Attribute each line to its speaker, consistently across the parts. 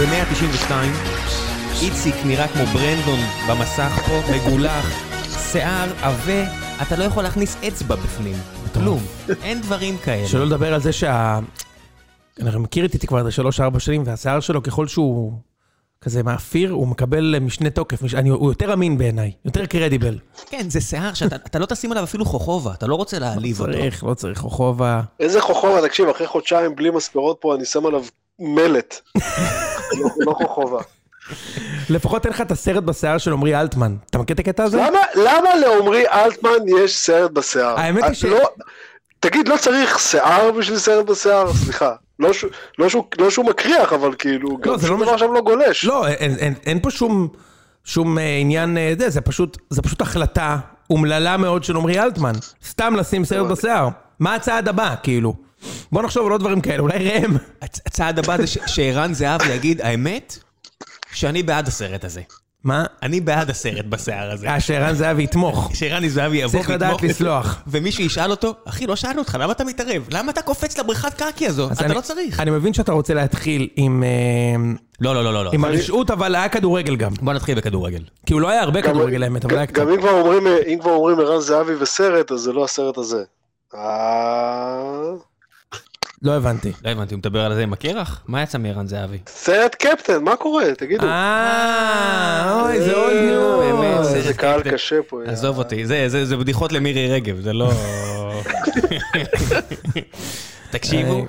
Speaker 1: ב-192, איציק נראה כמו ברנדון במסך פה, מגולח, שיער עבה, אתה לא יכול להכניס אצבע בפנים. כלום. אין דברים כאלה.
Speaker 2: שלא לדבר על זה שה... אני מכיר את איתי כבר איזה שלוש-ארבע שנים, והשיער שלו, ככל שהוא כזה מאפיר, הוא מקבל משנה תוקף. מש- אני- הוא יותר אמין בעיניי, יותר קרדיבל.
Speaker 1: כן, זה שיער שאתה אתה לא תשים עליו אפילו חוכובה, אתה לא רוצה להעליב אותו.
Speaker 2: צריך, לא צריך, חוכובה.
Speaker 3: איזה חוכובה, תקשיב, אחרי חודשיים בלי מספרות פה, אני שם עליו מלט. לא- לא חוכובה.
Speaker 2: לפחות אין לך את הסרט בשיער של עמרי אלטמן. אתה מכיר את הקטע הזה?
Speaker 3: למה, למה לעומרי אלטמן יש סרט בשיער?
Speaker 2: האמת היא
Speaker 3: את
Speaker 2: ש-
Speaker 3: לא, תגיד, לא צריך שיער בשביל סרט בשיער? סליחה. לא, ש... לא, שהוא... לא שהוא מקריח, אבל כאילו, גם
Speaker 2: זה
Speaker 3: שום
Speaker 2: לא
Speaker 3: דבר
Speaker 2: מש-
Speaker 3: שם לא גולש.
Speaker 2: לא, אין- אין- אין פה שום... שום אה, עניין, אה, זה, זה פשוט, זה פשוט החלטה אומללה מאוד של עמרי אלטמן. סתם לשים סרט בשיער. מה הצעד הבא, כאילו? בוא נחשוב על עוד דברים כאלה, אולי ראם.
Speaker 1: הצ- הצעד הבא זה ש- שערן זהבי יגיד, האמת, שאני בעד הסרט הזה.
Speaker 2: מה?
Speaker 1: אני בעד הסרט בשיער הזה.
Speaker 2: אה, שערן זהבי יתמוך.
Speaker 1: שערן זהבי יבוא
Speaker 2: צריך לדעת לסלוח.
Speaker 1: ומישהו ישאל אותו, אחי, לא שאלנו אותך, למה אתה מתערב? למה אתה קופץ לבריכת קרקע הזו?
Speaker 2: אז
Speaker 1: אתה
Speaker 2: אני-
Speaker 1: לא צריך.
Speaker 2: אני מבין שאתה רוצה להתחיל עם... אה,
Speaker 1: לא, לא, לא, לא, לא.
Speaker 2: עם הרשעות, אבל היה כדורגל גם.
Speaker 1: בוא נתחיל בכדורגל.
Speaker 2: כי הוא לא היה הרבה כדורגל האמת, אבל היה קצת.
Speaker 3: גם אם כבר אומרים, אם כבר אומרים ערן זהבי וסרט, אז זה לא הסרט הזה. אה...
Speaker 2: לא הבנתי.
Speaker 1: לא הבנתי, הוא מדבר על זה עם הקרח? מה יצא מערן זהבי?
Speaker 3: סרט קפטן, מה קורה?
Speaker 1: אה,
Speaker 3: תגידו.
Speaker 2: אה, אוי, זה אולד
Speaker 1: באמת,
Speaker 2: ניוז.
Speaker 1: זה-
Speaker 3: איזה קהל קשה פה. אה,
Speaker 1: עזוב אותי, זה- זה זה בדיחות למירי רגב, זה לא... תקשיבו,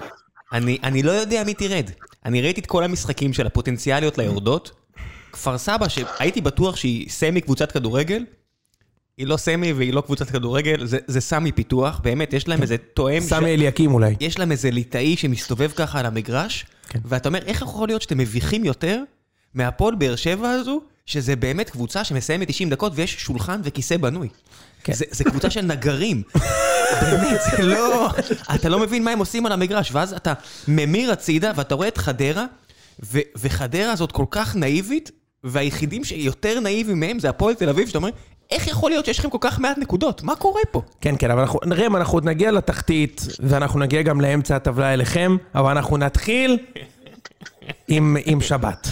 Speaker 1: אני אני לא יודע מי תרד. אני ראיתי את כל המשחקים של הפוטנציאליות ליורדות. כפר סבא, שהייתי בטוח שהיא סמי קבוצת כדורגל, היא לא סמי והיא לא קבוצת כדורגל, זה- זה סמי פיתוח, באמת, יש להם איזה תואם... ש-
Speaker 2: סמי אליקים אולי.
Speaker 1: יש להם איזה ליטאי שמסתובב ככה על המגרש,
Speaker 2: כן.
Speaker 1: אוקיי. כן. ואתה אומר, איך יכול להיות שאתם מביכים יותר מהפועל באר שבע הזו, שזה באמת קבוצה שמסיימת 90 דקות ויש שולחן וכיסא בנוי.
Speaker 2: כן.
Speaker 1: כן. זה, זה קבוצה של נגרים. באמת, זה לא... אתה לא מבין מה הם עושים על המגרש, ואז אתה ממיר הצידה ואתה רואה את חדרה, ו- וחדרה הזאת כל כך נאיבית, והיחידים שיותר נאיבים מהם זה הפועל תל אביב, שאתה אומר, איך יכול להיות שיש לכם כל כך מעט נקודות? מה קורה פה?
Speaker 2: כן, כן, אבל אנחנו, ראם, אנחנו עוד נגיע לתחתית, ואנחנו נגיע גם לאמצע הטבלה אליכם, אבל אנחנו נתחיל עם, עם שבת.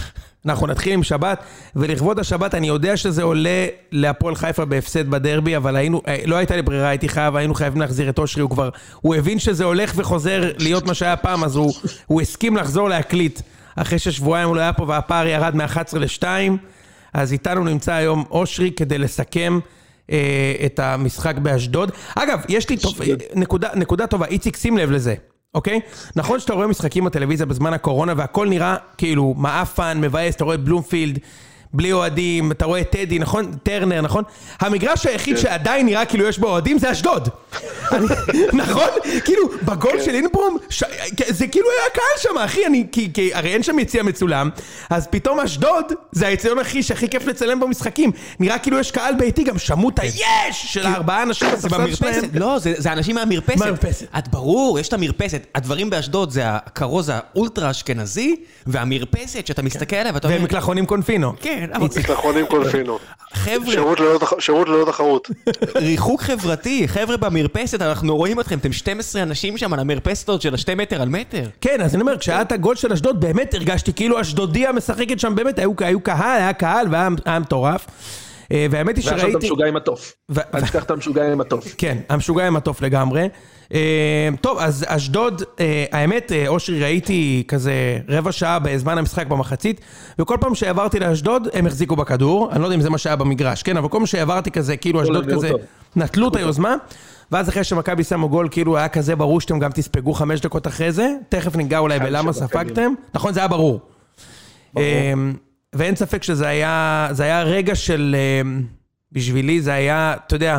Speaker 2: אנחנו נתחיל עם שבת, ולכבוד השבת, אני יודע שזה עולה להפועל חיפה בהפסד בדרבי, אבל היינו, אה, לא הייתה לי ברירה, הייתי חייב, היינו חייבים להחזיר את אושרי, הוא כבר, הוא הבין שזה הולך וחוזר להיות מה שהיה פעם, אז הוא, הוא הסכים לחזור להקליט, אחרי ששבועיים הוא לא היה פה והפער ירד מ-11 ל-2, אז איתנו נמצא היום אושרי כדי לסכם אה, את המשחק באשדוד. אגב, יש לי טוב, נקודה, נקודה טובה, איציק, שים לב לזה. אוקיי? נכון שאתה רואה משחקים בטלוויזיה בזמן הקורונה והכל נראה כאילו מעפן, מבאס, אתה רואה את בלומפילד, בלי אוהדים, אתה רואה את טדי, נכון? טרנר, נכון? המגרש היחיד שעדיין נראה כאילו יש בו אוהדים זה אשדוד. אני- נכון? כאילו, בגול של אינברום, ש- זה כאילו היה קהל שם, אחי, אני, כי, כי הרי אין שם יציע מצולם, אז פתאום אשדוד זה היציאון הכי שהכי כיף לצלם במשחקים. נראה כאילו יש קהל ביתי, גם שמעו את היש של הארבעה אנשים
Speaker 1: זה
Speaker 2: בספסל שלהם.
Speaker 1: במרפסת, לא, זה, זה אנשים מהמרפסת.
Speaker 2: מהמרפסת.
Speaker 1: את ברור, יש את המרפסת. הדברים באשדוד זה הכרוז האולטרה אשכנזי, והמרפסת שאתה מסתכל עליה ואתה אומר,
Speaker 2: ומקלחונים קונפינו.
Speaker 1: כן, אבל
Speaker 3: מקלחונים קולפינו.
Speaker 1: חבר'ה,
Speaker 3: שירות ללא תח- שירות ללא תחרות.
Speaker 1: ריחוק חברתי, חבר'ה במרפסת, אנחנו רואים אתכם, אתם 12 אנשים שם על המרפסת הזאת של השתי מטר על מטר.
Speaker 2: כן, אז אני אומר, כשהיה את הגול של אשדוד, באמת הרגשתי כאילו אשדודיה משחקת שם, באמת, היו, היו קהל, היה קהל והיה היה מטורף. אה, והאמת היא
Speaker 4: ועכשיו אתה
Speaker 2: שראיתי...
Speaker 4: משוגע עם התוף.
Speaker 2: ו-
Speaker 4: אל תשכח את המשוגע עם התוף.
Speaker 2: כן, המשוגע עם התוף לגמרי. אה, טוב, אז אשדוד, אה, האמת, אה, אושרי, ראיתי כזה רבע שעה בזמן המשחק במחצית, וכל פעם שעברתי לאשדוד, הם החזיקו בכדור, אני לא יודע אם זה מה שהיה במגרש, כן, אבל כל פעם שעברתי כזה, כאילו אשדוד
Speaker 4: נגעו
Speaker 2: כזה,
Speaker 4: טוב.
Speaker 2: נטלו את היוזמה, ואז אחרי שמכבי שמו גול, כאילו היה כזה ברור שאתם גם תספגו חמש דקות אחרי זה, תכף ניגע אולי בלמה ספגתם, נכון, זה היה ברור. אמ, ואין ספק שזה היה, זה היה רגע של, אמ, בשבילי זה היה, אתה יודע,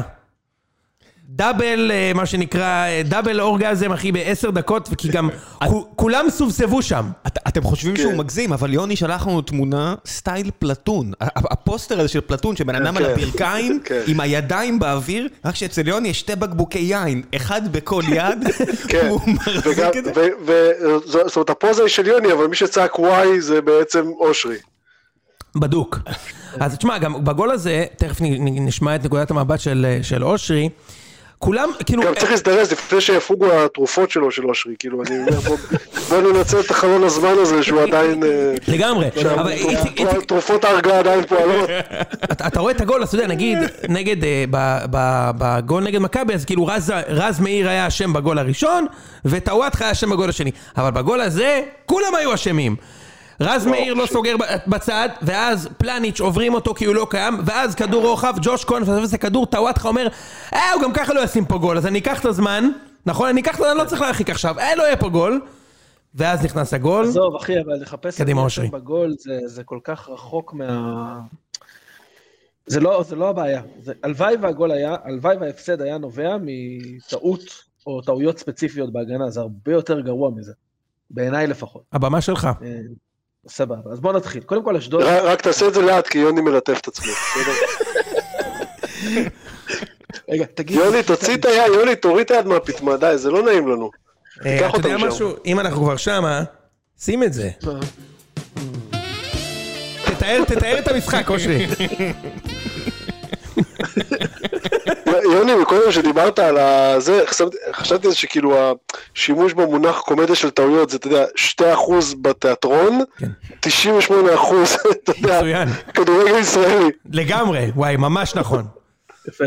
Speaker 2: דאבל, אה, מה שנקרא, אה, דאבל אורגזם, אחי, בעשר דקות, כי גם כו- כולם סובסבו שם.
Speaker 1: את, אתם חושבים
Speaker 3: כן.
Speaker 1: שהוא מגזים, אבל יוני שלח לנו תמונה סטייל פלטון. ה- ה- הפוסטר הזה של פלטון, שבן אדם על
Speaker 3: כן.
Speaker 1: הברכיים,
Speaker 3: כן.
Speaker 1: עם הידיים באוויר, רק שאצל יוני יש שתי בקבוקי יין, אחד בכל יד,
Speaker 3: כן.
Speaker 1: הוא
Speaker 3: וגם-
Speaker 1: מחזיק את זה.
Speaker 3: ו- ו- זו- זאת אומרת, הפוזה היא של יוני, אבל מי שצעק וואי זה בעצם אושרי.
Speaker 2: בדוק. אז תשמע, גם בגול הזה, תכף נ- נ- נשמע את נקודת המבט של, של אה, אושרי, כולם, כאילו,
Speaker 3: גם צריך להזדרז לפני שיפוגו התרופות שלו של אושרי, כאילו, אני אומר, בוא- בוא ננצל את החלון הזמן הזה שהוא עדיין... אה,
Speaker 2: לגמרי. אבל איציק, איציק,
Speaker 3: תרופות ההרגעה עדיין פועלות.
Speaker 2: אתה, אתה רואה את הגול, אז אתה יודע, נגיד, נגד, אה, ב- ב- בגול נגד מכבי, אז כאילו רז, רז מאיר היה אשם בגול הראשון, וטוואטחה היה אשם בגול השני. אבל בגול הזה, כולם היו אשמים. רז מאיר לא סוגר ב- בצד, ואז פלניץ' עוברים אותו כי הוא לא קיים, ואז כדור רוחב, ג'וש כהן מפספס את הכדור, טוואטחה אומר, אה, הוא גם ככה לא ישים פה גול, אז אני אקח את הזמן, נכון? אני אקח את הזמן, אני לא צריך להרחיק עכשיו, אה, לא יהיה פה גול. ואז נכנס הגול.
Speaker 4: עזוב, אחי, אבל לחפש את
Speaker 2: קדימה,
Speaker 4: זה
Speaker 2: אושרי.
Speaker 4: בגול, זה, זה כל כך רחוק מה... זה לא, זה לא הבעיה. זה- הלוואי והגול היה, הלוואי וההפסד היה נובע מטעות או טעויות ספציפיות בהגנה, זה הרבה יותר גרוע מזה. בעיניי לפחות.
Speaker 2: הבמה שלך.
Speaker 4: אה, סבבה, אז בואו נתחיל. קודם כל, אשדוד...
Speaker 3: רק רק תעשה את זה לאט, כי יוני מלטף את עצמו. בסדר?
Speaker 4: רגע, תגיד...
Speaker 3: יוני, תוציא את היד, יוני, תוריד את היד מהפטמה, די, זה לא נעים לנו.
Speaker 2: אה,
Speaker 3: תיקח
Speaker 2: אתה יודע
Speaker 3: אותנו
Speaker 2: משהו? אם אנחנו כבר שמה, שים את זה. תתאר, תתאר את המשחק, אושרי.
Speaker 3: יוני, מקודם שדיברת על ה- זה, חשבתי- חשבתי שכאילו השימוש במונח קומדיה של טעויות זה, אתה יודע, 2% בתיאטרון,
Speaker 2: כן.
Speaker 3: 98% אתה יודע,
Speaker 2: מצוין.
Speaker 3: כדורגל ישראלי.
Speaker 2: לגמרי, וואי, ממש נכון.
Speaker 4: יפה.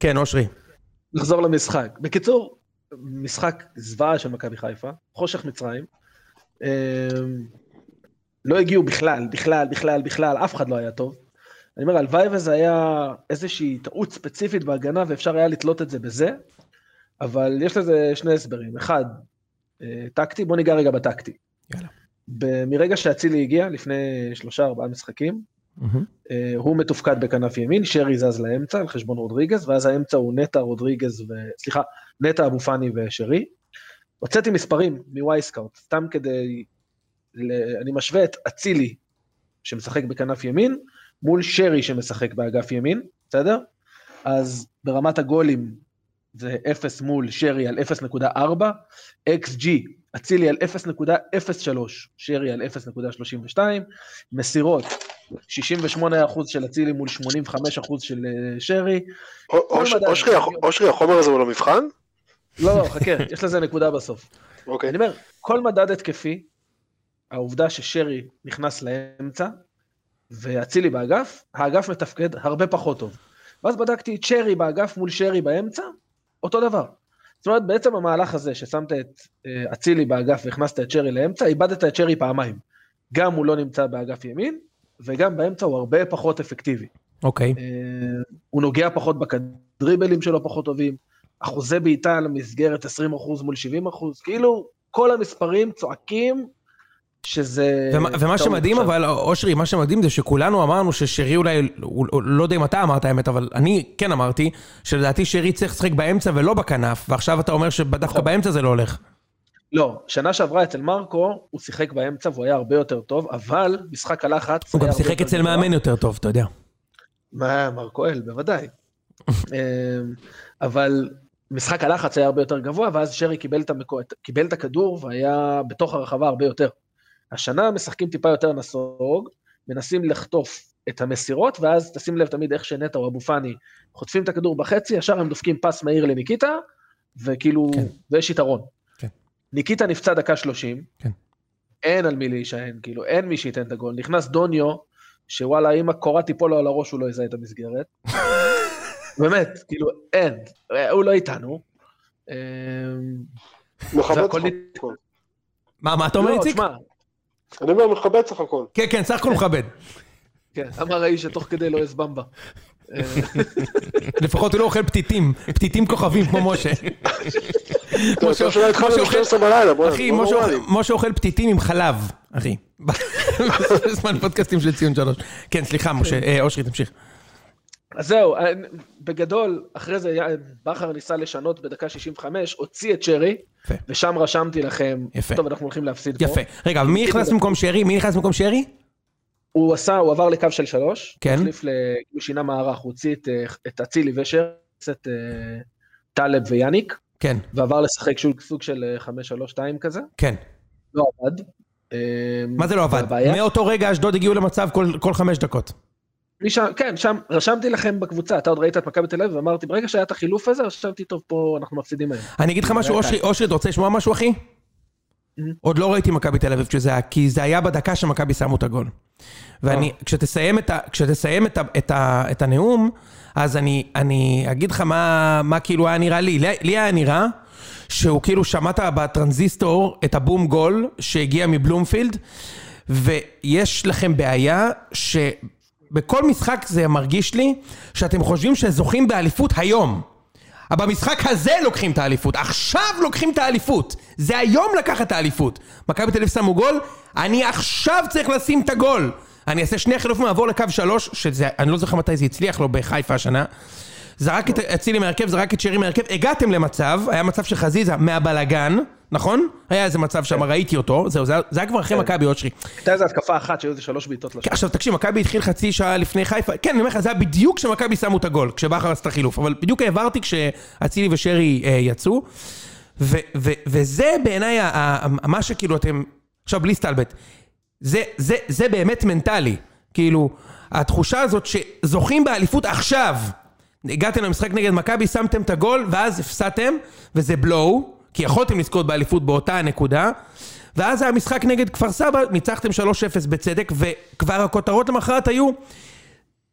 Speaker 2: כן, אושרי.
Speaker 4: נחזור למשחק. בקיצור, משחק זוועה של מכבי חיפה, חושך מצרים. אמ, לא הגיעו בכלל, בכלל, בכלל, בכלל, אף אחד לא היה טוב. אני אומר, הלוואי וזה היה איזושהי טעות ספציפית בהגנה ואפשר היה לתלות את זה בזה, אבל יש לזה שני הסברים. אחד, אה, טקטי, בוא ניגע רגע בטקטי.
Speaker 2: יאללה.
Speaker 4: ב- מרגע שאצילי הגיע, לפני שלושה ארבעה משחקים, אה, הוא מתופקד בכנף ימין, שרי זז לאמצע על חשבון רודריגז, ואז האמצע הוא נטע רודריגז ו... סליחה, נטע אבו פאני ושרי. הוצאתי מספרים מווייסקאוט, סתם כדי... ל... אני משווה את אצילי, שמשחק בכנף ימין, מול שרי שמשחק באגף ימין, בסדר? אז ברמת הגולים זה 0 מול שרי על 0.4, XG, אצילי על 0.03, שרי על 0.32, מסירות, 68% של אצילי מול 85% של אה, שרי.
Speaker 3: אוש-
Speaker 4: כל מדע.
Speaker 3: אושרי, הח- אושרי, החומר הזה הוא למבחן?
Speaker 4: לא, לא, חכה, יש לזה נקודה בסוף.
Speaker 3: אוקיי.
Speaker 4: אני אומר, כל מדד התקפי, העובדה ששרי נכנס לאמצע, ואצילי באגף, האגף מתפקד הרבה פחות טוב. ואז בדקתי את שרי באגף מול שרי באמצע, אותו דבר. זאת אומרת, בעצם המהלך הזה ששמת את אה, אצילי באגף והכנסת את שרי לאמצע, איבדת את שרי פעמיים. גם הוא לא נמצא באגף ימין, וגם באמצע הוא הרבה פחות אפקטיבי.
Speaker 2: אוקיי.
Speaker 4: אה, הוא נוגע פחות בדריבלים שלו פחות טובים, אחוזי בעיטה על המסגרת 20% מול 70%, כאילו כל המספרים צועקים שזה...
Speaker 2: ומה- ומה
Speaker 4: אה, טעות
Speaker 2: שמדהים,
Speaker 4: עכשיו.
Speaker 2: אבל, אושרי, מה שמדהים זה שכולנו אמרנו ששרי אולי, הוא- הוא- לא יודע אם אתה אמרת האמת, אבל אני כן אמרתי, שלדעתי שרי צריך לשחק באמצע ולא בכנף, ועכשיו אתה אומר שדווקא
Speaker 4: נכון.
Speaker 2: באמצע זה לא הולך.
Speaker 4: לא, שנה שעברה אצל מרקו, הוא שיחק באמצע והוא היה הרבה יותר טוב, אבל משחק הלחץ...
Speaker 2: הוא גם
Speaker 4: היה הרבה
Speaker 2: שיחק
Speaker 4: יותר
Speaker 2: אצל
Speaker 4: גבוה.
Speaker 2: מאמן יותר טוב, אתה יודע.
Speaker 4: מה, מר כהל, בוודאי. אמ, אבל משחק הלחץ היה הרבה יותר גבוה, ואז שרי קיבל את, המקו... את- קיבל את הכדור והיה בתוך הרחבה הרבה יותר. השנה משחקים טיפה יותר נסוג, מנסים לחטוף את המסירות, ואז תשים לב תמיד איך שנטע או אבו פאני חוטפים את הכדור בחצי, ישר הם דופקים פס מהיר לניקיטה, וכאילו,
Speaker 2: כן.
Speaker 4: כן. ויש יתרון.
Speaker 2: כן.
Speaker 4: ניקיטה נפצע דקה 30,
Speaker 2: כן.
Speaker 4: אין על מי להישען, כאילו, אין מי שייתן את הגול. נכנס דוניו, שוואלה, אם הקורה תיפול לו על הראש, הוא לא יזהה את המסגרת. באמת, כאילו, אין, הוא לא איתנו. אמ,
Speaker 3: מכבד
Speaker 4: והכל
Speaker 3: סך
Speaker 4: נת-
Speaker 3: הכל.
Speaker 2: מה, מה אתה אומר,
Speaker 4: לא,
Speaker 2: איציק?
Speaker 4: תשמע,
Speaker 3: אני אומר, מכבד סך הכל.
Speaker 2: כן, כן, סך הכל מכבד.
Speaker 4: כן, אמר האיש שתוך כדי לא יש במבה. אה,
Speaker 2: לפחות הוא לא אוכל פתיתים, פתיתים כוכבים כמו משה.
Speaker 3: טוב,
Speaker 2: משה-
Speaker 3: טוב שלא
Speaker 2: משה
Speaker 3: התחלנו
Speaker 2: אוכל-
Speaker 3: ב-12 בלילה, בוא'נה,
Speaker 2: אחי,
Speaker 3: לא
Speaker 2: משה
Speaker 3: נורמלי.
Speaker 2: אוכל- משה אוכל פתיתים עם חלב, אחי. בזמן פודקאסטים של ציון שלוש. כן, סליחה, משה, אה, אושרי, תמשיך.
Speaker 4: אז זהו, אה, בגדול, אחרי זה היה- בכר ניסה לשנות בדקה 65, הוציא את שרי,
Speaker 2: יפה.
Speaker 4: ושם רשמתי לכם,
Speaker 2: יפה.
Speaker 4: טוב, אנחנו הולכים להפסיד פה.
Speaker 2: יפה. רגע, אבל מי נכנס במקום שרי? מי נכנס במקום שרי?
Speaker 4: הוא עשה, הוא עבר לקו של שלוש,
Speaker 2: כן.
Speaker 4: החליף, ל- הוא שינה מערך, הוא הוציא את, אה, את אצילי ושר, את אה, טלב ויאניק,
Speaker 2: כן,
Speaker 4: ועבר לשחק שוב סוג של אה, 5-3-2 כזה,
Speaker 2: כן.
Speaker 4: לא עבד. אה,
Speaker 2: מה זה לא עבד?
Speaker 4: והבעיה-
Speaker 2: מאותו רגע אשדוד הגיעו למצב כל- כל חמש דקות.
Speaker 4: משם, כן, שם, רשמתי לכם בקבוצה, אתה עוד ראית את מכבי תל אביב, ואמרתי, ברגע שהיה את החילוף הזה, רשמתי, טוב, פה אנחנו מפסידים היום.
Speaker 2: אני אגיד לך משהו, אושרי, אושרי, אתה רוצה לשמוע משהו, אחי? עוד לא ראיתי מכבי תל אביב כשזה היה, כי זה היה בדקה שמכבי שמו את הגול. ואני, כשתסיים את ה- כשתסיים את ה- את ה- את הנאום, אז אני- אני אגיד לך מה מה כאילו היה נראה לי. לי לי היה נראה שהוא כאילו שמעת בטרנזיסטור את הבום גול שהגיע מבלומפילד, ויש לכם בעיה שבכל משחק זה מרגיש לי שאתם חושבים שזוכים באליפות היום. אבל במשחק הזה לוקחים את האליפות, עכשיו לוקחים את האליפות. זה היום לקחת את האליפות. מכבי תל אביב שמו גול, אני עכשיו צריך לשים את הגול. אני אעשה שני חילופים, אעבור לקו שלוש, שזה, אני לא זוכר מתי זה הצליח לו בחיפה השנה. זרק את אצילי מהרכב, זרק את שרי מהרכב, הגעתם למצב, היה מצב של חזיזה מהבלגן, נכון? היה איזה מצב שם, ראיתי אותו, זהו, זה היה- זה היה כבר אחרי מכבי אושרי.
Speaker 4: הייתה איזו התקפה אחת שהיו איזה שלוש בעיטות לשם.
Speaker 2: כן, עכשיו תקשיב, מכבי התחיל חצי שעה לפני חיפה, כן, אני אומר לך, זה היה בדיוק כשמכבי שמו את הגול, כשבכר עשתה חילוף, אבל בדיוק העברתי כשאצילי ושרי אה, יצאו, ו- ו- וזה בעיניי ה- ה- ה- מה שכאילו אתם, עכשיו בלי סטלבט, זה, זה, זה באמת מנטלי, כאילו, התחושה הזאת שזוכים באליפות עכשיו, הגעתם למשחק נגד מכבי, שמתם את הגול, ואז הפסדתם, וזה בלואו, כי יכולתם לזכות באליפות באותה הנקודה. ואז היה משחק נגד כפר סבא, ניצחתם 3-0 בצדק, וכבר הכותרות למחרת היו,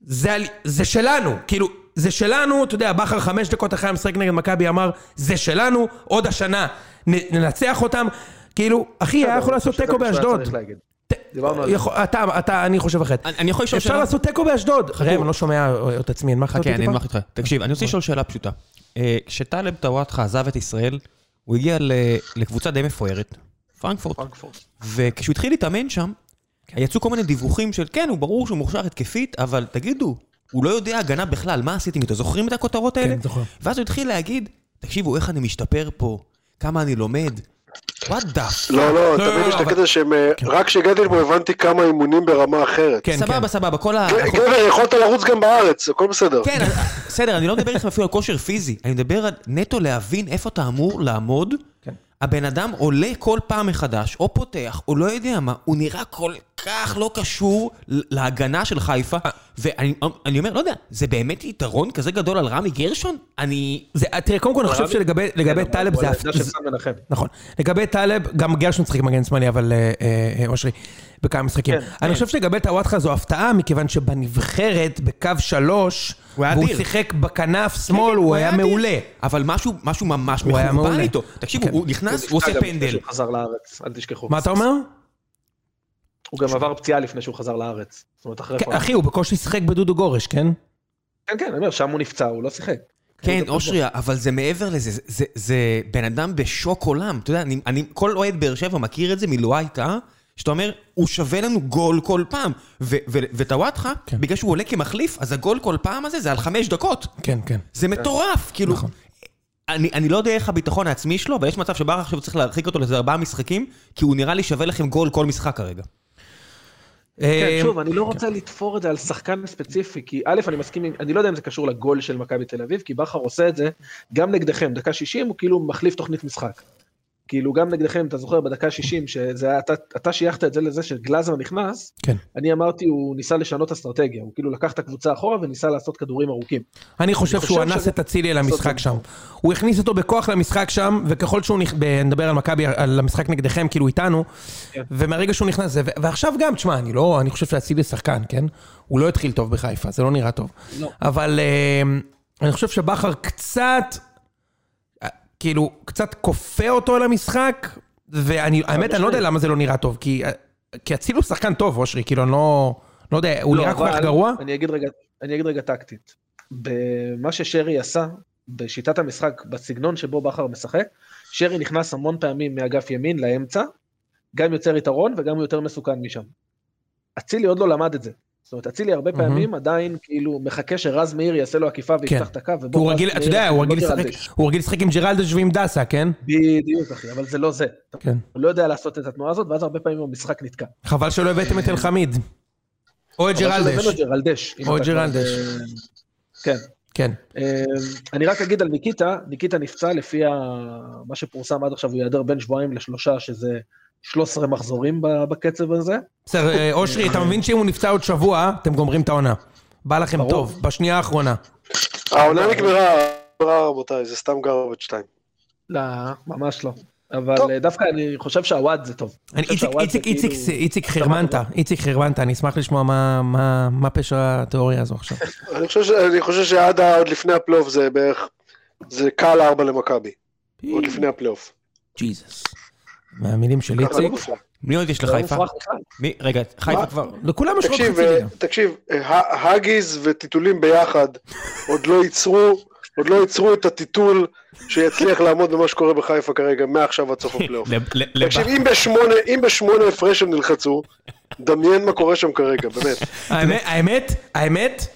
Speaker 2: זה, על- זה שלנו, כאילו, זה שלנו, אתה יודע, בכר חמש דקות אחרי המשחק נגד מכבי אמר, זה שלנו, עוד השנה, נ- ננצח אותם, כאילו, אחי, היה יכול לעשות
Speaker 4: שזה
Speaker 2: תיקו
Speaker 4: מה שהיה
Speaker 2: באשדוד.
Speaker 4: צריך להגיד.
Speaker 2: ת-
Speaker 4: דיברנו על זה.
Speaker 2: יכול- אתה, אתה, אני חושב אחרת.
Speaker 1: אני- אני יכול לשאול
Speaker 2: אפשר
Speaker 1: שאלה?
Speaker 2: לעשות תיקו באשדוד. ראם, אני לא שומע את עצמי, אין מה לחכות
Speaker 1: חכה, אוקיי, אני
Speaker 2: טיפה? אוקיי.
Speaker 1: אנמך איתך. תקשיב, אני רוצה לשאול שאלה פשוטה. אה, כשטלב טוואטחה עזב את ישראל, הוא הגיע ל- לקבוצה די מפוארת, פרנקפורט.
Speaker 4: פרנקפורט.
Speaker 1: וכשהוא התחיל להתאמן שם,
Speaker 2: כן.
Speaker 1: יצאו כל מיני דיווחים של כן, הוא ברור שהוא מוכשר התקפית, אבל תגידו, הוא לא יודע הגנה בכלל, מה עשיתם איתו? זוכרים את הכותרות האלה?
Speaker 2: כן, זוכר.
Speaker 1: ואז הוא התחיל להגיד, תקשיבו, איך אני משתפר פה, כמה אני לומד. וואט דף.
Speaker 3: לא,
Speaker 2: לא,
Speaker 3: לא, תמיד
Speaker 2: לא,
Speaker 3: יש את
Speaker 2: אבל-
Speaker 3: הקטע שהם... אה, רק כשהגעתי לפה הבנתי כמה אימונים ברמה אחרת.
Speaker 2: כן, כן.
Speaker 1: סבבה, סבבה, כל ה...
Speaker 3: ג- גבר, יכולת לרוץ גם בארץ, הכל בסדר.
Speaker 1: כן, אז- בסדר, אני לא מדבר איתכם אפילו על כושר פיזי, אני מדבר על נטו להבין איפה אתה אמור לעמוד.
Speaker 2: כן.
Speaker 1: הבן אדם עולה כל פעם מחדש, או פותח, או לא יודע מה, הוא נראה כל כך לא קשור ל- להגנה של חיפה,
Speaker 2: אה.
Speaker 1: ואני אני אומר, לא יודע, זה באמת יתרון כזה גדול על רמי גרשון? אני...
Speaker 2: זה- תראה, קודם כל, אני חושב שלגבי לגבי
Speaker 4: כן,
Speaker 2: אה, טלב
Speaker 4: אבל
Speaker 2: זה...
Speaker 4: הוא
Speaker 2: הפ-
Speaker 4: על העמדה
Speaker 2: זה-
Speaker 4: של סן מנחם.
Speaker 2: נכון. לגבי טלב, גם גרשון משחק מגן שמאלי, אבל אה, אה, אה, אושרי, בכמה משחקים.
Speaker 4: כן,
Speaker 2: אני חושב שלגבי טוואטחה זו הפתעה, מכיוון שבנבחרת, בקו שלוש,
Speaker 1: הוא היה
Speaker 2: והוא
Speaker 1: אדיר.
Speaker 2: שיחק בכנף שמאל, הוא היה מעולה.
Speaker 1: אבל משהו, משהו ממש
Speaker 2: הוא היה
Speaker 1: מחורבן
Speaker 2: מעולה.
Speaker 1: איתו. תקשיבו,
Speaker 2: כן.
Speaker 1: הוא נכנס, הוא עושה
Speaker 4: אגב, לפני
Speaker 1: פנדל.
Speaker 4: שהוא חזר לארץ, אל תשכחו.
Speaker 2: מה אתה אומר?
Speaker 4: הוא גם עבר פציעה לפני שהוא חזר לארץ. זאת אומרת, אחרי...
Speaker 2: כן,
Speaker 4: פרנקפורט.
Speaker 2: אחי, הוא בקושי שיחק בדודו גורש, כן?
Speaker 4: כן, כן, אני אומר, שם הוא נפצע, הוא לא שיחק.
Speaker 1: כן, אושרי, אבל זה מעבר לזה, זה, זה, זה בן אדם בשוק עולם. אתה יודע, אני, אני, כל אוהד באר שבע מכיר את זה מלואי טאה, שאתה אומר, הוא שווה לנו גול כל פעם. ו- ו- וטוואטחה,
Speaker 2: כן.
Speaker 1: בגלל שהוא עולה כמחליף, אז הגול כל פעם הזה זה על חמש דקות.
Speaker 2: כן, כן.
Speaker 1: זה מטורף, כאילו...
Speaker 2: נכון.
Speaker 1: אני, אני לא יודע איך הביטחון העצמי שלו, אבל יש מצב שבר עכשיו צריך להרחיק אותו לאיזה ארבעה משחקים, כי הוא נראה לי שווה לכם גול כל משחק כרגע.
Speaker 2: אה,
Speaker 4: כן, שוב, אני לא רוצה לתפור את זה על שחקן ספציפי, כי א', אני מסכים, עם- אני לא יודע אם זה קשור לגול של מכבי תל אביב, כי בכר עושה את זה גם נגדכם, דקה 60 הוא כאילו מחליף תוכנית משחק. כאילו גם נגדכם, אתה זוכר, בדקה 60, שזה היה, אתה, אתה שייכת את זה לזה שגלאזר נכנס,
Speaker 2: כן.
Speaker 4: אני אמרתי, הוא ניסה לשנות אסטרטגיה, הוא כאילו לקח את הקבוצה אחורה וניסה לעשות כדורים ארוכים.
Speaker 2: אני חושב
Speaker 4: אני
Speaker 2: שהוא
Speaker 4: חושב
Speaker 2: אנס
Speaker 4: שזה-
Speaker 2: את אצילי למשחק
Speaker 4: זה-
Speaker 2: שם. הוא הכניס אותו בכוח למשחק שם, וככל שהוא נכ... ב- נדבר על מכבי, על המשחק נגדכם, כאילו איתנו,
Speaker 4: כן.
Speaker 2: ומהרגע שהוא נכנס לזה, ו- ועכשיו גם, תשמע, אני לא, אני חושב שאצילי שחקן, כן? הוא לא התחיל טוב בחיפה, זה לא נראה טוב.
Speaker 4: לא.
Speaker 2: אבל אה, אני חושב שבכר קצת, אה, כאילו, קצת כופה אותו על המשחק, ואני, האמת, אני לא יודע למה זה לא נראה טוב, כי אה, כי אצילי הוא שחקן טוב, אושרי, כאילו, אני לא... לא יודע, הוא
Speaker 4: לא,
Speaker 2: נראה כל כך
Speaker 4: אבל
Speaker 2: גרוע?
Speaker 4: אני אגיד רגע, אני אגיד רגע טקטית. במה ששרי עשה, בשיטת המשחק, בסגנון שבו בכר משחק, שרי נכנס המון פעמים מאגף ימין לאמצע, גם יוצר יתרון וגם הוא יותר מסוכן משם. אצילי עוד לא למד את זה. זאת אומרת, אצילי הרבה
Speaker 2: מהמם.
Speaker 4: פעמים עדיין כאילו מחכה שרז מאיר יעשה לו עקיפה ויפתח
Speaker 2: כן.
Speaker 4: את הקו. ובוא
Speaker 2: הוא
Speaker 4: רז
Speaker 2: רגיל, אתה
Speaker 4: מאיר
Speaker 2: יודע, הוא
Speaker 4: לא
Speaker 2: רגיל לשחק-
Speaker 4: גרלדש.
Speaker 2: הוא רגיל לשחק עם ג'רלדש ועם דסה, כן?
Speaker 4: בדיוק אחי, אבל זה לא זה.
Speaker 2: כן.
Speaker 4: הוא לא יודע לעשות את התנועה הזאת, ואז הרבה פעמים המשחק נתקע.
Speaker 2: חבל שלא הבאתם את אלחמיד. או את
Speaker 4: אבל
Speaker 2: ג'רלדש.
Speaker 4: שלבנו ג'רלדש. אם
Speaker 2: או
Speaker 4: אתה כבר,
Speaker 2: ג'רלדש.
Speaker 4: אה, כן.
Speaker 2: כן.
Speaker 4: אה, אני רק אגיד על ניקיטה, ניקיטה נפצע לפי ה... מה שפורסם עד עכשיו, הוא ייעדר בין שבועיים לשלושה, שזה 13 מחזורים ב- בקצב הזה.
Speaker 2: בסדר, אה, אושרי, אתה מבין שאם הוא נפצע עוד שבוע, אתם גומרים את העונה. בא לכם
Speaker 4: ברור.
Speaker 2: טוב, בשנייה האחרונה.
Speaker 3: העונה
Speaker 2: אה,
Speaker 3: נגמרה, נגמרה, רבותיי, זה סתם גרבג' 2.
Speaker 4: לא, ממש לא. אבל
Speaker 3: טוב.
Speaker 4: אה, דווקא אני חושב שהוואד זה טוב.
Speaker 2: אני-
Speaker 4: חושב
Speaker 2: איציק-
Speaker 4: שהוואד זה
Speaker 2: איציק- איציק-
Speaker 4: כאילו-
Speaker 2: איציק חרמנטה, איציק חרמנטה, אני אשמח לשמוע מה- מה- מה פשע התיאוריה הזו עכשיו.
Speaker 3: אני חושב, ש- אני חושב שעד ה- עוד לפני הפלייאוף זה בערך, זה קל ארבע למכבי, עוד לפני הפלייאוף.
Speaker 2: ג'יזוס. מהמילים של
Speaker 3: ככה זה
Speaker 2: איציק.
Speaker 3: מופרך.
Speaker 1: מי עוד יש
Speaker 4: זה לא
Speaker 1: לחיפה?
Speaker 4: מופרך בכלל.
Speaker 1: מי? רגע, חיפה
Speaker 3: מה?
Speaker 1: כבר...
Speaker 2: לכולם יש עוד חצי
Speaker 3: תקשיב,
Speaker 2: לא ליגה.
Speaker 3: אה, תקשיב, אה, ה- האגיז וטיטולים ביחד עוד לא ייצרו, עוד לא ייצרו את הטיטול שיצליח לעמוד במה שקורה בחיפה כרגע, מעכשיו עד סוף הפלייאוף.
Speaker 1: לב- לב- לב-
Speaker 3: לא. תקשיב, אם בשמונה, אם בשמונה הפרש הם נלחצו, דמיין מה קורה שם כרגע, באמת.
Speaker 2: האמת, האמת, האמת,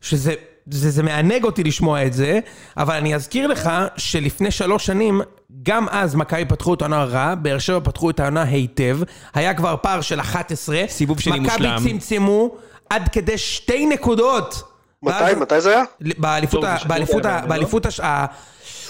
Speaker 2: שזה זה, זה מענג אותי לשמוע את זה, אבל אני אזכיר לך שלפני שלוש שנים, גם אז מכבי פתחו את העונה רע, באר שבע פתחו את העונה היטב, היה כבר פער של 11.
Speaker 1: סיבוב שני מושלם.
Speaker 2: מכבי צמצמו עד כדי שתי נקודות.
Speaker 3: מתי,
Speaker 2: ואז-
Speaker 3: מתי זה היה?
Speaker 2: באליפות ה-
Speaker 4: טוב,
Speaker 2: באליפות ה-
Speaker 4: זה לא?
Speaker 2: באליפות הש... ה-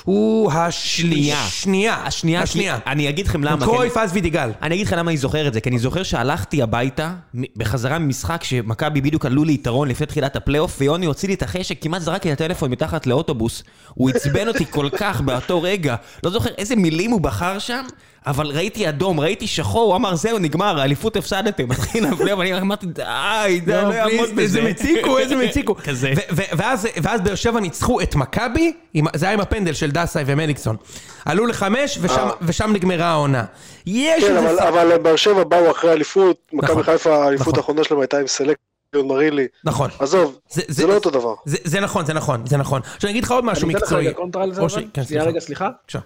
Speaker 2: הוא
Speaker 1: שנייה.
Speaker 2: השנייה. השנייה.
Speaker 1: השנייה,
Speaker 2: השנייה.
Speaker 1: אני אגיד לכם למה. כן. כי אני-
Speaker 2: קרויף, אז וידיגל.
Speaker 1: אני אגיד לך למה אני זוכר את זה, כי אני זוכר שהלכתי הביתה מ- בחזרה ממשחק שמכבי בדיוק עלו ליתרון לפני תחילת הפלייאוף, ויוני הוציא לי את החשק, כמעט זרק לי את הטלפון מתחת לאוטובוס. הוא עצבן אותי כל כך באותו רגע. לא זוכר איזה מילים הוא בחר שם, אבל ראיתי אדום, ראיתי שחור, הוא אמר זהו, נגמר, האליפות הפסדתם, מתחיל הפלייאוף, אני אמרתי, די, די, לא
Speaker 2: לא,
Speaker 1: יעמוד
Speaker 2: פליז,
Speaker 1: בזה.
Speaker 2: איזה מציקו, איזה מציקו.
Speaker 1: כזה.
Speaker 2: ו- ו- ואז- ואז באר שבע ניצחו את מכבי, עם- זה היה עם הפנדל של דסאי ומליקסון. עלו לחמש, ושם-
Speaker 3: אה.
Speaker 2: ושם נגמרה העונה. יש
Speaker 3: כן,
Speaker 2: איזה...
Speaker 3: אבל-
Speaker 2: ס-
Speaker 3: אבל באר שבע באו אחרי אליפות, מכבי חיפה,
Speaker 2: נכון.
Speaker 3: האליפות האחרונה שלהם הייתה עם סלקטיון מרילי.
Speaker 2: נכון.
Speaker 3: עזוב,
Speaker 2: זה-
Speaker 3: זה לא אותו דבר.
Speaker 2: זה- זה נכון, זה נכון, זה נכון. עכשיו אני אגיד לך עוד משהו
Speaker 4: אני אתן לך
Speaker 2: מקצועי.
Speaker 4: רגע קונטרה על זה,
Speaker 2: אושרי,
Speaker 4: אבל?
Speaker 2: כן,
Speaker 4: שנייה
Speaker 2: סליחה.
Speaker 4: רגע, סליחה.
Speaker 2: בבקשה.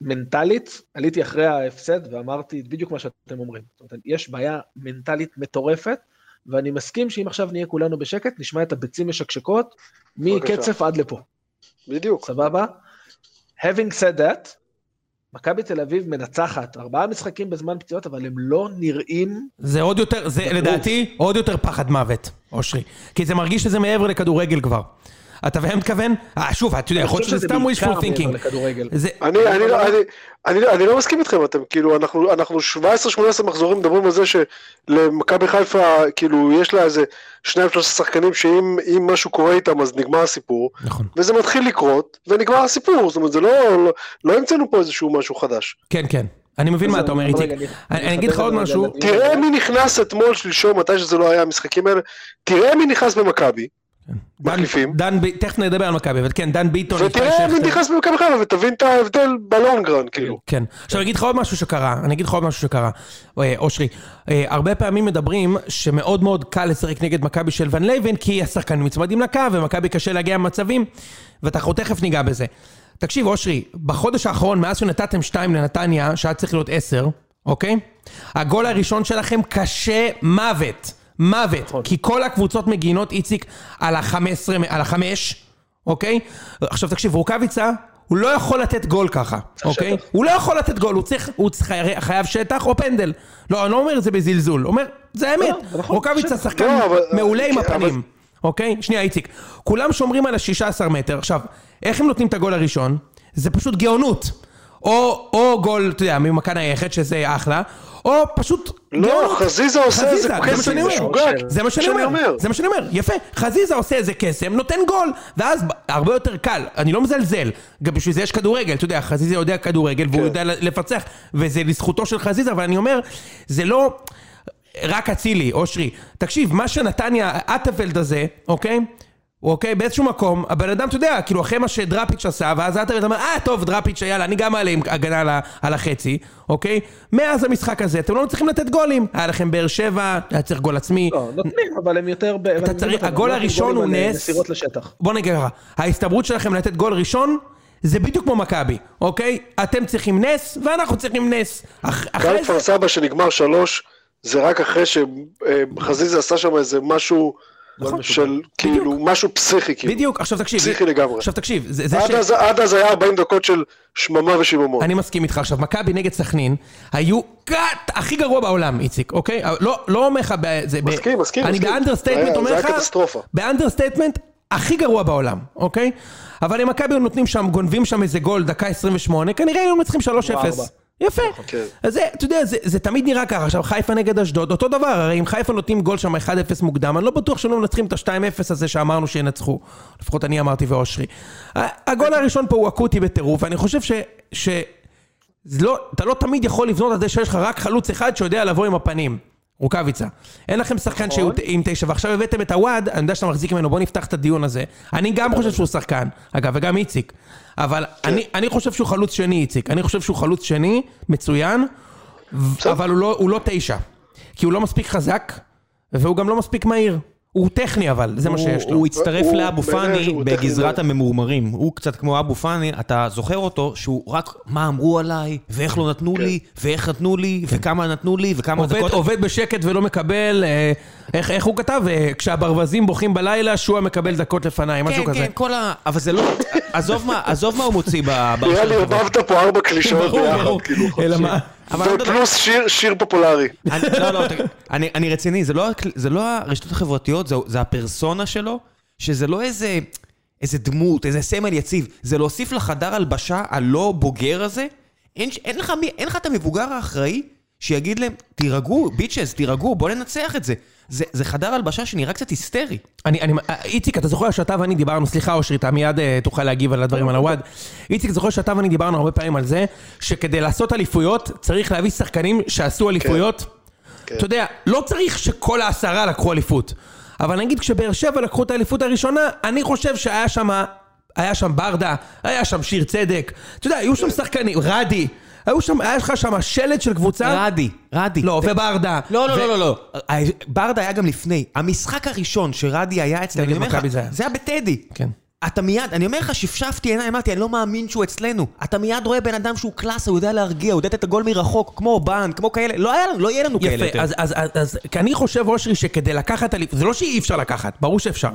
Speaker 4: מנטלית, עליתי אחרי ההפסד ואמרתי בדיוק מה שאתם אומרים. זאת אומרת, יש בעיה מנטלית מטורפת, ואני מסכים שאם עכשיו נהיה כולנו בשקט, נשמע את הביצים משקשקות
Speaker 3: בבקשה.
Speaker 4: מקצף עד לפה,
Speaker 3: בדיוק.
Speaker 4: סבבה? Having said that, מכבי תל אביב מנצחת ארבעה משחקים בזמן פציעות, אבל הם לא נראים...
Speaker 2: זה עוד יותר, זה לדעתי עוד יותר פחד מוות, אושרי. כי זה מרגיש שזה מעבר לכדורגל כבר. אתה מבין מה אני מתכוון? אה, שוב, אתה יודע, יכול להיות שזה סתם wishful
Speaker 4: מעבר
Speaker 2: thinking.
Speaker 4: לכדורגל.
Speaker 2: זה-
Speaker 3: אני, אני, לא- אני, אני, לא- אני לא מסכים איתכם, אתם כאילו, אנחנו, אנחנו 17-18 מחזורים מדברים על זה שלמכבי חיפה, כאילו, יש לה איזה שניים שלושה שחקנים שאם אם משהו קורה איתם אז נגמר הסיפור,
Speaker 2: נכון.
Speaker 3: וזה מתחיל לקרות, ונגמר הסיפור, זאת אומרת, זה לא, לא, לא המצאנו פה איזשהו משהו חדש.
Speaker 2: כן, כן. אני מבין מה אתה אומר, איציק.
Speaker 4: רגע,
Speaker 2: אני אני אגיד לך
Speaker 4: אחדד
Speaker 2: עוד
Speaker 4: רגע
Speaker 2: משהו.
Speaker 4: לדיון.
Speaker 3: תראה מי נכנס אתמול, שלשום, מתי שזה לא היה המשחקים האלה, תראה מי נכנס במכבי,
Speaker 2: דן-
Speaker 3: מחליפים.
Speaker 2: דן, ב- תכף נדבר על מכבי, אבל כן, דן ביטון, איתי
Speaker 3: ותראה מי
Speaker 2: שכטר.
Speaker 3: נכנס במכבי חיפה, ותבין את ההבדל בלונגרן, כאילו.
Speaker 2: כן. עכשיו אני אגיד לך עוד משהו שקרה, אני אגיד לך עוד משהו שקרה, אה, אושרי. אה, הרבה פעמים מדברים שמאוד מאוד קל לשחק נגד מכבי של ון לייבן, כי השחקנים נצמדים לקו ומכבי קשה להגיע למצבים, ואנחנו תכף ניגע בזה. תקשיב, אושרי, בחודש האחרון, מאז שנתתם שתיים לנתניה, שהיה צריך להיות עשר, אוקיי? הגול הראשון שלכם קשה מוות. מוות. כי כל הקבוצות מגינות, איציק, על ה-15, על החמש, אוקיי? עכשיו תקשיב, רוקאביצה, הוא לא יכול לתת גול ככה, אוקיי?
Speaker 4: שטח.
Speaker 2: הוא לא יכול לתת גול, הוא צריך, הוא צריך, חייב שטח או פנדל. לא, אני לא אומר את זה בזלזול, אומר, זה האמת.
Speaker 4: לא, זה נכון,
Speaker 2: רוקאביצה
Speaker 4: שטח.
Speaker 2: שחקן
Speaker 3: לא, אבל-
Speaker 2: מעולה עם
Speaker 3: כן, אבל-
Speaker 2: הפנים, אוקיי? שנייה, איציק. כולם שומרים על ה-16 מטר. עכשיו, איך הם נותנים את הגול הראשון? זה פשוט גאונות. או, או גול, אתה יודע, ממכה נייחת, שזה אחלה, או פשוט
Speaker 3: לא, חזיזה עושה איזה
Speaker 2: חזיזה, זה מה
Speaker 3: קסם,
Speaker 2: שאני
Speaker 3: זה
Speaker 2: אומר.
Speaker 3: משוגע.
Speaker 2: זה מה שאני אומר, זה מה שאני אומר, יפה, חזיזה עושה איזה קסם, נותן גול, ואז ב- הרבה יותר קל, אני לא מזלזל, גם בשביל זה יש כדורגל, אתה יודע, חזיזה יודע כדורגל, והוא
Speaker 3: כן.
Speaker 2: יודע ל- לפצח, וזה לזכותו של חזיזה, אבל אני אומר, זה לא רק אצילי, אושרי, תקשיב, מה שנתניה, האטפלד הזה, אוקיי? הוא אוקיי, באיזשהו מקום, הבן אדם, אתה יודע, כאילו, אחרי מה שדראפיץ' עשה, ואז אטאבלד אמר, אה, טוב, דראפיץ', יאללה, אני גם אעלה עם הגנה על, ה- על החצי, אוקיי? מאז המשחק הזה, אתם לא מצליחים לתת גולים. היה לכם באר שבע, היה צריך גול עצמי.
Speaker 4: לא, נותנים, אבל הם יותר... ב- אבל אני
Speaker 2: צריך-
Speaker 4: מבין אותם,
Speaker 2: הגול
Speaker 4: הם יותר
Speaker 2: הראשון
Speaker 4: גולים
Speaker 2: הוא
Speaker 4: על, אה,
Speaker 2: נס.
Speaker 4: מסירות לשטח.
Speaker 2: בוא נגיד ככה, ההסתברות שלכם לתת גול ראשון, זה בדיוק כמו מכבי, אוקיי? אתם צריכים נס, ואנחנו צריכים נס. אח,
Speaker 3: גם
Speaker 2: אחרי זה...
Speaker 3: כפר סבא שנגמר שלוש, זה רק אחרי שחזיזה עשה שם איזה משהו
Speaker 2: נכון.
Speaker 3: של כאילו, משהו פסיכי כאילו.
Speaker 2: בדיוק, עכשיו תקשיב.
Speaker 3: פסיכי לגמרי.
Speaker 2: עכשיו תקשיב, זה, זה
Speaker 3: עד אז- עד אז היה 40 דקות של שממה ושיממון.
Speaker 2: אני מסכים איתך. עכשיו, מכבי נגד סכנין, היו קאט הכי גרוע בעולם, איציק, אוקיי? לא, לא אומר לך... ב- זה ב-
Speaker 3: מסכים, מסכים,
Speaker 2: אני
Speaker 3: מסכים. זה
Speaker 2: באנדרסטייטמנט
Speaker 3: היה-
Speaker 2: אומר
Speaker 3: זה
Speaker 2: לך...
Speaker 3: היה קטסטרופה.
Speaker 2: באנדרסטייטמנט הכי גרוע בעולם, אוקיי? אבל אם מכבי היו נותנים שם, גונבים שם איזה גול, דקה 28, כנראה היו מצליחים 3-0.
Speaker 4: ארבע.
Speaker 2: יפה.
Speaker 3: כן.
Speaker 2: אז זה, אתה יודע, זה, זה תמיד נראה ככה. עכשיו, חיפה נגד אשדוד, אותו דבר, הרי אם חיפה נותנים גול שם 1-0 מוקדם, אני לא בטוח שהם לא מנצחים את ה-2-0 הזה שאמרנו שינצחו. לפחות אני אמרתי ואושרי. ה- הגול הראשון פה הוא אקוטי בטירוף, ואני חושב ש... ש... זה לא, אתה לא תמיד יכול לבנות על זה שיש לך רק חלוץ אחד שיודע לבוא עם הפנים. רוקאביצה. אין לכם שחקן שהוא ת- עם תשע, ועכשיו הבאתם את הוואד, אני יודע שאתה מחזיק ממנו, בוא נפתח את הדיון הזה. אני גם חושב שהוא שחקן, אגב, וגם איציק. אבל אני, אני חושב שהוא חלוץ שני, איציק. אני חושב שהוא חלוץ שני, מצוין, ו- אבל הוא לא, הוא לא תשע. כי הוא לא מספיק חזק, והוא גם לא מספיק מהיר. הוא טכני אבל, זה מה שיש
Speaker 1: הוא-
Speaker 2: לו.
Speaker 1: הוא הצטרף
Speaker 3: הוא-
Speaker 1: לאבו
Speaker 3: בעיניי
Speaker 1: פאני
Speaker 3: הוא טכני
Speaker 1: בגזרת
Speaker 3: מאוד.
Speaker 1: הממורמרים. הוא קצת כמו אבו פאני, אתה זוכר אותו, שהוא רק מה אמרו עליי, ואיך לא
Speaker 3: כן.
Speaker 1: נתנו לי, ואיך נתנו לי, וכמה נתנו לי, וכמה
Speaker 2: עובד,
Speaker 1: דקות...
Speaker 2: עובד בשקט ולא מקבל, אה, איך, איך הוא כתב? אה, כשהברווזים בוכים בלילה, שועה מקבל דקות לפניי, משהו
Speaker 1: כן,
Speaker 2: כזה.
Speaker 1: כן, כל ה... אבל זה לא... עזוב מה- עזוב מה הוא מוציא ב...
Speaker 3: נראה
Speaker 1: ברשת
Speaker 3: לי
Speaker 1: החברתית.
Speaker 3: ערבבת פה ארבע קלישאות
Speaker 2: ברור, ברור.
Speaker 3: ביחד, כאילו.
Speaker 2: אלא מה?
Speaker 1: אבל אני מדבר-
Speaker 3: ופלוס שיר, שיר פופולרי.
Speaker 2: אה.
Speaker 1: אני- לא, לא, תגיד, אני אני רציני, זה לא הקל- זה לא הרשתות החברתיות, זה- זה הפרסונה שלו, שזה לא איזה... איזה דמות, איזה סמל יציב, זה להוסיף לחדר הלבשה הלא בוגר הזה? אין, ש- אין, לך, מי- אין לך את המבוגר האחראי שיגיד להם, תירגעו, ביצ'ס, תירגעו, בואו ננצח את זה. זה, זה חדר הלבשה שנראה קצת היסטרי.
Speaker 2: אני, אני, איציק, אתה זוכר שאתה ואני דיברנו, סליחה אושרי, אתה מיד אה, תוכל להגיב על הדברים על הוואד. איציק, זוכר שאתה ואני דיברנו הרבה פעמים על זה, שכדי לעשות אליפויות, צריך להביא שחקנים
Speaker 1: כן.
Speaker 2: שעשו אליפויות. אתה יודע, לא צריך שכל העשרה לקחו אליפות. אבל נגיד כשבאר שבע לקחו את האליפות הראשונה, אני חושב שהיה שם, היה שם ברדה, היה שם שיר צדק. אתה יודע, היו
Speaker 1: כן.
Speaker 2: שם שחקנים, רדי. היו שם, היה לך שם שלד של קבוצה.
Speaker 1: רדי, רדי.
Speaker 2: לא, וברדה.
Speaker 1: לא, לא,
Speaker 2: ו-
Speaker 1: לא, לא, לא. ה- ברדה היה גם לפני. המשחק הראשון שרדי היה אצלנו,
Speaker 2: נגד
Speaker 1: אני אומר
Speaker 2: מכבי
Speaker 1: לך,
Speaker 2: זה היה.
Speaker 1: זה היה בטדי.
Speaker 2: כן.
Speaker 1: אתה מיד, אני אומר לך, שפשפתי עיניים, אמרתי, אני לא מאמין שהוא אצלנו. אתה מיד רואה בן אדם שהוא קלאסה, הוא יודע להרגיע, הוא יודע לתת את הגול מרחוק, כמו אובן, כמו כאלה. לא היה לנו, לא יהיה לנו כאלה
Speaker 2: יפה,
Speaker 1: יותר.
Speaker 2: אז, אז, אז, אז כי אני חושב, אושרי, שכדי לקחת אליפות, זה לא שאי אפשר לקחת, ברור שאפשר.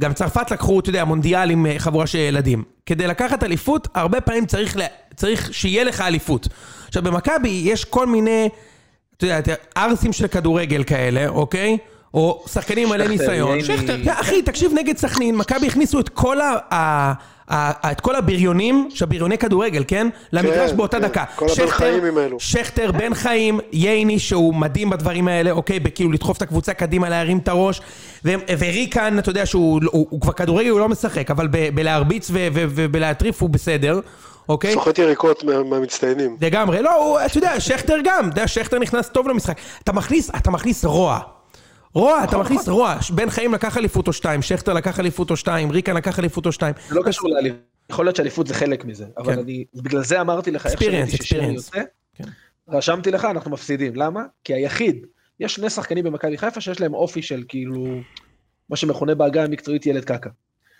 Speaker 2: גם צרפת לקחו, אתה יודע, מונדיאל עם אה, חבורה של ילדים. כדי לקחת אליפות, הרבה פעמים צריך, לה, צריך שיהיה לך אליפות. עכשיו, במכבי יש כל מיני, אתה יודע, ערסים של כדורגל כאלה, אוקיי? או שחקנים מלא
Speaker 4: שכטר,
Speaker 2: ניסיון.
Speaker 4: ייני.
Speaker 2: שכטר, כן, אחי, תקשיב, נגד סכנין, מכבי הכניסו את כל ה... ה- ה- את כל הבריונים, שהבריוני כדורגל, כן? למגרש באותה
Speaker 3: כן,
Speaker 2: דקה.
Speaker 3: כל הבן
Speaker 2: שכטר-
Speaker 3: חיים האלו.
Speaker 2: שכטר, בן חיים, ייני, שהוא מדהים בדברים האלה, אוקיי? בכאילו לדחוף את הקבוצה קדימה, להרים את הראש. והם- וריקן, אתה יודע שהוא הוא- הוא כבר כדורגל, הוא לא משחק, אבל ב- בלהרביץ ו- ו- ובלהטריף הוא בסדר, אוקיי?
Speaker 3: סוחט יריקות מה- מהמצטיינים.
Speaker 2: לגמרי, לא, הוא, אתה יודע, שכטר גם, אתה יודע, שכטר נכנס טוב למשחק. אתה מכניס, אתה מכניס רוע. רוע,
Speaker 4: נכון,
Speaker 2: אתה מכניס רוע. בן חיים לקח אליפות או שתיים, שכטר לקח אליפות או שתיים, ריקן לקח אליפות או שתיים.
Speaker 4: זה לא קשור לאליפות. יכול להיות שאליפות זה חלק מזה, אבל
Speaker 2: כן.
Speaker 4: אני, בגלל זה אמרתי לך, איך
Speaker 2: Experience,
Speaker 4: שראיתי ששרי
Speaker 2: experience.
Speaker 4: יוצא,
Speaker 2: כן.
Speaker 4: רשמתי לך, אנחנו מפסידים. למה? כי היחיד, יש שני שחקנים במכבי חיפה שיש להם אופי של כאילו, מה שמכונה בעגה המקצועית ילד קקא.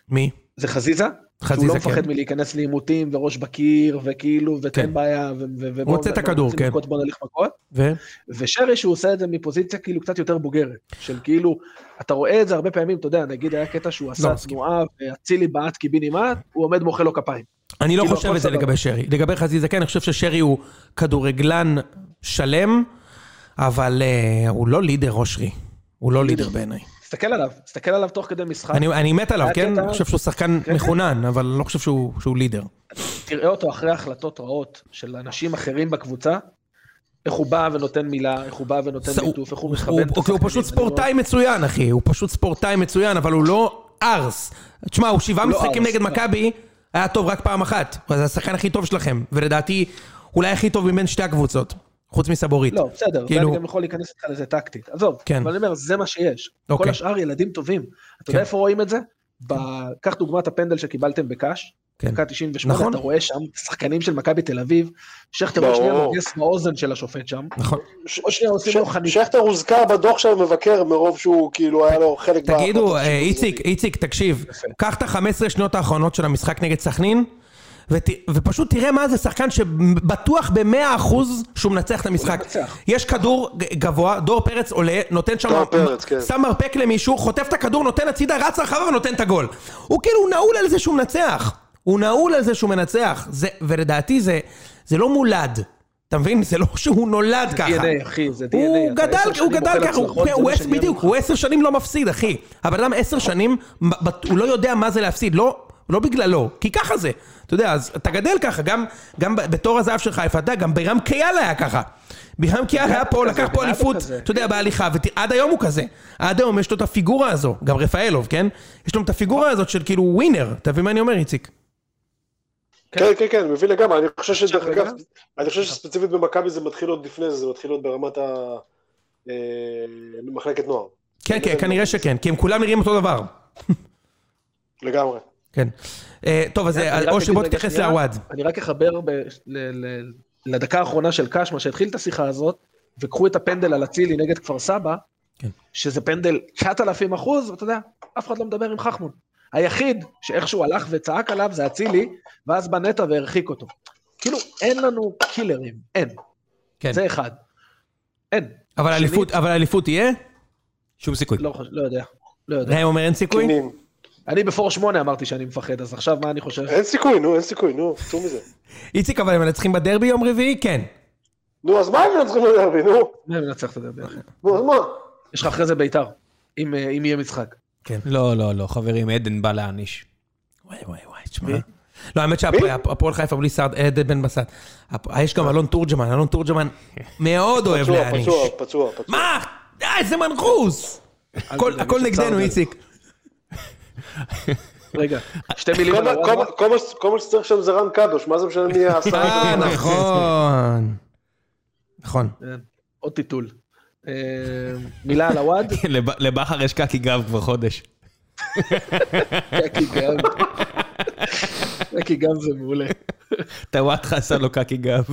Speaker 2: מי?
Speaker 4: זה חזיזה, שהוא לא
Speaker 2: חזיזה, כן.
Speaker 4: מפחד מלהיכנס לעימותים וראש בקיר וכאילו ותן
Speaker 2: כן.
Speaker 4: בעיה ו- ו- ו-
Speaker 2: רוצה את הכדור,
Speaker 4: רוצים
Speaker 2: כן.
Speaker 4: מכות, בוא נלך מכות.
Speaker 2: ו?
Speaker 4: ושרי שהוא עושה את זה מפוזיציה כאילו קצת יותר בוגרת, של כאילו, אתה רואה את זה הרבה פעמים, אתה יודע, נגיד היה קטע שהוא עשה
Speaker 2: לא מסכים.
Speaker 4: תנועה ואצילי בעט קיבינימט, הוא עומד מוחא לו כפיים.
Speaker 2: אני לא
Speaker 4: כאילו,
Speaker 2: חושב
Speaker 4: הכל
Speaker 2: את זה
Speaker 4: סבבה.
Speaker 2: לגבי שרי. לגבי חזיזה, כן, אני חושב ששרי הוא כדורגלן שלם, אבל אה, הוא לא לידר, אושרי. הוא לא לידר בעיניי.
Speaker 4: תסתכל עליו, תסתכל עליו תוך כדי משחק,
Speaker 2: אני אני מת עליו,
Speaker 4: היה כן.
Speaker 2: כן?
Speaker 4: קטע-
Speaker 2: אני חושב שהוא שחקן מחונן, אבל אני לא חושב שהוא שהוא לידר.
Speaker 4: תראה אותו אחרי החלטות רעות של אנשים אחרים בקבוצה, איך הוא בא ונותן מילה, איך הוא בא ונותן
Speaker 2: הוא-
Speaker 4: ליטוף, איך הוא
Speaker 2: הוא-
Speaker 4: מכוון את
Speaker 2: הוא- הוא פשוט
Speaker 4: השחקנים. אני לא-
Speaker 2: ספורטאי מצוין, אחי. הוא פשוט ספורטאי מצוין, אבל הוא לא ארס. תשמע, הוא שבעה
Speaker 4: הוא לא
Speaker 2: משחקים
Speaker 4: ארס,
Speaker 2: נגד
Speaker 4: לא.
Speaker 2: מכבי, היה טוב רק פעם אחת. הוא זה השחקן הכי טוב שלכם, ולדעתי, אולי הכי טוב מבין שתי הקבוצות, חוץ מסבורית.
Speaker 4: לא, בסדר,
Speaker 2: כאילו-
Speaker 4: ואני גם יכול להיכנס איתך לזה טקטית. עזוב,
Speaker 2: כן.
Speaker 4: אבל אני אומר, זה מה שיש.
Speaker 2: אוקיי.
Speaker 4: כל השאר ילדים טובים. אתה
Speaker 2: כן.
Speaker 4: יודע איפה רואים את זה? ב- קח דוגמת הפנדל שקיבלתם בקאש,
Speaker 2: כן.
Speaker 4: דקה 98,
Speaker 2: נכון.
Speaker 4: אתה רואה שם שחקנים של מכבי תל אביב, שכטר עוד
Speaker 3: ברור.
Speaker 4: שנייה מגייס באוזן של השופט שם,
Speaker 2: נכון.
Speaker 4: עוד שנייה עושים לו
Speaker 3: ש-
Speaker 4: חניכה.
Speaker 3: שכטר הוזכר בדוח של המבקר מרוב שהוא כאילו היה לו חלק...
Speaker 2: תגידו,
Speaker 3: בהחלטות
Speaker 2: אה,
Speaker 3: שלו.
Speaker 2: איציק, איציק, תקשיב, קח את ה-15 שניות האחרונות של המשחק נגד סכנין, ות- ופשוט תראה מה זה שחקן שבטוח ב-100% שהוא מנצח את המשחק.
Speaker 4: מנצח.
Speaker 2: יש כדור ג- גבוה, דור פרץ עולה, נותן שם...
Speaker 3: דור פרץ, כן.
Speaker 2: שם מרפק למישהו, חוטף את הכדור, נותן הצידה, רץ הרחבה ונותן את הגול. הוא כאילו הוא נעול על זה שהוא מנצח. הוא נעול על זה שהוא מנצח. זה, ולדעתי זה, זה לא מולד. אתה מבין? זה לא שהוא נולד ככה.
Speaker 4: DNA, אחי, זה DNA.
Speaker 2: הוא
Speaker 4: אתה
Speaker 2: גדל,
Speaker 4: עשר
Speaker 2: הוא
Speaker 4: שנים
Speaker 2: גדל
Speaker 4: אוכל
Speaker 2: ככה, הוא-
Speaker 4: הצלחות, זה
Speaker 2: הוא
Speaker 4: מה
Speaker 2: עשר,
Speaker 4: שנהיה
Speaker 2: בדיוק,
Speaker 4: ממך.
Speaker 2: הוא עשר שנים לא מפסיד, אחי. הבן אדם עשר שנים, ב- ב- הוא לא יודע מה זה להפסיד, לא לא בגללו, כי ככה זה. אתה יודע, אז אתה גדל ככה, גם, גם ב- בתור הזהב של חיפה, אתה יודע, גם בירם קיאל היה ככה. בירם קיאל היה פה,
Speaker 4: הוא
Speaker 2: לקח
Speaker 4: כזה,
Speaker 2: פה
Speaker 4: גם הוא
Speaker 2: אליפות,
Speaker 4: כזה.
Speaker 2: אתה יודע, בהליכה, ועד היום הוא כזה. עד היום יש לו את הפיגורה הזו, גם רפאלוב, כן? יש לו את הפיגורה הזאת של כאילו ווינר, אתה מבין מה אני אומר, איציק?
Speaker 3: כן, כן, כן, מבין לגמרי, אני חושב שדרך
Speaker 4: לגמרי.
Speaker 3: אגב, אני חושב שספציפית במכבי זה מתחיל עוד לפני זה, זה מתחיל עוד ברמת ה... אה, מחלקת נוער,
Speaker 2: כן,
Speaker 4: לא
Speaker 2: כן, כנראה שכן, כי הם כולם נראים אותו דבר.
Speaker 3: לגמרי.
Speaker 2: כן. אה, טוב, אז אה,
Speaker 4: אני רק
Speaker 2: אושרי,
Speaker 4: אגיד
Speaker 2: בוא
Speaker 4: רגע
Speaker 2: תתייחס
Speaker 4: שנייה,
Speaker 2: לעווד.
Speaker 4: אני רק אחבר ב- ל- ל- לדקה האחרונה של קשמה שהתחיל את השיחה הזאת, וקחו את הפנדל על אצילי נגד כפר סבא,
Speaker 2: כן.
Speaker 4: שזה פנדל 9,000 אחוז, ואתה יודע, אף אחד לא מדבר עם חכמון. היחיד שאיכשהו הלך וצעק עליו זה אצילי, ואז בא נטע והרחיק אותו. כאילו, אין לנו קילרים, אין.
Speaker 2: כן.
Speaker 4: זה אחד. אין,
Speaker 2: אבל
Speaker 4: שני-
Speaker 2: אליפות, אבל אליפות תהיה?
Speaker 1: שום סיכוי.
Speaker 4: לא, חושב- לא יודע. לא יודע.
Speaker 2: ראם אומר אין סיכוי?
Speaker 3: קינים.
Speaker 4: אני בפור שמונה אמרתי שאני מפחד, אז עכשיו מה אני חושב?
Speaker 2: אה.
Speaker 3: אין סיכוי, נו, אין סיכוי, נו, צאו מזה.
Speaker 2: איציק, אבל הם מנצחים בדרבי יום רביעי? כן.
Speaker 3: נו, אז מה הם מנצחים לדרבי, נו?
Speaker 4: מי מנצח את הדבר?
Speaker 3: נו, אז מה?
Speaker 4: יש לך אחרי זה בית"ר, אם אה, אם יהיה משחק.
Speaker 1: לא, לא, לא, חברים, עדן בא להעניש.
Speaker 2: וואי וואי וואי, תשמע. לא, האמת שהפועל חיפה בלי סעד, עדן בן בסט. הפ- יש גם אלון תורג'מן, אלון תורג'מן מאוד אוהב
Speaker 3: פצוע,
Speaker 2: להעניש.
Speaker 3: פצוע, פצוע, פצוע.
Speaker 2: מה? די, איזה מנחוס! הכל-
Speaker 4: תדאג,
Speaker 2: הכל
Speaker 4: יש את
Speaker 2: נגדנו,
Speaker 4: סאונדר.
Speaker 2: איציק.
Speaker 4: רגע, שתי מילים
Speaker 3: כל
Speaker 4: על
Speaker 3: מה- כל
Speaker 4: הוואלה.
Speaker 3: מה- כל מה ש- כל מה שצריך שם זה רן קדוש, מה זה משנה מי העשרה?
Speaker 2: אה, נכון. נכון.
Speaker 4: כן, עוד טיטול. אה, מילה על הוואד?
Speaker 1: לב- לבכר יש קקי גב כבר חודש.
Speaker 4: קקי גם. קקי גם זה מעולה.
Speaker 1: טוואטחה עשה לו קקי גב.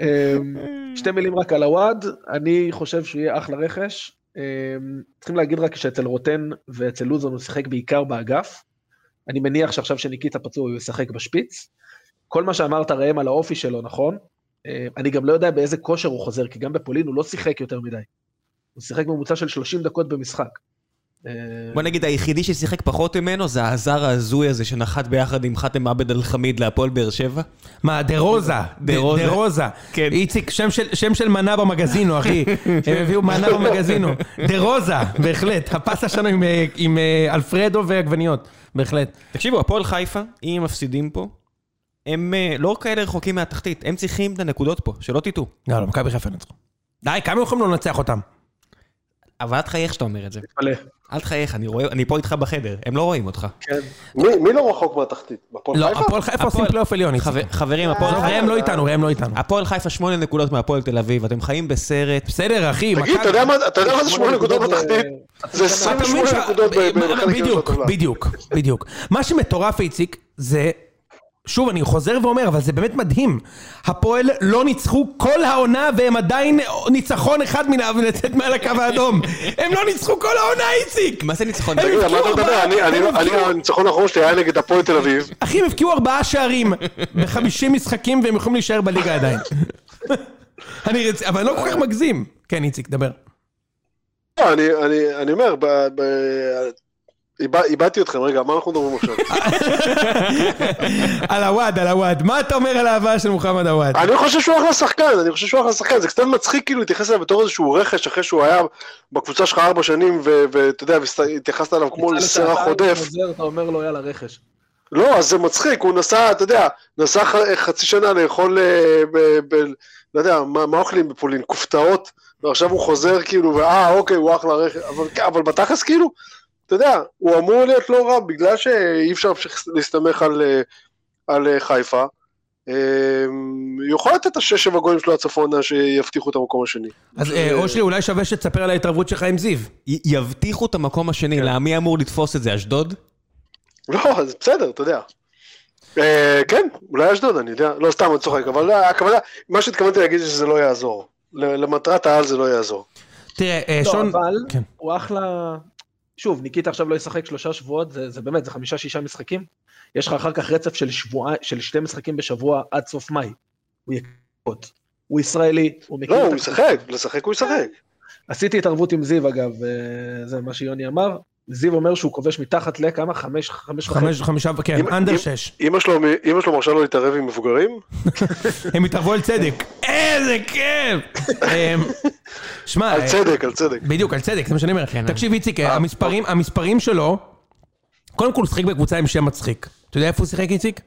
Speaker 4: אה, שתי מילים רק על הוואד, אני חושב שהוא יהיה אחלה רכש. אה, צריכים להגיד רק שאצל רוטן ואצל לוזון הוא שיחק בעיקר באגף. אני מניח שעכשיו שניקיטה פצוע הוא ישחק בשפיץ. כל מה שאמרת ראם על האופי שלו, נכון? אה, אני גם לא יודע באיזה כושר הוא חוזר, כי גם בפולין הוא לא שיחק יותר מדי. הוא שיחק ממוצע של 30 דקות במשחק. אה,
Speaker 1: בוא נגיד, היחידי ששיחק פחות ממנו זה הזר ההזוי הזה שנחת ביחד עם חאתם עבד אל-חמיד להפועל באר שבע.
Speaker 2: מה, דה רוזה. דה
Speaker 1: רוזה.
Speaker 2: דה רוזה.
Speaker 1: כן.
Speaker 2: איציק, שם של- שם של מנה במגזינו, אחי. הם הביאו מנה במגזינו. דה רוזה, בהחלט. הפסה שלנו עם, אה, עם אה, אלפרדו ועגבניות, בהחלט.
Speaker 1: תקשיבו, הפועל חיפה, אם הם מפסידים פה, הם אה, לא כאלה רחוקים מהתחתית, הם צריכים את הנקודות פה, שלא תטעו.
Speaker 2: לא, לא, מכבי חיפה נצחו. די, כמה יכולים לא לנצח אותם?
Speaker 1: אבל אל תחייך שאתה אומר את זה.
Speaker 4: מלא.
Speaker 1: אל תחייך, אני רואה, אני פה איתך בחדר, הם לא רואים אותך.
Speaker 4: כן.
Speaker 3: מי מי לא רחוק מהתחתית? הפועל
Speaker 2: לא,
Speaker 3: חיפה?
Speaker 2: הפועל חיפה עושים
Speaker 1: הפועל-
Speaker 2: פלייאוף עליון, איציק.
Speaker 1: חבר- חברים, הפועל
Speaker 2: עזוב,
Speaker 1: חיפה...
Speaker 2: ראם לא איתנו, ראם לא איתנו.
Speaker 1: הפועל חיפה שמונה נקודות מהפועל תל אביב, אתם חיים בסרט.
Speaker 2: בסדר, אחי,
Speaker 3: תגיד, אתה יודע מה אתה יודע מה זה שמונה נקודות בתחתית? זה
Speaker 2: אתה מבין
Speaker 3: 28
Speaker 2: שה-
Speaker 3: נקודות ב-
Speaker 2: מה-
Speaker 3: בחלק הראשון
Speaker 2: בדיוק,
Speaker 3: של הטבלה.
Speaker 2: בדיוק, בדיוק. מה שמטורף, איציק, זה... שוב, אני חוזר ואומר, אבל זה באמת מדהים. הפועל לא ניצחו כל העונה, והם עדיין ניצחון אחד מן ה- לצאת מעל הקו האדום. הם לא ניצחו כל העונה, איציק!
Speaker 1: מה זה ניצחון?
Speaker 2: הם
Speaker 3: תגיד, על מה אתה
Speaker 2: הבקיעו
Speaker 3: מדבר?
Speaker 2: ארבעה,
Speaker 3: אני-
Speaker 2: הם
Speaker 3: אני- אני-
Speaker 2: הבקיעו-
Speaker 3: הניצחון האחרון שלי היה נגד הפועל תל אביב.
Speaker 2: אחי, הם הבקיעו ארבעה שערים בחמישים משחקים, והם יכולים להישאר בליגה עדיין. אני רצ... אבל אני לא כל כך מגזים. כן, איציק, דבר.
Speaker 3: לא, אני- אני- אני אומר, ב- ב- איבד- איבדתי אתכם, רגע, מה אנחנו מדברים עכשיו?
Speaker 2: על הוואד, על הוואד. מה אתה אומר על ההבאה של מוחמד הוואד?
Speaker 3: אני חושב שהוא אחלה שחקן, אני חושב שהוא אחלה שחקן, זה קצת מצחיק כאילו להתייחס אליו בתור איזשהו רכש אחרי שהוא היה בקבוצה שלך ארבע שנים, ו- ואתה יודע, והסת- התייחסת אליו כמו לסרח עודף.
Speaker 4: עוזר, אתה אומר לו יאללה רכש.
Speaker 3: לא, אז זה מצחיק, הוא נסע, אתה יודע, נסע ח- חצי שנה לאכול, אה, ב- ב- לא יודע, מה מה אוכלים בפולין? כופתאות? ועכשיו הוא חוזר כאילו, ואה, אוקיי, הוא אחלה רכב, אבל- אבל בתכלס כאילו, אתה יודע, הוא אמור להיות לא רע, בגלל שאי אפשר להמשיך להסתמך על, אה, על אה, חיפה. אה, יכול לתת את השש-שבע גולים שלו עד סוף העונה שיבטיחו את המקום השני.
Speaker 2: אז אה, אושרי, אולי שווה שתספר על ההתערבות שלך עם זיו. כן.
Speaker 1: י- יבטיחו את המקום השני, למה מי אמור לתפוס את זה, אשדוד?
Speaker 3: לא, אז בסדר, אתה יודע. אה, כן, אולי אשדוד, אני יודע. לא, סתם, אני צוחק, אבל לא, הכוונה, מה שהתכוונתי להגיד זה שזה לא יעזור. ל- למטרת העל זה לא יעזור.
Speaker 2: תראה, אה,
Speaker 4: לא,
Speaker 2: שון...
Speaker 4: אבל
Speaker 2: כן.
Speaker 4: הוא אחלה... שוב, ניקיטה עכשיו לא ישחק שלושה שבועות, זה, זה באמת, זה חמישה-שישה משחקים. יש לך אחר כך רצף של, שבוע, של שתי משחקים בשבוע עד סוף מאי. הוא יקרות. הוא ישראלי, הוא מכיר
Speaker 2: כאילו
Speaker 3: לא,
Speaker 4: את
Speaker 3: הוא
Speaker 4: הקבוצה.
Speaker 3: ישחק, לשחק הוא ישחק.
Speaker 4: עשיתי התערבות עם זיו, אגב, אה, זה מה שיוני אמר. זיו אומר שהוא כובש מתחת לכמה? חמש, חמש וחצי.
Speaker 2: חמש, חמישה, כן,
Speaker 3: אם-
Speaker 2: אנדר
Speaker 3: אם-
Speaker 2: שש.
Speaker 3: אמא שלו מ- אמא שלו מרשה לו להתערב עם מבוגרים?
Speaker 2: הם התערבו על צדק. איזה כיף! אמ, שמע,
Speaker 3: על
Speaker 2: אה,
Speaker 3: צדק, אה, על צדק.
Speaker 1: כן.
Speaker 2: בדיוק, על צדק, זה מה שאני אומר. תקשיב, איציק, אה, המספרים- המספרים שלו, קודם כל הוא שיחק בקבוצה עם שם מצחיק. אתה יודע איפה הוא שיחק, איציק?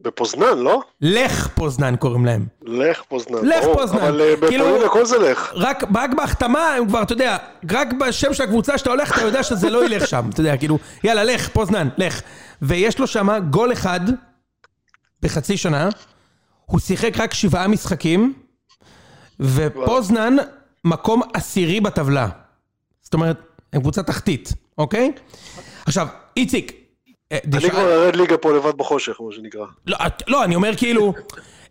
Speaker 3: בפוזנן, לא?
Speaker 2: לך פוזנן קוראים להם.
Speaker 3: לך פוזנן.
Speaker 2: לך
Speaker 3: ברור.
Speaker 2: פוזנן.
Speaker 3: אבל אה,
Speaker 2: כאילו-
Speaker 3: בפולין הכל זה לך.
Speaker 2: רק, רק בהחתמה הם כבר, אתה יודע, רק בשם של הקבוצה שאתה הולך, אתה יודע שזה לא ילך שם. אתה יודע, כאילו, יאללה, לך, פוזנן, לך. ויש לו שמה גול אחד בחצי שנה, הוא שיחק רק שבעה משחקים, ופוזנן מקום עשירי בטבלה. זאת אומרת, הם קבוצה תחתית, אוקיי? עכשיו, איציק, אה,
Speaker 3: אני
Speaker 2: דשאל-
Speaker 3: כבר ארד ליגה פה לבד בחושך, מה שנקרא.
Speaker 2: לא, את- לא, אני אומר כאילו,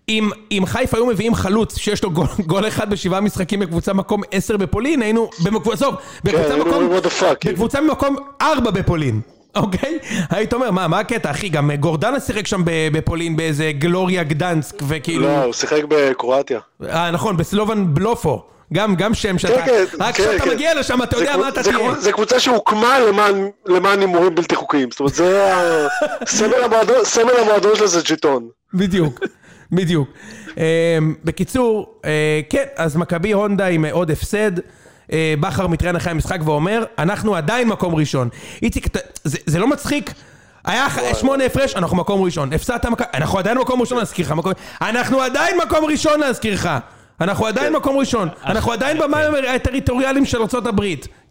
Speaker 2: אם, אם חיפה היו מביאים חלוץ שיש לו גול, גול אחד בשבעה משחקים בקבוצה מקום עשר בפולין, היינו, במקב... עזוב, בקבוצה
Speaker 3: היינו
Speaker 2: מקום,
Speaker 3: אומרים, כן, "What the fuck", כאילו.
Speaker 2: בקבוצה ממקום ארבע בפולין, אוקיי? היית אומר, מה, מה הקטע, אחי? גם אה, גורדנה שיחק שם ב- בפולין באיזה גלוריה גדנסק, וכאילו...
Speaker 3: לא, הוא שיחק בקרואטיה.
Speaker 2: אה, נכון, בסלובן בלופו. גם, גם שם שאתה...
Speaker 3: לא. כן, כן,
Speaker 2: רק
Speaker 3: כן,
Speaker 2: כשאתה
Speaker 3: כן.
Speaker 2: מגיע לשם, אתה
Speaker 3: זה
Speaker 2: יודע
Speaker 3: קבוצ-
Speaker 2: מה אתה
Speaker 3: זה
Speaker 2: תהיה.
Speaker 3: קבוצ- זה קבוצה שהוקמה למען- למען הימורים בלתי חוקיים. זאת אומרת, זה ה- סמל המועדון- סמל המועדון שלה זה ג'יטון.
Speaker 2: בדיוק, בדיוק. אה, בקיצור, אה, כן, אז מכבי הונדה עם עוד הפסד. אה, בכר מתראיין אחרי המשחק ואומר, אנחנו עדיין מקום ראשון. איציק, אתה- זה זה לא מצחיק? היה אח- שמונה הפרש, אנחנו מקום ראשון. הפסדת מכבי, אנחנו עדיין מקום ראשון להזכיר לך. מקום- אנחנו עדיין מקום ראשון להזכיר לך. אנחנו עדיין מקום ראשון. אנחנו עדיין במים הטריטוריאליים של ארה"ב.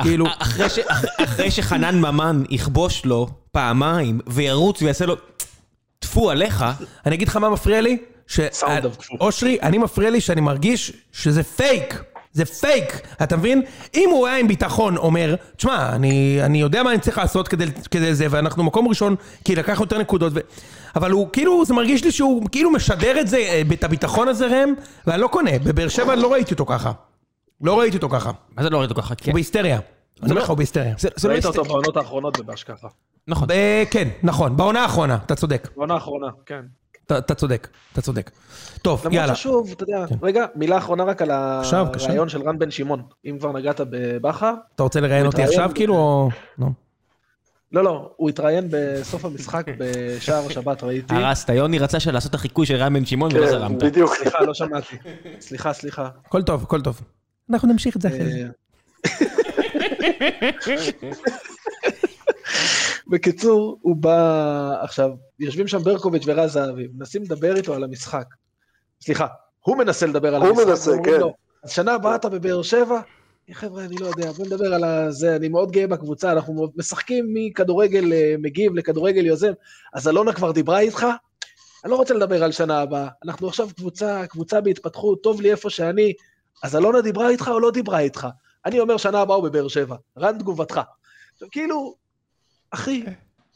Speaker 2: כאילו,
Speaker 1: אחרי, ש, אח- אחרי שחנן ממן יכבוש לו פעמיים וירוץ ויעשה לו טפו עליך,
Speaker 2: אני אגיד לך מה מפריע לי? ש... אה,
Speaker 4: Sound of Crew.
Speaker 2: אושרי, אני מפריע לי שאני מרגיש שזה פייק. זה פייק, אתה מבין? אם הוא היה עם ביטחון אומר, תשמע, אני, אני יודע מה אני צריך לעשות כדי, כדי זה, ואנחנו מקום ראשון, כי לקחנו יותר נקודות, ו... אבל הוא כאילו, זה מרגיש לי שהוא כאילו משדר את זה, אה, את הביטחון הזה ראם, ואני לא קונה, בבאר שבע אני לא ראיתי אותו ככה. לא ראיתי אותו ככה.
Speaker 1: מה זה לא ראית אותו ככה? כן.
Speaker 2: הוא בהיסטריה. אני אומר לך, הוא בהיסטריה.
Speaker 1: זה, זה לא
Speaker 4: ראית
Speaker 1: הסתכל-
Speaker 4: אותו בעונות האחרונות בבאש ככה.
Speaker 1: נכון.
Speaker 2: אה, כן, נכון, בעונה האחרונה, אתה צודק.
Speaker 4: בעונה האחרונה, כן.
Speaker 2: אתה- אתה צודק, אתה צודק. טוב,
Speaker 4: למרות
Speaker 2: יאללה. כן.
Speaker 4: ששוב, אתה יודע, רגע, מילה אחרונה רק על
Speaker 2: עכשיו, בבקשה.
Speaker 4: הרעיון של רן בן שמעון. אם כבר נגעת בבכר,
Speaker 2: אתה רוצה לראיין אותי
Speaker 4: מתראיין.
Speaker 2: עכשיו כאילו, או... לא.
Speaker 4: לא, לא, הוא התראיין בסוף המשחק בשער השבת, ראיתי.
Speaker 1: הרסת, יוני רצה לעשות את החיקוי של רן בן שמעון
Speaker 2: כן.
Speaker 1: ולא זרמת.
Speaker 3: בדיוק.
Speaker 4: סליחה, לא שמעתי. סליחה, סליחה.
Speaker 2: הכל טוב, הכל טוב. אנחנו נמשיך את זה
Speaker 4: אה,
Speaker 2: אחרי זה.
Speaker 4: בקיצור, הוא בא עכשיו, יושבים שם ברקוביץ' ורז זהבי, מנסים לדבר איתו על המשחק. סליחה, הוא מנסה לדבר על
Speaker 3: הוא
Speaker 4: המשחק.
Speaker 3: מנסה,
Speaker 4: ואומרים
Speaker 3: כן.
Speaker 4: לו, אז שנה הבאה אתה בבאר שבע? "אה, חבר'ה, אני לא יודע, בוא נדבר על ה- זה, אני מאוד גאה בקבוצה, אנחנו משחקים מכדורגל אה, מגיב לכדורגל יוזם, אז אלונה כבר דיברה איתך? אני לא רוצה לדבר על שנה הבאה, אנחנו עכשיו קבוצה, קבוצה בהתפתחות, טוב לי איפה שאני, אז אלונה דיברה איתך או לא דיברה איתך? אני אומר שנה הבאה הוא בבאר שבע, רן תגובתך. עכשיו כאילו, אחי,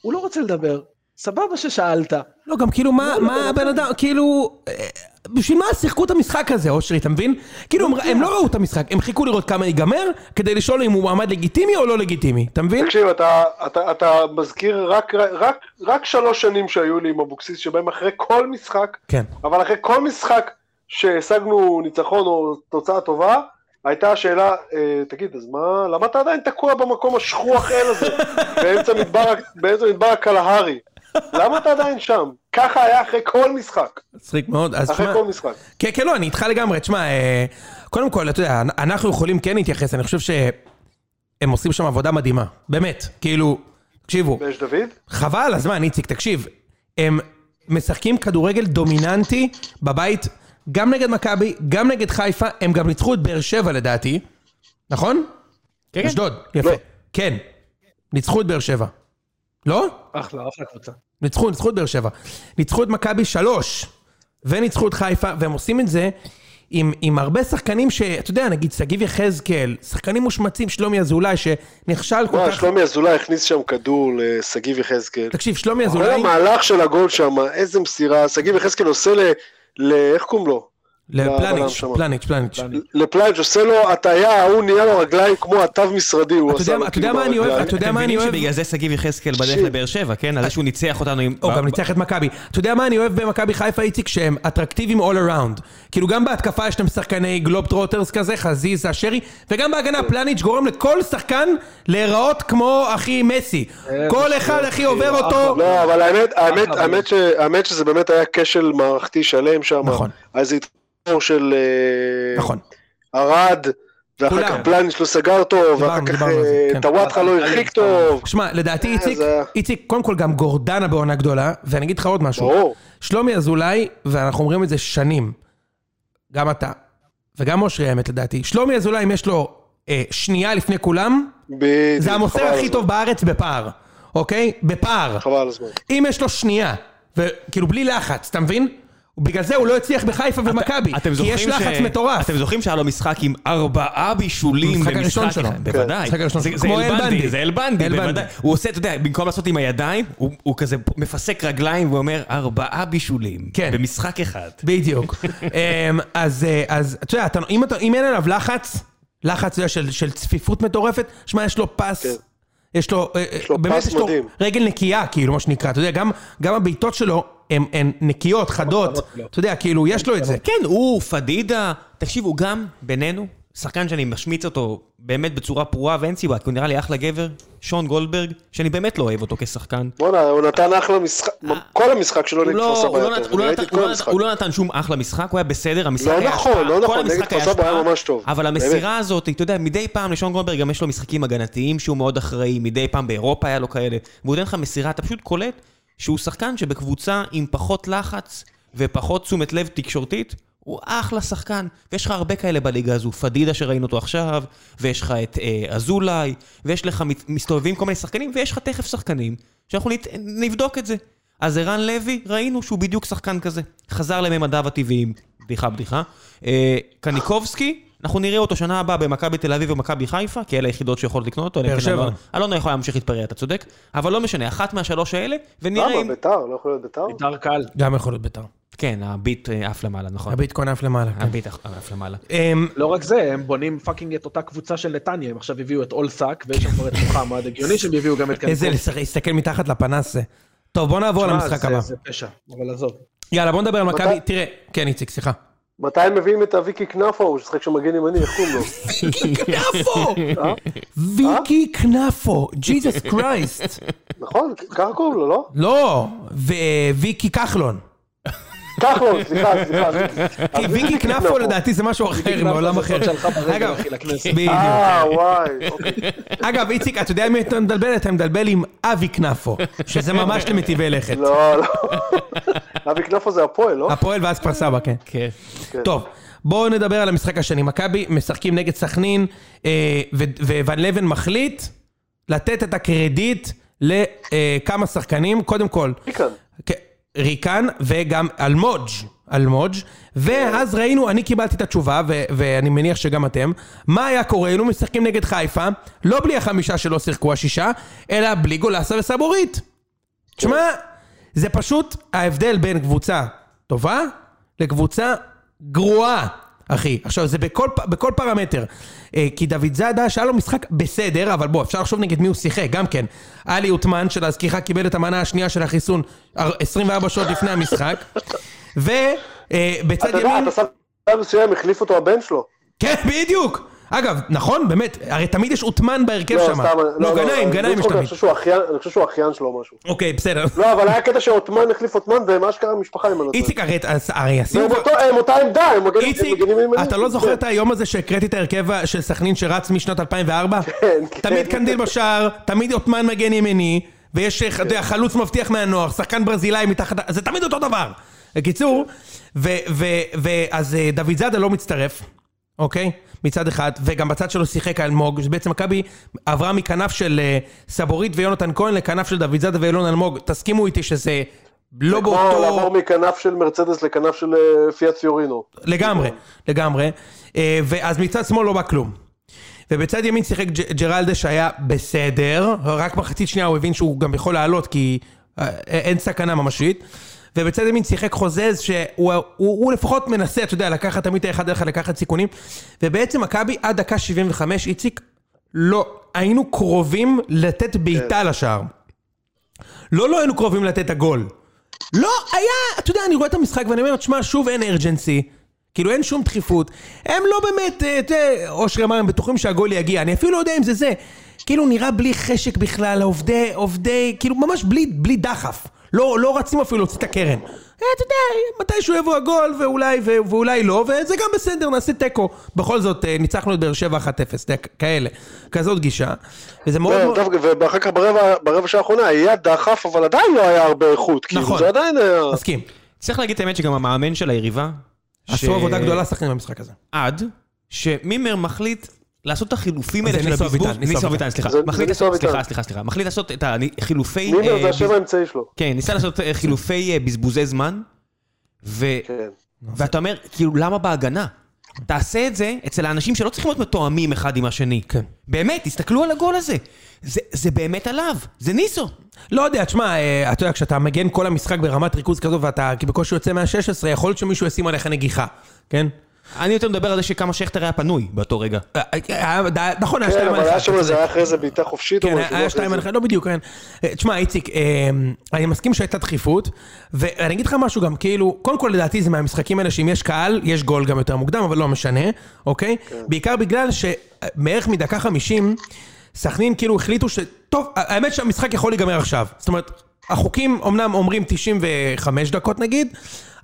Speaker 4: הוא לא רוצה לדבר, סבבה ששאלת.
Speaker 2: לא, גם כאילו, מה מה הבן אדם, כאילו... אה, בשביל מה שיחקו את המשחק הזה, אושרי, אתה מבין? כאילו, הם- הם לא ראו את המשחק, הם חיכו לראות כמה ייגמר, כדי לשאול אם הוא מעמד לגיטימי או לא לגיטימי, אתה מבין?
Speaker 3: תקשיב, אתה, אתה, אתה מזכיר רק, רק, רק שלוש שנים שהיו לי עם אבוקסיס, שבהם אחרי כל משחק,
Speaker 2: כן.
Speaker 3: אבל אחרי כל משחק שהשגנו ניצחון או תוצאה טובה, הייתה השאלה, אה, תגיד, אז מה, למה אתה עדיין תקוע במקום השכוח אל הזה, באמצע מדבר, באמצע מדבר הקלהרי? למה אתה עדיין שם? ככה היה אחרי כל משחק,
Speaker 2: מצחיק מאוד, אז
Speaker 3: אחרי
Speaker 2: שמע...
Speaker 3: כל משחק.
Speaker 2: כן, כן, לא, אני איתך לגמרי. תשמע, אה, קודם כל, אתה יודע, אנחנו יכולים כן להתייחס, אני חושב שהם עושים שם עבודה מדהימה. באמת. כאילו, תקשיבו,
Speaker 3: ויש דוד?
Speaker 2: חבל על הזמן, איציק, תקשיב. הם משחקים כדורגל דומיננטי בבית, גם נגד מכבי, גם נגד חיפה, הם גם ניצחו את באר שבע לדעתי, נכון?
Speaker 1: כן, כן.
Speaker 2: אשדוד, יפה.
Speaker 3: לא.
Speaker 2: כן. ניצחו את באר שבע. לא?
Speaker 4: אחלה, אחלה קבוצה.
Speaker 2: ניצחו, ניצחו את באר שבע. ניצחו את מכבי שלוש, וניצחו את חיפה, והם עושים את זה עם, עם הרבה שחקנים ש... אתה יודע, נגיד שגיב יחזקאל, שחקנים מושמצים, שלומי אזולאי, שנכשל כל
Speaker 3: מה,
Speaker 2: כך...
Speaker 3: שלומי אזולאי הכניס שם כדור לשגיב יחזקאל.
Speaker 2: תקשיב, שלומי
Speaker 3: כל
Speaker 2: אזולאי...
Speaker 3: המהלך של הגול שם, איזה מסירה, שגיב יחזקאל עושה ל... ל... איך קוראים לו? לבלם
Speaker 2: לפלניץ',
Speaker 3: שם.
Speaker 2: פלניץ', פלניץ'.
Speaker 3: לפלאג' עושה לו הטעיה, ההוא נהיה לו רגליים כמו התו משרדי, הוא
Speaker 2: אתה
Speaker 3: עשה
Speaker 2: יודע-
Speaker 3: לו כאילו
Speaker 2: אתה יודע מה אני
Speaker 3: ברגליים.
Speaker 2: אוהב? אתה יודע
Speaker 1: אתם
Speaker 2: מה אני
Speaker 1: מבינים
Speaker 2: אוהב?
Speaker 1: שבגלל זה שגיב יחזקאל בדרך
Speaker 3: תקשיב.
Speaker 1: לבאר שבע, כן? על זה שהוא ניצח אותנו עם...
Speaker 2: או,
Speaker 1: ב-
Speaker 2: גם
Speaker 1: ב-
Speaker 2: ניצח את מכבי. אתה יודע מה אני אוהב במכבי חיפה, איציק? שהם אטרקטיביים all around. כאילו גם בהתקפה יש להם שחקני גלוב טרוטרס כזה, חזיזה, שרי, וגם בהגנה
Speaker 3: כן.
Speaker 2: פלניץ' גורם לכל שחקן להיראות כמו אחי מסי.
Speaker 3: אה, כאילו
Speaker 2: כל אחד אחי עובר
Speaker 4: אחלה.
Speaker 2: אותו...
Speaker 3: לא, אבל האמת, האמת,
Speaker 4: אחלה
Speaker 3: האמת, ש, האמת שזה באמת היה כשל מערכתי שלם שם.
Speaker 2: נכון.
Speaker 3: אז התפור של אה,
Speaker 2: נכון.
Speaker 3: ארד ואחר
Speaker 2: כולם.
Speaker 3: כך פלניש לא סגר טוב, ואחר
Speaker 2: דיברנו,
Speaker 3: כך
Speaker 2: דיברנו על זה,
Speaker 3: אה,
Speaker 2: כן.
Speaker 3: טוואטחה לא הרחיק טוב.
Speaker 2: שמע, לדעתי איציק,
Speaker 3: אה, זה-
Speaker 2: איציק, קודם כל גם גורדנה בעונה גדולה, ואני אגיד לך עוד משהו.
Speaker 3: ברור.
Speaker 2: שלומי אזולאי, ואנחנו אומרים את זה שנים, גם אתה, וגם אושרי האמת לדעתי, שלומי אזולאי, אם יש לו אה, שנייה לפני כולם,
Speaker 3: בדיוק,
Speaker 2: זה המוסר
Speaker 3: חבל על
Speaker 2: הכי
Speaker 3: הזמן.
Speaker 2: טוב בארץ בפער, אוקיי? בפער.
Speaker 3: חבל על הזמן.
Speaker 2: אם יש לו שנייה, וכאילו בלי לחץ, אתה מבין? בגלל זה הוא לא הצליח בחיפה ומכבי,
Speaker 1: אתם
Speaker 2: כי
Speaker 1: זוכרים
Speaker 2: יש לחץ
Speaker 1: ש-
Speaker 2: מטורף.
Speaker 1: אתם זוכרים שהיה לו משחק עם ארבעה בישולים
Speaker 2: המשחק
Speaker 1: במשחק
Speaker 2: הראשון
Speaker 1: אחד?
Speaker 2: שלו. כן.
Speaker 1: בוודאי.
Speaker 2: המשחק הראשון
Speaker 1: זה-
Speaker 2: שלו.
Speaker 1: זה
Speaker 2: כמו אלבנדי.
Speaker 1: זה אלבנדי,
Speaker 2: אלבנדי.
Speaker 1: בוודאי. הוא עושה, אתה יודע, במקום לעשות עם הידיים, הוא הוא כזה מפסק רגליים ואומר, ארבעה בישולים.
Speaker 2: כן.
Speaker 1: במשחק אחד.
Speaker 2: בדיוק. אמ, אז, אה, אז אתה יודע, אתה, אם, אתה, אם אין עליו לחץ, לחץ אתה יודע, של, של צפיפות מטורפת, שמע, יש לו פס.
Speaker 3: כן.
Speaker 2: יש לו, אה,
Speaker 3: לו
Speaker 2: באמת
Speaker 3: פס
Speaker 2: יש לו
Speaker 3: מדהים.
Speaker 2: רגל נקייה, כאילו, מה שנקרא, אתה יודע, גם, גם הבעיטות שלו הן, הן נקיות, חדות,
Speaker 4: לא.
Speaker 2: אתה יודע, כאילו, יש לו את זה.
Speaker 1: כן, הוא, פדידה, תקשיבו, גם בינינו, שחקן שאני משמיץ אותו באמת בצורה פרועה ואין סיבה, כי הוא נראה לי אחלה גבר, שון גולדברג, שאני באמת לא אוהב אותו כשחקן.
Speaker 3: בואנה, הוא נתן אחלה משחק, כל המשחק שלו
Speaker 1: אה, הוא
Speaker 3: נגד
Speaker 1: לא-
Speaker 3: כפר
Speaker 1: הוא
Speaker 3: סבא
Speaker 1: לא
Speaker 3: היה
Speaker 1: נת-
Speaker 3: טוב,
Speaker 1: הוא
Speaker 3: אני
Speaker 1: לא
Speaker 3: ראיתי
Speaker 1: נת-
Speaker 3: את
Speaker 1: הוא
Speaker 3: כל
Speaker 1: לא נת-
Speaker 3: המשחק.
Speaker 1: הוא לא נתן שום אחלה משחק, הוא היה בסדר, המשחק
Speaker 3: לא
Speaker 1: היה
Speaker 3: נכון,
Speaker 1: השפעה,
Speaker 3: לא
Speaker 1: כל
Speaker 3: נכון, נגד
Speaker 1: המשחק
Speaker 3: כפר סבא היה
Speaker 1: השפעה,
Speaker 3: ממש טוב,
Speaker 1: אבל
Speaker 3: באמת.
Speaker 1: המסירה הזאת, אתה יודע, מדי פעם לשון גולדברג גם יש לו משחקים הגנתיים שהוא מאוד אחראי, מדי פעם באירופה היה לו כאלה, והוא נותן לך מסירה, אתה פשוט קולט שהוא שחקן שבקבוצה עם פחות לחץ ופחות תשומת לב תקשורתית, הוא אחלה שחקן, ויש לך הרבה כאלה בליגה הזו, פדידה שראינו אותו עכשיו, ויש לך את אה, אזולאי, ויש לך, מת- מסתובבים כל מיני שחקנים, ויש לך תכף שחקנים, שאנחנו נת, נבדוק את זה. אז ערן לוי, ראינו שהוא בדיוק שחקן כזה. חזר לממדיו הטבעיים, בדיחה בדיחה. אה, קניקובסקי, אנחנו נראה אותו שנה הבאה במכבי תל אביב ומכבי חיפה, כי אלה היחידות שיכולות לקנות אותו. אלא אם
Speaker 2: באר
Speaker 1: כן
Speaker 2: שבע.
Speaker 1: אלונה- אלונה יכולה להמשיך להתפרע, אתה צודק. אבל לא משנה, אחת מהשלוש האלה, ונראה
Speaker 3: למה,
Speaker 1: אם...
Speaker 3: ביתר? לא יכול להיות ביתר?
Speaker 4: בית"ר קל.
Speaker 2: גם יכול להיות בית"ר.
Speaker 1: כן, הביט אה, עף למעלה, נכון.
Speaker 2: הביטקוין עף למעלה. כן.
Speaker 1: הביט עף- עף למעלה.
Speaker 2: אמ,
Speaker 4: לא רק זה, הם בונים פאקינג את אותה קבוצה של נתניה, הם עכשיו הביאו את אולסאק, ויש שם כבר את מוחמד, הגיוני שהם יביאו גם את
Speaker 2: איזה
Speaker 4: קניקובסקי.
Speaker 2: לשחק- להסתכל מתחת לפנס זה. טוב, בוא נעבור
Speaker 4: שמע,
Speaker 2: למשחק
Speaker 4: זה-
Speaker 2: הבא.
Speaker 4: זה פשע, אבל עזוב.
Speaker 2: יאללה, בוא נדבר על מכבי.
Speaker 3: מתי-
Speaker 2: תראה, כן, איציק, סליחה.
Speaker 3: מתי הם מביאים את הוויקי כנפו, הוא ששחק שם מגן ימני, איך קוראים לו?
Speaker 2: כנפו! ויקי כנפו, ג'יזוס קרייסט.
Speaker 3: נכון? ככה קוראים לו, לא?
Speaker 2: לא, וויקי כחלון.
Speaker 3: כחלון, סליחה, סליחה.
Speaker 2: כי ויקי כנפו לדעתי זה משהו אחר, מעולם
Speaker 4: זאת
Speaker 2: אחר.
Speaker 4: שהלכה ברגל,
Speaker 2: אגב,
Speaker 4: אחי, לכנסת.
Speaker 2: בדיוק.
Speaker 3: אה, וואי, אוקיי.
Speaker 2: אגב, איציק, אתה יודע עם מי אתה מדלבל? אתה מדלבל עם אבי כנפו, שזה ממש למטיבי לכת.
Speaker 3: לא, לא. אבי כנפו זה הפועל, לא?
Speaker 2: הפועל ואז כפר סבא, כן.
Speaker 1: כן.
Speaker 2: טוב, בואו נדבר על המשחק השני. מכבי משחקים נגד סכנין, אה, ו- וון לבן מחליט לתת את הקרדיט לכמה שחקנים. קודם כל,
Speaker 3: ריקן.
Speaker 2: כן, ריקן וגם אלמוג' אלמוג', ואז ראינו, אני קיבלתי את התשובה, ו- ואני מניח שגם אתם, מה היה קורה, היינו משחקים נגד חיפה, לא בלי החמישה שלא שיחקו השישה, אלא בלי גולסה וסבורית. תשמע, זה פשוט ההבדל בין קבוצה טובה לקבוצה גרועה, אחי. עכשיו, זה בכל, פ- בכל פרמטר. אה, כי דוד זאדה, שהיה לו משחק בסדר, אבל בוא, אפשר לחשוב נגד מי הוא שיחק, גם כן. עלי עותמן, שלהזכירך קיבל את המנה השנייה של החיסון אר- 24 שעות לפני המשחק. ובצד
Speaker 3: אתה יודע,
Speaker 2: ימין...
Speaker 3: אתה שם בשלב מסוים החליף אותו הבן שלו.
Speaker 2: כן, בדיוק! אגב, נכון, באמת, הרי תמיד יש עותמן בהרכב
Speaker 3: לא,
Speaker 2: שם.
Speaker 3: סתם,
Speaker 2: לא, גנאים,
Speaker 3: אני
Speaker 2: גנאים יש
Speaker 3: צוחק, אני
Speaker 2: תמיד.
Speaker 3: חושב שהוא אחיין- אני חושב שהוא אחיין שלו או משהו.
Speaker 2: אוקיי, בסדר.
Speaker 3: לא, אבל היה קטע שעותמן החליף עותמן, והם אשכרה משפחה עם הנושא.
Speaker 2: איציק, הרי- הרי עשינו...
Speaker 3: והם אותו- לא, הם אותה עמדה, הם מגנים הם
Speaker 2: איציק,
Speaker 3: מגנים ימניים.
Speaker 2: אתה לא זוכר
Speaker 3: כן.
Speaker 2: את היום הזה שהקראתי את ההרכב של סכנין שרץ משנת 2004?
Speaker 3: כן, כן.
Speaker 2: תמיד קנדיל בשער, תמיד עותמן מגן ימיני, ויש,
Speaker 3: כן.
Speaker 2: אתה יודע, חלוץ מבטיח מהנוער, שחקן ברזילאי מתחת... זה תמיד אותו דבר. בקיצור, ו- ו- ואז אה, דוד זאדה לא מצטרף, אוקיי? מצד אחד, וגם בצד שלו שיחק אלמוג, שבעצם מכבי עברה מכנף של אה, סבורית ויונתן כהן לכנף של דוד זאדה ואילון אלמוג. תסכימו איתי שזה לא
Speaker 3: כמו
Speaker 2: באותו...
Speaker 3: לעבור מכנף של מרצדס לכנף של אה, פיאט פיורינו.
Speaker 2: לגמרי, לגמרי. אה, ואז מצד שמאל לא בא כלום. ובצד ימין שיחק ג'- ג'רלדה שהיה בסדר, רק מחצית שנייה הוא הבין שהוא גם יכול לעלות כי אה, אין סכנה ממשית. ובצד ימין שיחק חוזז שהוא הוא, הוא לפחות מנסה, אתה יודע, לקחת תמיד את האחד עליך לקחת סיכונים. ובעצם מכבי עד דקה 75, איציק, לא, היינו קרובים לתת בעיטה לשער. לא, לא היינו קרובים לתת את הגול. לא, היה, אתה יודע, אני רואה את המשחק ואני אומר, תשמע, שוב אין ארג'נסי. כאילו אין שום דחיפות. הם לא באמת, אה, אתה יודע, אושרי אמר, הם בטוחים שהגול יגיע. אני אפילו לא יודע אם זה זה. כאילו נראה בלי חשק בכלל, עובדי, עובדי, כאילו ממש בלי, בלי דחף. לא, לא רצים אפילו להוציא את הקרן. אה, אתה יודע, מתישהו יבוא הגול, ואולי, ו- ואולי לא, וזה גם בסדר, נעשה תיקו. בכל זאת, אה, ניצחנו את באר שבע 1-0, אתה יודע, כאלה. כזאת גישה. וזה מאוד מאוד...
Speaker 3: כן, דווקא- ואחר כך ברבע ברבע שעה האחרונה היה דחף, אבל עדיין לא היה הרבה איכות.
Speaker 2: נכון.
Speaker 3: כאילו, זה עדיין היה...
Speaker 2: מסכים.
Speaker 1: צריך להגיד את האמת שגם המאמן של היריבה...
Speaker 2: עשו עבודה גדולה שחקנים במשחק הזה.
Speaker 1: עד שמימר מחליט לעשות את החילופים
Speaker 2: זה
Speaker 1: האלה של
Speaker 2: ניסו
Speaker 1: הבזבוז.
Speaker 2: אביטן, ניסו אביטן.
Speaker 1: סליחה.
Speaker 3: זה- זה
Speaker 1: מחליט
Speaker 3: ניסו
Speaker 1: לעשות-
Speaker 3: אביטן.
Speaker 1: סליחה, סליחה, סליחה. מחליט לעשות את החילופי...
Speaker 3: נימר
Speaker 2: אה,
Speaker 3: זה השם האמצעי שלו.
Speaker 1: כן, ניסה לעשות אה, חילופי אה, בזבוזי זמן, ו-
Speaker 3: כן.
Speaker 1: ואתה אומר, כאילו, למה בהגנה? תעשה את זה אצל האנשים שלא צריכים להיות מתואמים אחד עם השני.
Speaker 2: כן.
Speaker 1: באמת, תסתכלו על הגול הזה. זה- זה באמת עליו, זה ניסו.
Speaker 2: לא יודע, תשמע, אה, אתה יודע, כשאתה מגן כל המשחק ברמת ריכוז כזו ואתה בקושי יוצא מה-16, יכול להיות שמישהו ישים עליך נגיחה, כן?
Speaker 1: אני יותר מדבר על זה שכמה שכטר היה פנוי באותו רגע.
Speaker 2: אה, אה, אה, ד- נכון, היה
Speaker 3: כן,
Speaker 2: שתיים
Speaker 3: אבל
Speaker 2: על
Speaker 3: היה
Speaker 2: אחד.
Speaker 3: שם
Speaker 2: אתה
Speaker 3: איזה,
Speaker 2: צודק.
Speaker 3: היה אחרי זה בעיטה חופשית. או
Speaker 2: כן,
Speaker 3: משהו,
Speaker 2: היה
Speaker 3: אחרי
Speaker 2: שתיים
Speaker 3: זה.
Speaker 2: על אחד, לא בדיוק, כן. אה, תשמע, איציק, אה, אני מסכים שהייתה דחיפות, ואני אגיד לך משהו גם, כאילו, קודם כל לדעתי זה מהמשחקים האלה שאם יש קהל, יש גול גם יותר מוקדם, אבל לא משנה, אוקיי?
Speaker 3: כן.
Speaker 2: בעיקר בגלל שבערך מדקה חמישים, סכנין כאילו החליטו ש... טוב, האמת שהמשחק יכול להיגמר עכשיו. זאת אומרת, החוקים אמנם אומרים 95 דקות נגיד,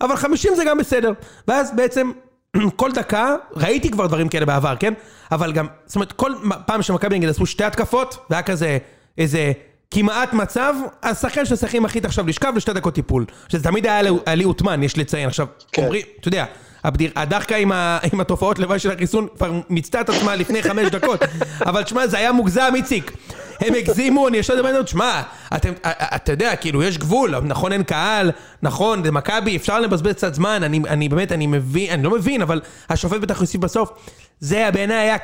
Speaker 2: אבל 50 זה גם בסדר. ואז בעצם כל דקה, ראיתי כבר דברים כאלה בעבר, כן? אבל גם, זאת אומרת, כל מ- פעם שמכבי נגיד עשו שתי התקפות, והיה כזה, איזה כמעט מצב, אז שחקן של שחקנים מחליט עכשיו לשכב לשתי דקות טיפול. שזה תמיד היה לי- היה לי עותמן, יש לציין. עכשיו,
Speaker 3: כן.
Speaker 2: אומרים, אתה יודע, הבדיר- הדחקה עם, ה, עם התופעות לוואי של החיסון כבר מיצתה את עצמה לפני חמש דקות. אבל תשמע, זה היה מוגזם, איציק. הם הגזימו, אני ישר אומר, תשמע, אתם- אתה יודע, כאילו, יש גבול, נכון, אין קהל, נכון, זה מכבי, אפשר לבזבז קצת זמן, אני, אני באמת, אני מבין, אני לא מבין, אבל השופט בטח יוסיף בסוף. זה בעיניי היה...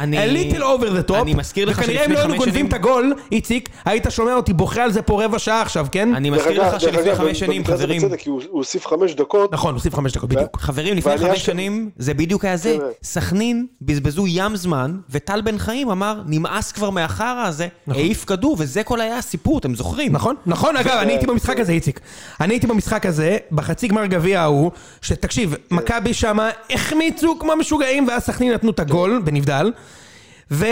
Speaker 1: אני-
Speaker 2: a little over the top,
Speaker 1: אני מזכיר לך
Speaker 2: וכנראה
Speaker 1: שלפני
Speaker 2: אם לא היינו
Speaker 1: חמש
Speaker 2: גונבים
Speaker 1: שנים-
Speaker 2: את הגול, איציק, היית שומע אותי בוכה על זה פה רבע שעה עכשיו, כן?
Speaker 1: אני
Speaker 3: דרך
Speaker 1: מזכיר
Speaker 3: אגב-
Speaker 1: לך
Speaker 3: דרך
Speaker 1: שלפני
Speaker 3: אגב,
Speaker 1: חמש שנים,
Speaker 3: במקרה זה
Speaker 1: חברים,
Speaker 3: בצדק, כי הוא הוא הוסיף חמש דקות.
Speaker 2: נכון, נוסיף חמש דקות, בדיוק.
Speaker 1: חברים, לפני
Speaker 3: והעלייה
Speaker 1: חמש
Speaker 3: של- כן.
Speaker 1: שנים זה בדיוק היה זה.
Speaker 3: תראה.
Speaker 1: סכנין בזבזו ים זמן, וטל בן חיים אמר, נמאס כבר מהחרא הזה, העיף כדור, וזה כל היה הסיפור, אתם זוכרים?
Speaker 2: נכון, נכון, אגב, אני הייתי במשחק הזה, איציק. אני הייתי במשחק הזה, בחצי גמר גביע ההוא, שתקשיב, מכבי שמה החמיצו כמו משוגעים, ואז סכנין נתנו את הגול בנבדל, ו...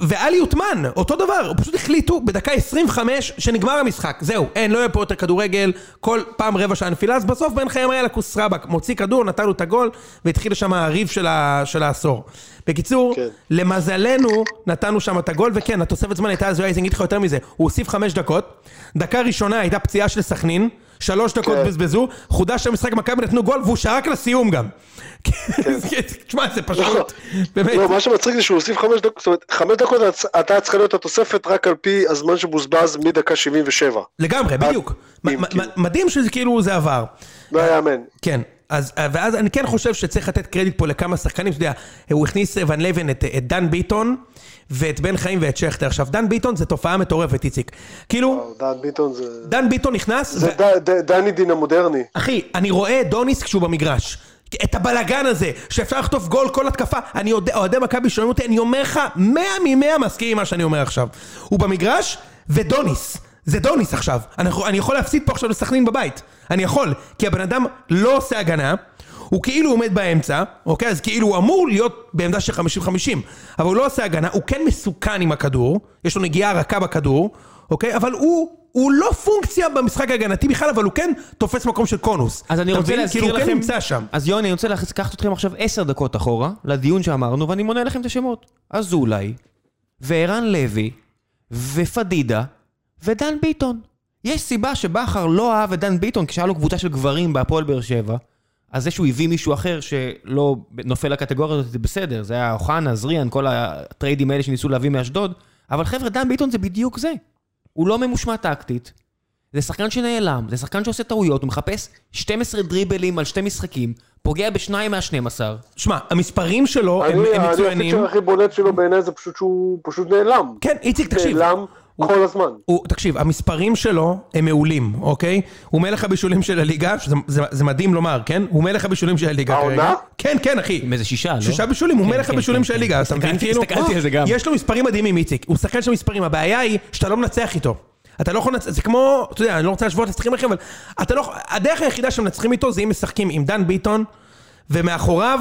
Speaker 2: ואלי עותמן, אותו דבר, פשוט החליטו בדקה 25 שנגמר המשחק, זהו, אין, לא יהיה פה יותר כדורגל, כל פעם רבע שעה נפילה, אז בסוף בן חיים היה לכוס רבאק, מוציא כדור, נתן לו את הגול, והתחיל שם הריב של, ה... של העשור. בקיצור,
Speaker 3: כן.
Speaker 2: למזלנו, נתנו שם את הגול, וכן, התוספת זמן הייתה הזויה, אז אני אגיד לך יותר מזה, הוא הוסיף חמש דקות, דקה ראשונה הייתה פציעה של סכנין, שלוש דקות
Speaker 3: כן.
Speaker 2: בזבזו, חודש המשחק מכבי נתנו גול, והוא שרק לסיום גם. תשמע, זה פשוט, באמת.
Speaker 3: כן. לא, מה שמצחיק זה שהוא הוסיף חמש דקות, זאת אומרת, חמש דקות הייתה צריכה להיות התוספת רק על פי הזמן שבוזבז מדקה 77.
Speaker 2: לגמרי, בדיוק. מ-
Speaker 3: אם,
Speaker 2: מ-
Speaker 3: כאילו.
Speaker 2: מדהים שזה כאילו זה עבר.
Speaker 3: לא יאמן.
Speaker 2: כן, אז, ואז אני כן חושב שצריך לתת קרדיט פה לכמה שחקנים, אתה יודע, הוא הכניס אה, ון לבן את, את דן ביטון, ואת בן חיים ואת שכטר. עכשיו, דן ביטון זה תופעה מטורפת, איציק. כאילו,
Speaker 3: דן ביטון זה...
Speaker 2: דן ביטון נכנס,
Speaker 3: זה
Speaker 2: ו-
Speaker 3: ד- ד- דני דין המודרני.
Speaker 2: אחי, אני רואה את דוניס כשהוא במגרש. את הבלגן הזה, שאפשר לחטוף גול כל התקפה. אני יודע, אוהדי מכבי שומעים אותי, אני אומר לך, מאה ממאה מסכים עם מה שאני אומר עכשיו. הוא במגרש, ודוניס. זה דוניס עכשיו. אני, יכול- אני יכול להפסיד פה עכשיו לסכנין בבית. אני יכול. כי הבן אדם לא עושה הגנה, הוא כאילו עומד באמצע, אוקיי? אז כאילו הוא אמור להיות בעמדה של 50-50. אבל הוא לא עושה הגנה, הוא כן מסוכן עם הכדור, יש לו נגיעה רכה בכדור, אוקיי? אבל הוא, הוא לא פונקציה במשחק ההגנתי בכלל, אבל הוא כן תופס מקום של קונוס.
Speaker 1: אז אני
Speaker 2: אתה
Speaker 1: רוצה
Speaker 2: מבין?
Speaker 1: להזכיר
Speaker 2: כאילו,
Speaker 1: לכם...
Speaker 2: הוא כן נמצא שם.
Speaker 1: אז יוני, אני רוצה לקחת אתכם עכשיו עשר דקות אחורה, לדיון שאמרנו, ואני מונה לכם את השמות. אזולאי, וערן לוי, ופדידה, ודן ביטון. יש סיבה שבכר לא אהב את דן ביטון כשהיה לו קבוצה של גברים בהפועל באר שבע. אז זה שהוא הביא מישהו אחר שלא נופל לקטגוריה הזאת, זה בסדר. זה היה אוחנה, זריאן, כל הטריידים האלה שניסו להביא מאשדוד. אבל חבר'ה, דן ביטון זה בדיוק זה. הוא לא ממושמע טקטית. זה שחקן שנעלם, זה שחקן שעושה טעויות, הוא מחפש 12 דריבלים על שתי משחקים, פוגע בשניים מה-12.
Speaker 2: שמע, המספרים שלו הם,
Speaker 3: אני-
Speaker 2: הם
Speaker 3: אני
Speaker 2: מצוינים.
Speaker 3: חושב שהכי בולט שלו בעיניי זה פשוט שהוא פשוט נעלם.
Speaker 2: כן, איציק, תקשיב.
Speaker 3: נעלם כל הזמן.
Speaker 2: הוא, תקשיב, המספרים שלו הם מעולים, אוקיי? הוא מלך הבישולים של הליגה, שזה, זה, זה מדהים לומר, כן? הוא מלך הבישולים של הליגה
Speaker 3: העונה?
Speaker 2: כן, כן, אחי.
Speaker 1: עם איזה שישה, לא?
Speaker 2: שישה בישולים, הוא
Speaker 1: כן,
Speaker 2: מלך
Speaker 1: כן,
Speaker 2: הבישולים
Speaker 1: כן,
Speaker 2: של
Speaker 1: כן.
Speaker 2: הליגה, אז אתה מבין
Speaker 1: הסתכלתי-
Speaker 2: כאילו?
Speaker 1: הסתכלתי על זה גם.
Speaker 2: יש לו מספרים מדהימים, איציק. הוא שחקן של מספרים, הבעיה היא שאתה לא מנצח איתו. אתה לא יכול לנצח, זה כמו, אתה יודע, אני לא רוצה להשוות לשחקים אחרים, אבל אתה לא, יכול- הדרך היחידה שמנצחים איתו זה אם משחקים עם דן ביטון, ומאחוריו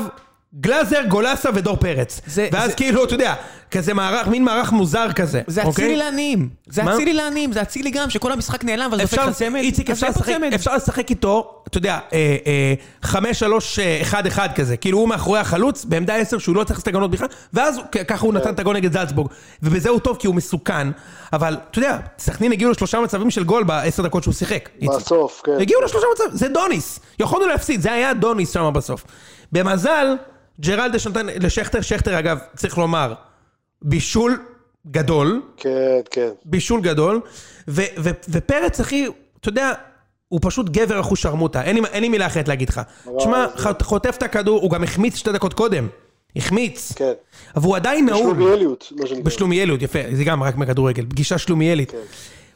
Speaker 2: גלאזר, גולסה ודור פרץ.
Speaker 1: זה-
Speaker 2: ואז
Speaker 1: זה-
Speaker 2: כאילו, אתה יודע, כזה מערך, מין מערך מוזר כזה.
Speaker 1: זה
Speaker 2: אוקיי?
Speaker 1: אצילי לעניים. זה
Speaker 2: מה?
Speaker 1: אצילי לעניים, זה אצילי גם, שכל המשחק נעלם, אבל דופק
Speaker 2: אפשר,
Speaker 1: לך צמד.
Speaker 2: איציק, אפשר
Speaker 1: אז תן פה
Speaker 2: לשחק-
Speaker 1: צמד.
Speaker 2: אפשר לשחק איתו, אתה יודע, אה, אה, חמש, שלוש, אה, אחד, אחד כזה. כאילו הוא מאחורי החלוץ, בעמדה עשר שהוא לא צריך לעשות את הגנות בכלל, ואז הוא- כ- ככה הוא נתן את הגול נגד זלצבורג. ובזה הוא טוב כי הוא מסוכן, אבל אתה יודע, סכנין הגיעו לשלושה מצבים של גול בעשר דקות שהוא שיחק. איציק.
Speaker 3: בסוף, כן.
Speaker 2: הגיעו לשלושה מצבים, זה דוניס. יכולנו להפסיד, זה היה דוניס שם בסוף. במזל, ג'רלדש נתן לשכטר, שכטר אגב, צריך לומר, בישול גדול,
Speaker 3: כן, כן.
Speaker 2: בישול גדול, ו- ו- ופרץ, אחי, אתה יודע, הוא פשוט גבר אחוש שרמוטה, אין, לי- אין לי מילה אחרת להגיד לך. תשמע, ח- חוטף את הכדור, הוא גם החמיץ שתי דקות קודם. החמיץ.
Speaker 3: כן.
Speaker 2: אבל הוא עדיין נעול.
Speaker 3: שלומיאליות, מה שנקרא.
Speaker 2: בשלומיאליות, יפה, זה גם רק מכדורגל, פגישה שלומיאלית.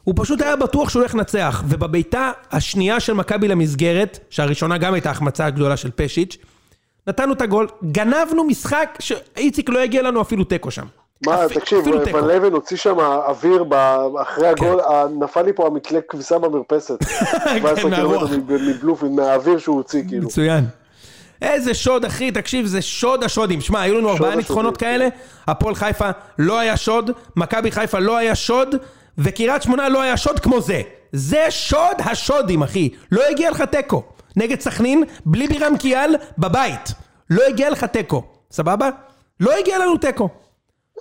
Speaker 2: הוא פשוט היה בטוח שהוא הולך לנצח, ובבעיטה השנייה של מכבי למסגרת, שהראשונה גם הייתה החמצה הגדולה של פשיץ', נתנו את הגול, גנבנו משחק שאיציק לא יגיע לנו אפילו תיקו שם.
Speaker 3: מה,
Speaker 2: אפ-
Speaker 3: תקשיב,
Speaker 2: אפילו תיקו. כן.
Speaker 3: ון לבן הוציא שם אוויר ב- אחרי הגול, אה, נפל לי פה המתלה כביסה במרפסת. 17
Speaker 2: מהרוח.
Speaker 3: קילומטר מב- מבלופין, מהאוויר שהוא הוציא, כאילו.
Speaker 2: מצוין. איזה שוד, אחי, תקשיב, זה שוד השודים. כן. שמע, היו לנו ארבעה
Speaker 3: השודים.
Speaker 2: ניצחונות כאלה, הפועל חיפה לא היה שוד, מכבי חיפה לא היה שוד, וקריית שמונה לא היה שוד כמו זה. זה שוד השודים, אחי. לא הגיע לך תיקו. נגד סכנין, בלי בירם קיאל, בבית. לא הגיע לך תיקו. סבבה? לא הגיע לנו תיקו.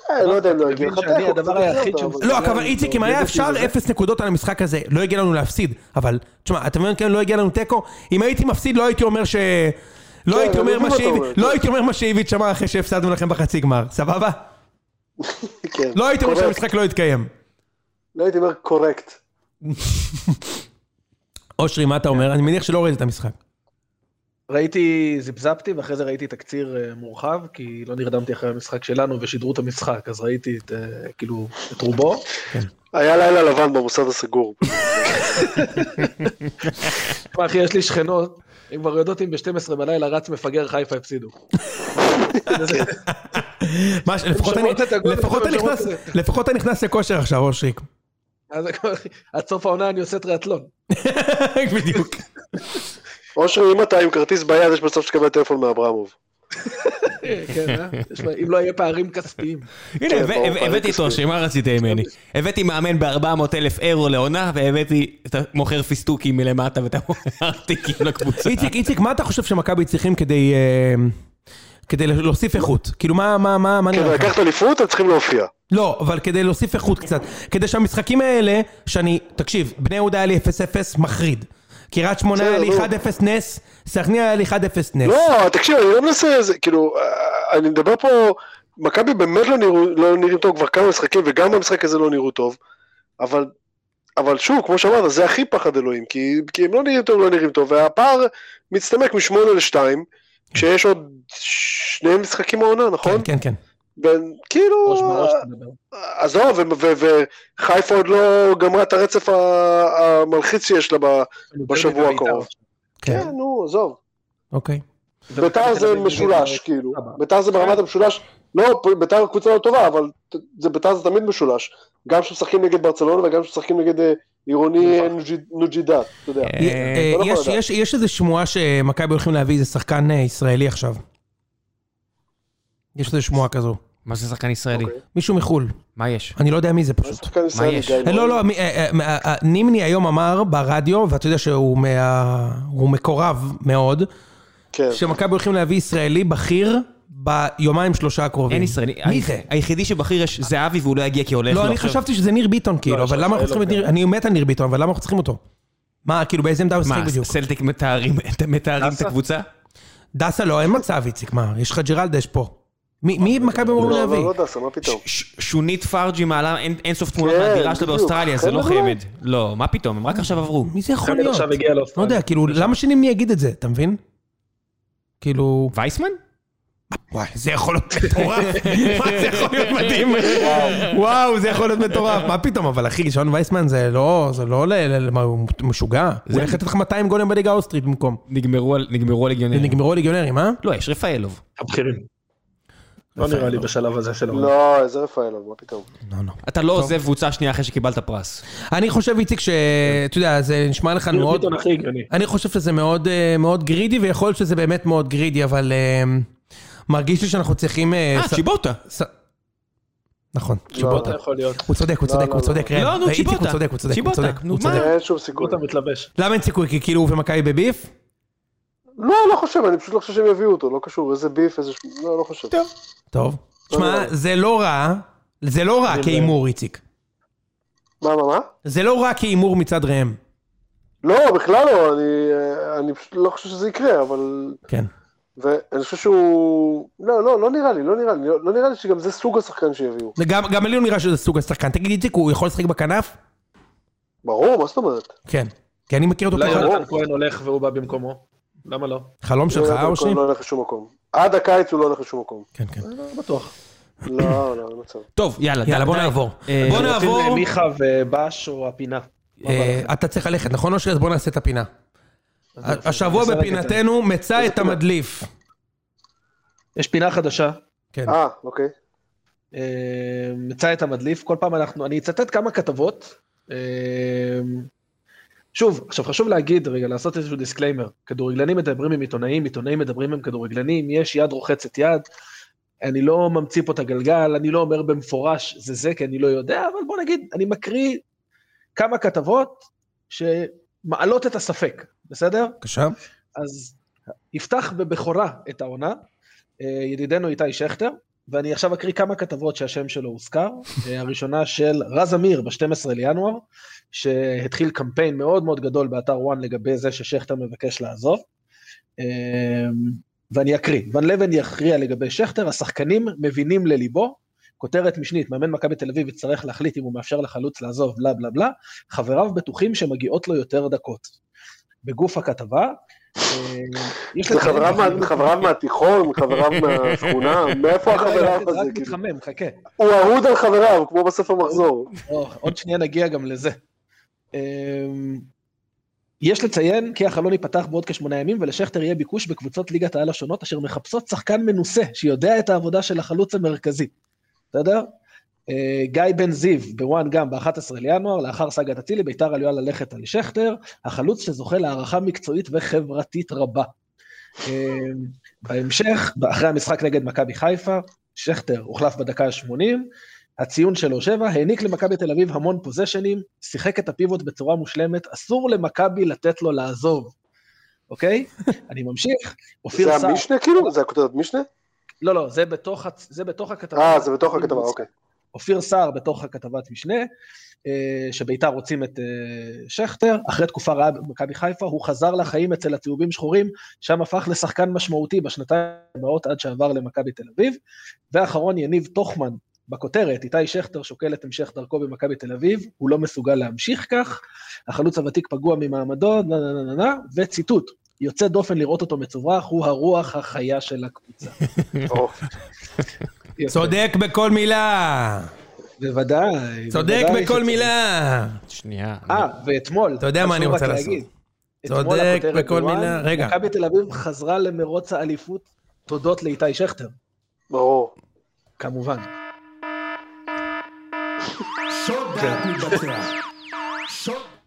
Speaker 3: אה, לא יודע אם לא
Speaker 4: אתה
Speaker 3: יגיע לך
Speaker 4: מבין שאני
Speaker 3: תיקו,
Speaker 4: הדבר
Speaker 3: אתה יודע,
Speaker 4: היחיד
Speaker 3: אבל-
Speaker 4: שהוא-
Speaker 2: לא, אבל איציק, אם היה
Speaker 4: אותי
Speaker 2: אפשר
Speaker 4: בזה.
Speaker 2: אפס נקודות על המשחק הזה, לא הגיע לנו להפסיד. אבל, תשמע, אתה מבין, כן, לא הגיע לנו תיקו. אם הייתי מפסיד, לא הייתי אומר ש... לא הייתי
Speaker 3: אני
Speaker 2: אומר
Speaker 3: מבין
Speaker 2: מה
Speaker 3: מה אתה
Speaker 2: שאיביץ'
Speaker 3: אומר.
Speaker 2: לא הייתי אומר מה שאיביץ' אמר אחרי שהפסדנו לכם בחצי גמר, סבבה?
Speaker 3: כן.
Speaker 2: לא הייתי אומר
Speaker 3: קורקט.
Speaker 2: שהמשחק לא יתקיים.
Speaker 3: לא הייתי אומר קורקט.
Speaker 2: אושרי, מה אתה אומר? אני מניח שלא ראית את המשחק.
Speaker 4: ראיתי, זיפזפתי, ואחרי זה ראיתי תקציר אה, מורחב, כי לא נרדמתי אחרי המשחק שלנו ושידרו את המשחק, אז ראיתי את, אה, כאילו, את רובו.
Speaker 3: היה לילה לבן במוסד הסגור.
Speaker 4: תשמע, אחי, יש לי שכנות, הן כבר יודעות אם ב-12 בלילה רץ מפגר חיפה הפסידו.
Speaker 2: מה, ש- לפחות
Speaker 4: שומעות
Speaker 2: אני-
Speaker 4: את הגול,
Speaker 2: לפחות
Speaker 4: הן
Speaker 2: אני
Speaker 4: שומעות
Speaker 2: נכנס-
Speaker 4: את
Speaker 2: לפחות אתה נכנס לכושר עכשיו, אושרי.
Speaker 4: אז הכל, אחי, עד סוף העונה אני עושה טריאטלון.
Speaker 2: בדיוק.
Speaker 3: אושרי, אם אתה עם כרטיס ביד, יש מצב שתקבל טלפון מאברמוב.
Speaker 4: כן, אה? יש מה- אם לא יהיה פערים כספיים.
Speaker 1: הנה,
Speaker 3: כן,
Speaker 1: הבא-
Speaker 3: ברור,
Speaker 1: הבא-
Speaker 3: אני
Speaker 1: הבאתי את
Speaker 3: מסכים.
Speaker 1: אושרי, מה רצית ממני? הבאתי מאמן ב-400 אלף אירו לעונה, והבאתי את המוכר פיסטוקים מלמטה ואת המוכרתיקים לקבוצה.
Speaker 2: איציק, איציק, מה אתה חושב שמכבי צריכים כדי... אה, כדי להוסיף איכות? כאילו, מה, מה, מה, מה
Speaker 3: כן,
Speaker 2: נראה לך?
Speaker 3: לקחת אליפות, הם צריכים להופיע.
Speaker 2: לא, אבל כדי להוסיף איכות קצת. כדי שהמשחקים האלה, שאני... תקשיב, בני יהודה היה לי 0-0 מחריד. קריית שמונה היה לי
Speaker 3: בסדר,
Speaker 2: 1-0
Speaker 3: נו.
Speaker 2: נס, סכנין היה לי 1-0 נס. כן,
Speaker 3: לא, תקשיב, אני לא מנסה, זה, כאילו, אה, אני מדבר פה, מכבי באמת לא נראו, לא נראים טוב כבר כמה משחקים, וגם במשחק הזה לא נראו טוב, אבל, אבל שוב, כמו שאמרת, זה הכי פחד אלוהים, כי, כי הם לא נראים טוב, לא נראים טוב, והפער מצטמק משמונה לשתיים, כשיש עוד שני משחקים העונה,
Speaker 2: כן,
Speaker 3: נכון?
Speaker 2: כן, כן.
Speaker 3: בין, כאילו,
Speaker 4: ראש בראש תדבר.
Speaker 3: עזוב, ו- ו- וחיפה עוד לא גמרה את הרצף ה- המלחיץ שיש לה ב... בשבוע הקרוב.
Speaker 2: כן,
Speaker 3: כן, נו, עזוב.
Speaker 2: אוקיי.
Speaker 3: ביתר זה משולש,
Speaker 2: אה,
Speaker 3: כאילו. ביתר
Speaker 2: כן.
Speaker 3: זה ברמת המשולש, לא, ביתר קבוצה לא טובה, אבל ת- זה ביתר זה תמיד משולש. גם כשמשחקים נגד ברצלונה וגם כשמשחקים נגד אה, עירוני אה, נוג'י- נוג'ידאת, אתה יודע.
Speaker 2: נכון. אה, אה,
Speaker 3: לא
Speaker 2: יש-
Speaker 3: יכול
Speaker 2: יש- יש איזו שמועה שמכבי הולכים להביא איזה שחקן אה, ישראלי עכשיו. יש איזו שמועה כזו.
Speaker 1: מה זה שחקן ישראלי?
Speaker 3: אוקיי.
Speaker 2: מישהו מחו"ל.
Speaker 1: מה יש?
Speaker 2: אני לא יודע מי זה
Speaker 3: מה
Speaker 2: פשוט.
Speaker 3: שחקן ישראלי,
Speaker 1: יש?
Speaker 3: גיא
Speaker 2: אה, לא,
Speaker 3: לוריא?
Speaker 2: לא, מי- אה, אה, אה, אה, נימני היום אמר ברדיו, ואתה יודע שהוא מה- הוא מקורב מאוד,
Speaker 3: כן.
Speaker 2: שמכבי הולכים להביא ישראלי בכיר ביומיים שלושה הקרובים.
Speaker 1: אין ישראלי.
Speaker 2: מי זה?
Speaker 1: היחידי שבכיר יש זהבי והוא לא יגיע כי הולך לו
Speaker 2: לא, אני
Speaker 1: עכשיו.
Speaker 2: חשבתי שזה ניר ביטון, כאילו, אבל
Speaker 4: יש
Speaker 2: למה אנחנו
Speaker 4: ישראלי
Speaker 2: צריכים את ניר... אני מת על ניר ביטון, אבל למה אנחנו צריכים אותו? מה, כאילו, באיזה עמדה הוא
Speaker 1: מה,
Speaker 2: ישחק בדיוק?
Speaker 1: סלטיק מתארים מתארים את
Speaker 4: דסה?
Speaker 1: הקבוצה?
Speaker 2: דסה לא, אין מצב, איציק, מה? יש לך ג'ירלדש פה. מי- מי מכבי אמורים
Speaker 3: לא,
Speaker 2: להביא?
Speaker 3: לא, לא דסה, מה פתאום.
Speaker 1: ש- שונית פארג'י מעלה אין- אינסוף תמונות
Speaker 3: כן,
Speaker 1: מהדירה שלה
Speaker 3: בדיוק.
Speaker 1: באוסטרליה, זה לא
Speaker 3: חמד לא?
Speaker 1: חמד. לא, מה פתאום, הם רק עכשיו עברו.
Speaker 2: מי זה יכול
Speaker 4: חמד
Speaker 2: להיות?
Speaker 4: עכשיו הגיע
Speaker 2: לא
Speaker 4: לאוסטרליה.
Speaker 2: יודע, כאילו, למה שנימני יגיד את זה, אתה מבין? כאילו...
Speaker 1: וייסמן?
Speaker 2: וואי, זה יכול להיות מטורף. מה, זה יכול להיות מדהים. וואו, זה יכול להיות מטורף. מה פתאום, אבל אחי, שון וייסמן זה לא, זה לא, ל- ל- מה, הוא משוגע. הוא הולך לתת לך 200 גולים בליגה האוסטרית במקום.
Speaker 4: כן.
Speaker 1: נגמרו על- נגמרו הלגיונרים.
Speaker 2: ונגמרו הליגיונרים, אה?
Speaker 1: לא, יש רפאלוב.
Speaker 4: הבכירים. לא נראה לי בשלב הזה של העונה.
Speaker 3: לא, איזה רפאלוב, מה פתאום.
Speaker 2: לא, לא.
Speaker 1: אתה לא עוזב קבוצה שנייה אחרי שקיבלת פרס.
Speaker 2: אני חושב, איציק, שאתה יודע, זה נשמע לך
Speaker 4: ניר
Speaker 2: מאוד...
Speaker 4: ביטון הכי הגיוני.
Speaker 2: אני חושב שזה מאוד, אה, מאוד גרידי, ויכול להיות שזה באמת מאוד גרידי, אבל אה, מרגיש לי שאנחנו צריכים...
Speaker 1: אה, צ'יבוטה.
Speaker 2: ס... נכון,
Speaker 4: לא,
Speaker 2: צ'יבוטה.
Speaker 4: לא יכול להיות.
Speaker 2: הוא צודק, הוא
Speaker 4: לא,
Speaker 2: צודק,
Speaker 4: לא,
Speaker 2: הוא
Speaker 4: לא.
Speaker 2: צודק, ראם.
Speaker 1: לא, נו,
Speaker 2: ראיתי,
Speaker 1: צ'יבוטה.
Speaker 2: הוא צודק, הוא צודק, הוא
Speaker 1: צ'יבוטה,
Speaker 2: צודק,
Speaker 1: נו,
Speaker 2: הוא
Speaker 1: מה?
Speaker 2: צודק.
Speaker 3: אין שום סיכוי.
Speaker 4: גוטה מתלבש.
Speaker 2: למה אין סיכוי? כי כאילו הוא ומכבי בביף?
Speaker 3: לא, לא חושב, אני פשוט לא חושב שהם יביאו אותו, לא קשור, איזה ביף, איזה... ש- לא, לא חושב.
Speaker 2: טוב.
Speaker 3: לא,
Speaker 2: תשמע,
Speaker 3: לא.
Speaker 2: זה לא רע, זה לא רע
Speaker 4: זה
Speaker 2: כהימור, איציק.
Speaker 3: מה, מה, מה?
Speaker 2: זה לא רע כהימור מצד ראם.
Speaker 3: לא, בכלל לא, אני, אה, אני פשוט לא חושב שזה יקרה, אבל...
Speaker 2: כן.
Speaker 3: ואני חושב שהוא... לא, לא, לא נראה לי, לא נראה לי, לא לא נראה לי שגם זה סוג השחקן שיביאו.
Speaker 2: וגם גם לי הוא נראה שזה סוג השחקן. תגיד, איציק, הוא יכול לשחק בכנף?
Speaker 3: ברור, מה זאת אומרת?
Speaker 2: כן. כי אני מכיר אותו
Speaker 4: אולי
Speaker 2: ככה.
Speaker 4: יונתן כהן הולך והוא בא במקומו. למה לא?
Speaker 2: חלום שלך,
Speaker 3: יונתן כהן
Speaker 2: אושרי?
Speaker 3: לא הולך לשום מקום. עד הקיץ הוא לא הולך לשום מקום.
Speaker 2: כן, כן.
Speaker 4: לא בטוח.
Speaker 3: לא, לא, אין מצב.
Speaker 1: טוב, יאללה, די,
Speaker 2: יאללה, בוא
Speaker 1: די.
Speaker 2: נעבור.
Speaker 1: אה,
Speaker 2: בוא
Speaker 4: רוצים
Speaker 2: נעבור.
Speaker 4: מיכה ובאש או הפינה. מה בא
Speaker 2: אוקיי. אה,
Speaker 4: לכם?
Speaker 2: אתה צריך ללכת, נכון, אושרי? אז בוא נעשה את הפינה.
Speaker 4: אז יופי,
Speaker 2: השבוע
Speaker 4: נסלק את זה.
Speaker 2: בפינתנו מצא את המדליף.
Speaker 4: יש פינה חדשה.
Speaker 2: כן.
Speaker 3: אה, אוקיי.
Speaker 4: אה, מצא את המדליף, כל פעם אנחנו, אני אצטט כמה כתבות. אה, שוב, עכשיו חשוב להגיד, רגע, לעשות איזשהו דיסקליימר, כדורגלנים מדברים עם עיתונאים, עיתונאים מדברים עם כדורגלנים, יש יד רוחצת יד, אני לא ממציא פה את הגלגל, אני לא אומר במפורש זה זה, כי אני לא יודע, אבל בוא נגיד, אני מקריא כמה כתבות שמעלות את הספק, בסדר?
Speaker 2: בבקשה.
Speaker 4: אז יפתח בבכורה את העונה, אה, ידידנו איתי שכטר, ואני עכשיו אקריא כמה כתבות שהשם שלו הוזכר. אה, הראשונה של רז אמיר ב-12 לינואר, שהתחיל קמפיין מאוד מאוד גדול באתר וואן לגבי זה ששכטר מבקש לעזוב. אה, ואני אקריא, ון לבן יכריע לגבי שכטר, השחקנים מבינים לליבו. כותרת משנית, מאמן מכבי תל אביב יצטרך להחליט אם הוא מאפשר לחלוץ לעזוב, בלה בלה בלה, חבריו בטוחים שמגיעות לו יותר דקות. בגוף הכתבה, אה, יש
Speaker 3: זה
Speaker 4: לציין-
Speaker 3: חבריו מה- חבריו מהתיכון, חבריו מהשכונה, מאיפה
Speaker 4: רגע, רגע,
Speaker 3: החבריו
Speaker 4: זה רק
Speaker 3: הזה? כאילו?
Speaker 4: מתחמם, חכה.
Speaker 3: הוא אהוד על חבריו, כמו בסוף המחזור.
Speaker 4: או, עוד שנייה נגיע גם לזה. אמ, יש לציין כי החלון ייפתח בעוד כשמונה ימים, ולשכטר יהיה ביקוש בקבוצות ליגת העל השונות, אשר מחפשות שחקן מנוסה, שיודע את העבודה של החלוץ המרכזי. בסדר? אה, גיא בן זיו, בוואן גם, ב-11 לינואר, לאחר סאגת אצילי, ביתר עלולה ללכת על שכטר, החלוץ שזוכה להערכה מקצועית וחברתית רבה. אמ, בהמשך, אחרי המשחק נגד מכבי חיפה, שכטר הוחלף בדקה ה-80, הציון שלו שבע, העניק למכבי תל אביב המון פוזיישנים, שיחק את הפיבוט בצורה מושלמת, אסור למכבי לתת לו לעזוב, אוקיי? אני ממשיך, אופיר
Speaker 3: זה
Speaker 4: סער...
Speaker 3: המשנה כאילו? זה הכותרת משנה?
Speaker 4: לא, לא, זה בתוך, הצ- זה בתוך הכתבה.
Speaker 3: אה, זה בתוך הכתבה, אוקיי.
Speaker 4: אופיר סער בתוך הכתבת משנה, אה, שביתר רוצים את אה, שכטר, אחרי תקופה רעה במכבי חיפה, הוא חזר לחיים אצל הצהובים שחורים, שם הפך לשחקן משמעותי בשנתיים הבאות עד שעבר למכבי תל אביב. ואחרון, יניב טוחמן, בכותרת, איתי שכטר שוקל את המשך דרכו במכבי תל אביב, הוא לא מסוגל להמשיך כך, החלוץ הוותיק פגוע ממעמדו, נה נה נה נה נה, וציטוט, יוצא דופן לראות אותו מצוברח, הוא הרוח החיה של הקבוצה.
Speaker 3: אוף.
Speaker 4: יפה.
Speaker 2: צודק בכל מילה.
Speaker 4: בוודאי.
Speaker 2: צודק
Speaker 4: בוודאי
Speaker 2: בכל
Speaker 4: שצודק.
Speaker 2: מילה.
Speaker 1: שנייה.
Speaker 4: אה, ואתמול,
Speaker 2: אתה יודע מה אני
Speaker 4: חשוב
Speaker 2: רוצה
Speaker 4: רק
Speaker 2: לעשות.
Speaker 4: להגיד,
Speaker 2: צודק
Speaker 4: אתמול הכותרת
Speaker 2: בכל
Speaker 4: בוואן,
Speaker 2: מילה. רגע.
Speaker 4: מכבי תל אביב חזרה למרוץ האליפות תודות לאיתי שכטר,
Speaker 3: ברור.
Speaker 4: כמובן.
Speaker 2: כן.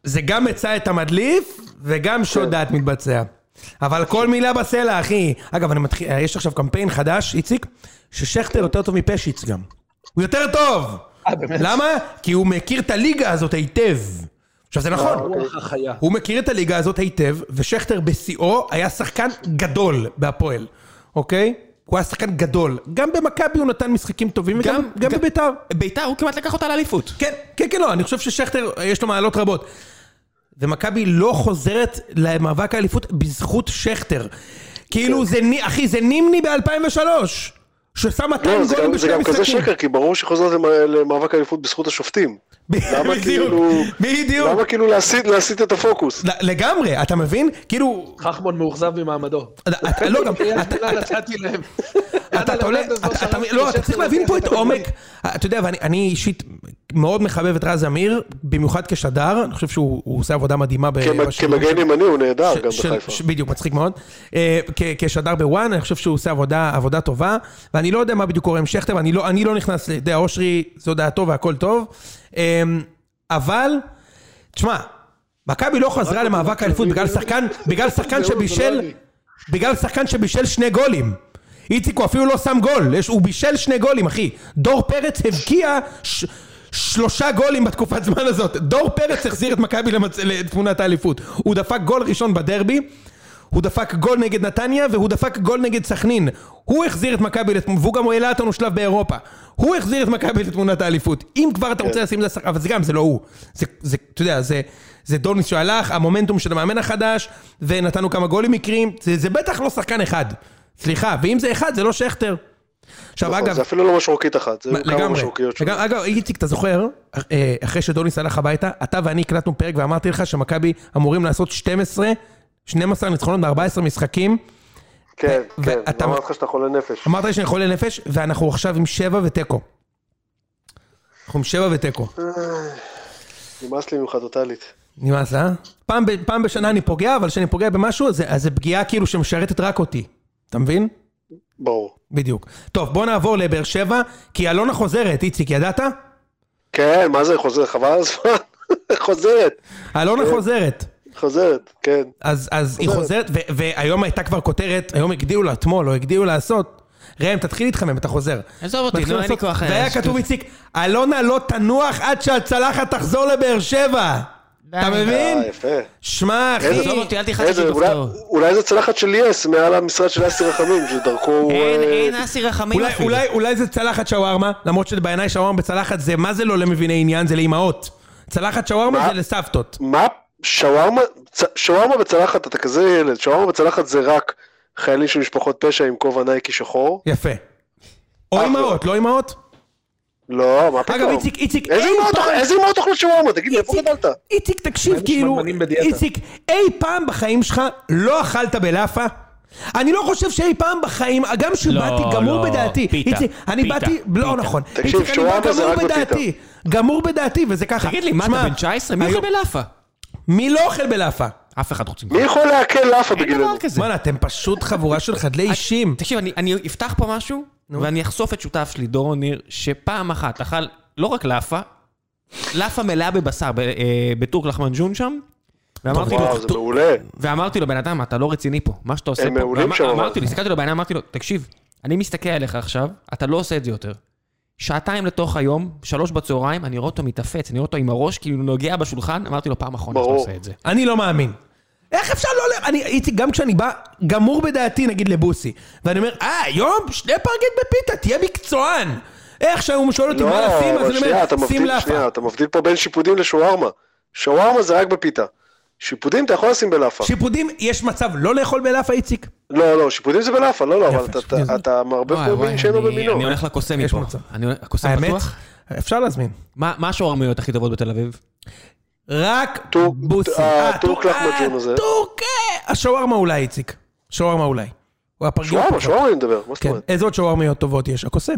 Speaker 2: זה גם מצא את המדליף, וגם שוד דעת מתבצע. אבל כל מילה בסלע, אחי. אגב, אני מתחיל, אה, יש עכשיו קמפיין חדש, איציק, ששכטר יותר טוב מפשיץ גם. הוא יותר טוב!
Speaker 4: אה, באמת?
Speaker 2: למה? כי הוא מכיר את הליגה הזאת היטב. עכשיו, זה נכון.
Speaker 4: הרוח החיה.
Speaker 2: הוא מכיר את הליגה הזאת היטב, ושכטר בשיאו היה שחקן גדול בהפועל, אוקיי? הוא היה שחקן גדול. גם במכבי הוא נתן משחקים טובים, וגם
Speaker 1: גם-
Speaker 2: גם
Speaker 1: גם-
Speaker 2: בביתר.
Speaker 1: ביתר, הוא כמעט לקח אותה לאליפות.
Speaker 2: כן, כן, כן, לא, אני חושב ששכטר, אה, יש לו מעלות רבות. ומכבי לא חוזרת למאבק האליפות בזכות שכטר.
Speaker 3: כן.
Speaker 2: כאילו זה, ני- אחי, זה נימני ב-2003, ששם 200
Speaker 3: לא, זה
Speaker 2: גולים
Speaker 3: גם- זה
Speaker 2: כן, בשני
Speaker 3: גם כזה
Speaker 2: משחקים.
Speaker 3: שקר, כי ברור שחוזרת למ- למאבק האליפות בזכות השופטים. למה
Speaker 2: בדיוק,
Speaker 3: כאילו...
Speaker 2: בדיוק.
Speaker 3: למה כאילו להסיט להסיט את הפוקוס?
Speaker 2: לגמרי, אתה מבין? כאילו,
Speaker 4: חכמון מאוכזב ממעמדו.
Speaker 2: אתה- אתה- לא, גם,
Speaker 4: יד
Speaker 2: אתה-
Speaker 4: מילה נתתי להם.
Speaker 2: אתה
Speaker 4: יאללה,
Speaker 2: תולה,
Speaker 4: לרנדו זו
Speaker 2: אתה- אתה-
Speaker 4: שלוש
Speaker 2: לא, אתה
Speaker 4: לשכטר
Speaker 2: צריך להבין פה את
Speaker 4: לוקח את
Speaker 2: עומק, אתה יודע, ואני אני אישית מאוד מחבב את רז אמיר, במיוחד כשדר, אני חושב שהוא הוא עושה עבודה מדהימה ב-
Speaker 3: כמ-
Speaker 2: בשידור
Speaker 3: כמגן
Speaker 2: שלו.
Speaker 3: ימני הוא נהדר גם
Speaker 2: אה, ש-
Speaker 3: בחיפה.
Speaker 2: ש- בדיוק, מצחיק מאוד. אה, כ- כשדר בוואן, אני חושב שהוא עושה עבודה, עבודה טובה, ואני לא יודע מה בדיוק קורה עם שכטר, אני לא, אני לא נכנס, אתה יודע, אושרי, זו דעתו והכל טוב, אה, אבל, תשמע, מכבי לא חזרה
Speaker 3: לא
Speaker 2: למאבק האליפות בגלל שחקן, בגלל שחקן
Speaker 4: זהו, זה לא
Speaker 2: שבישל,
Speaker 4: אני.
Speaker 2: בגלל שחקן שבישל שני גולים. איציק הוא אפילו לא שם גול, יש, הוא בישל שני גולים, אחי. דור פרץ הבקיע ש, שלושה גולים בתקופת זמן הזאת. דור פרץ החזיר את מכבי למצ... לתמונת האליפות. הוא דפק גול ראשון בדרבי, הוא דפק גול נגד נתניה, והוא דפק גול נגד סכנין. הוא החזיר את מכבי לתמונת, והוא גם העלה אותנו שלב באירופה. הוא החזיר את מכבי לתמונת האליפות. אם כבר אתה
Speaker 3: כן.
Speaker 2: רוצה לשים לזה, אבל זה גם, זה לא הוא. זה, זה, אתה יודע, זה, זה דוניס שהלך, המומנטום של המאמן החדש, ונתנו כמה גולים מקרים. זה, זה בטח לא שחקן אחד. סליחה, ואם זה אחד, זה לא שכטר. עכשיו,
Speaker 3: נכון,
Speaker 2: אגב...
Speaker 3: זה אפילו לא משרוקית אחת, זה היו כמה
Speaker 2: לגמרי.
Speaker 3: משרוקיות
Speaker 2: לגמרי. אגב, איציק, אתה זוכר, אה, אחרי שדוניס הלך הביתה, אתה ואני הקלטנו פרק ואמרתי לך שמכבי אמורים לעשות 12, 12 ניצחונות ב-14 משחקים.
Speaker 3: כן, כן,
Speaker 2: ואתה-
Speaker 3: אמרתי לך שאתה חולה נפש.
Speaker 2: אמרת לי שאני חולה נפש, ואנחנו עכשיו עם 7 ותיקו. אנחנו עם 7 ותיקו.
Speaker 3: נמאס לי ממך טוטאלית.
Speaker 2: נמאס, אה? פעם, ב- פעם בשנה אני פוגע, אבל כשאני פוגע במשהו, אז זה, אז זה פגיעה כאילו שמשרתת רק אותי. אתה מבין?
Speaker 3: ברור.
Speaker 2: בדיוק. טוב, בוא נעבור לבאר שבע, כי אלונה חוזרת, איציק, ידעת?
Speaker 3: כן, מה זה חוזר? חבל על הזמן. חוזרת,
Speaker 2: אלונה חוזרת.
Speaker 3: חוזרת, כן.
Speaker 2: אז, אז היא חוזרת, ו- והיום הייתה כבר כותרת, היום הגדיעו לה, אתמול, לא הגדיעו לעשות. ראם, תתחיל להתחמם, אתה חוזר.
Speaker 1: עזוב אותי,
Speaker 2: מתחיל
Speaker 1: לא, אין לי
Speaker 2: לעשות,
Speaker 1: כוח.
Speaker 2: והיה כתוב, איציק, אלונה לא תנוח עד שהצלחת תחזור לבאר שבע. אתה מבין?
Speaker 3: אה, יפה.
Speaker 2: שמע, אחי.
Speaker 1: עזוב אותי, אל תלחץ
Speaker 3: איזה,
Speaker 1: אותי
Speaker 3: אולי-
Speaker 1: בכתוב.
Speaker 3: אולי זה צלחת של יס מעל המשרד של אסי רחמים, שדרכו... הוא,
Speaker 1: אין,
Speaker 3: אה,
Speaker 1: אין אסי רחמים
Speaker 2: אולי,
Speaker 1: אפילו.
Speaker 2: אולי, אולי זה צלחת שווארמה, למרות שבעיניי שווארמה בצלחת זה מה זה לא למביני עניין, זה לאימהות. צלחת שווארמה
Speaker 3: מה?
Speaker 2: זה לסבתות.
Speaker 3: מה? שווארמה צ- שווארמה בצלחת, אתה כזה ילד, שווארמה בצלחת זה רק חיילים של משפחות פשע עם כובע נייקי שחור?
Speaker 2: יפה. או
Speaker 3: אחלה.
Speaker 2: אימהות, לא אימהות?
Speaker 3: לא, מה פתאום?
Speaker 2: אגב, איציק, איציק,
Speaker 3: איזה
Speaker 2: אי
Speaker 3: אמהות
Speaker 2: פעם-
Speaker 3: אוכל- איזה אמהות אוכלות שווארמה? תגיד לי, איפה
Speaker 2: איציק,
Speaker 3: גדלת?
Speaker 2: איציק, תקשיב,
Speaker 4: אני
Speaker 2: כאילו,
Speaker 4: שמנמנים בדיאטה.
Speaker 2: איציק, אי פעם בחיים שלך לא אכלת בלאפה? אני לא חושב שאי פעם בחיים, גם שבאתי
Speaker 1: לא,
Speaker 2: גמור
Speaker 1: לא,
Speaker 2: בדעתי.
Speaker 1: פיתה,
Speaker 2: איציק, אני
Speaker 1: פיתה,
Speaker 2: באתי, לא
Speaker 1: פיתה.
Speaker 2: נכון.
Speaker 3: תקשיב,
Speaker 2: איציק, אני בא
Speaker 3: שווארמה זה
Speaker 2: גמור
Speaker 3: רק בפיתה.
Speaker 2: בדעתי. גמור בדעתי, וזה ככה.
Speaker 1: תגיד לי, מה
Speaker 2: שמע,
Speaker 1: אתה בן 19? מי אוכל
Speaker 2: היום-
Speaker 1: בלאפה?
Speaker 2: מי לא אוכל בלאפה?
Speaker 1: אף אחד לא חוץ ממך.
Speaker 3: מי יכול לעכל לאפה
Speaker 1: אין דבר
Speaker 3: בגילנו?
Speaker 1: כזה.
Speaker 2: וואלה, אתם פשוט חבורה של חדלי אישים.
Speaker 1: תקשיב, אני- אני אפתח פה משהו, ואני אחשוף את שותף שלי, דורון ניר, שפעם אחת אכל לא רק לאפה, לאפה מלאה בבשר, ב- אה, בטורק לחמנג'ון שם, ואמרתי לו,
Speaker 3: וואו, זה מעולה.
Speaker 1: ואמרתי לו, בן אדם, אתה לא רציני פה, מה שאתה עושה פה.
Speaker 3: הם מעולים
Speaker 1: ואמר-
Speaker 3: שם, אבל.
Speaker 1: אמרתי לו, הסתכלתי לו בעיניים, אמרתי לו, תקשיב, אני מסתכל עליך עכשיו, אתה לא עושה את זה יותר. שעתיים לתוך היום, שלוש בצהריים, אני רואה אותו מתאפץ, אני רואה אותו עם הראש, כאילו נוגע בשולחן, אמרתי לו, פעם אחרונה שאתה
Speaker 3: ברור.
Speaker 1: עושה את זה.
Speaker 2: אני לא מאמין. איך אפשר לא ל... אני, איציק, גם כשאני בא, גמור בדעתי, נגיד לבוסי. ואני אומר, אה, היום שני פרגט בפיתה, תהיה מקצוען. איך שהוא שואל אותי
Speaker 3: לא,
Speaker 2: מה לשים, אז
Speaker 3: אבל
Speaker 2: אני
Speaker 3: שנייה, אתה
Speaker 2: אומר, שים
Speaker 3: מבדיל,
Speaker 2: לאפה.
Speaker 3: שנייה, אתה מבדיל פה בין שיפודים לשווארמה. שווארמה זה רק בפיתה. שיפודים אתה יכול לשים בלאפה.
Speaker 2: שיפודים, יש מצב לא לאכול בלאפה, איציק?
Speaker 3: לא, לא, שיפודים זה בלאפה, לא, לא, אבל אתה-
Speaker 2: שיפודים
Speaker 3: אתה-
Speaker 2: זה-
Speaker 3: אתה מערבב
Speaker 1: וואי,
Speaker 3: פה
Speaker 1: וואי,
Speaker 3: מין שאינו
Speaker 1: אני-
Speaker 3: במינו.
Speaker 1: אני הולך לקוסם
Speaker 2: יש
Speaker 1: מפה.
Speaker 2: מצב.
Speaker 1: אני הולך- הקוסם
Speaker 2: האמת,
Speaker 1: פתוח?
Speaker 2: אפשר להזמין.
Speaker 1: מה מה השוערמיות הכי טובות בתל אביב?
Speaker 2: רק
Speaker 3: טור-
Speaker 2: בוסי.
Speaker 3: אה,
Speaker 2: אה,
Speaker 3: טורק
Speaker 2: טור-
Speaker 3: לחמג'ון
Speaker 2: אה,
Speaker 3: הזה.
Speaker 2: טורק, אה, השווארמה אולי, איציק. שווארמה אולי. או הפרגיות
Speaker 3: שווארמה,
Speaker 2: פחות.
Speaker 3: שווארמה אני מדבר, מה זאת
Speaker 2: כן,
Speaker 3: אומרת?
Speaker 2: איזה עוד שווארמיות טובות יש? הקוסם.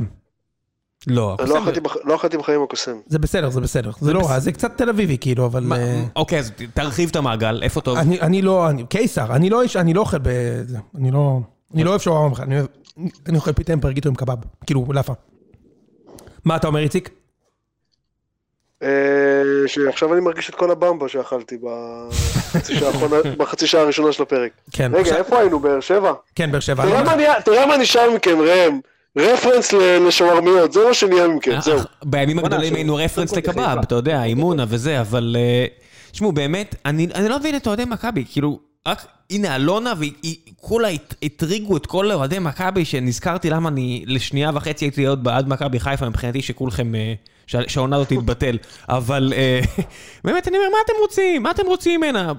Speaker 2: לא,
Speaker 3: לא אכלתי בח- לא אכלתי בחיים הקוסם.
Speaker 2: זה בסדר, זה בסדר. זה לא רע, זה קצת תל אביבי כאילו, אבל...
Speaker 1: מה-
Speaker 2: אה,
Speaker 1: אוקיי, אז ת- תרחיב את המעגל, איפה טוב?
Speaker 2: אני, אני לא, אני, קיסר, אני לא, איש- אני לא אוכל ב... זה, אני לא, אני לא אוהב שווארמה בכלל, אני, אוהב- אני אוכל פיתה עם פרגיטו עם קבב, כאילו, לאפה. מה אתה אומר, איציק?
Speaker 3: אה, שעכשיו אני מרגיש את כל הבמבה שאכלתי בחצי שעה האחרונה- בחצי שעה הראשונה של הפרק.
Speaker 2: כן,
Speaker 3: רגע, לא
Speaker 2: עכשיו-
Speaker 3: איפה היינו? באר שבע?
Speaker 2: כן, באר שבע.
Speaker 3: תראה מה נהיה- תראה מה נשאר מכם, ראם. רפרנס ל- לשווארמיות, זה מה שנהיה מכם, כן, זהו.
Speaker 1: אך, אה, בימים הגדולים
Speaker 4: נעשה-
Speaker 1: היינו רפרנס
Speaker 4: קודם כל
Speaker 1: לקבב,
Speaker 4: בחיפה.
Speaker 1: אתה יודע, אימונה וזה, אבל... אה, תשמעו, באמת, אני אני לא מבין את אוהדי מכבי, כאילו, רק, הנה אלונה, והיא היא- כולה הת- הטריגו את כל אוהדי מכבי, שנזכרתי למה אני לשנייה וחצי הייתי עוד בעד מכבי חיפה, מבחינתי שכולכם... אה, שה- שהעונה הזאת תתבטל, אבל אה, באמת, אני אומר, מה אתם רוצים? מה אתם רוצים ממנה?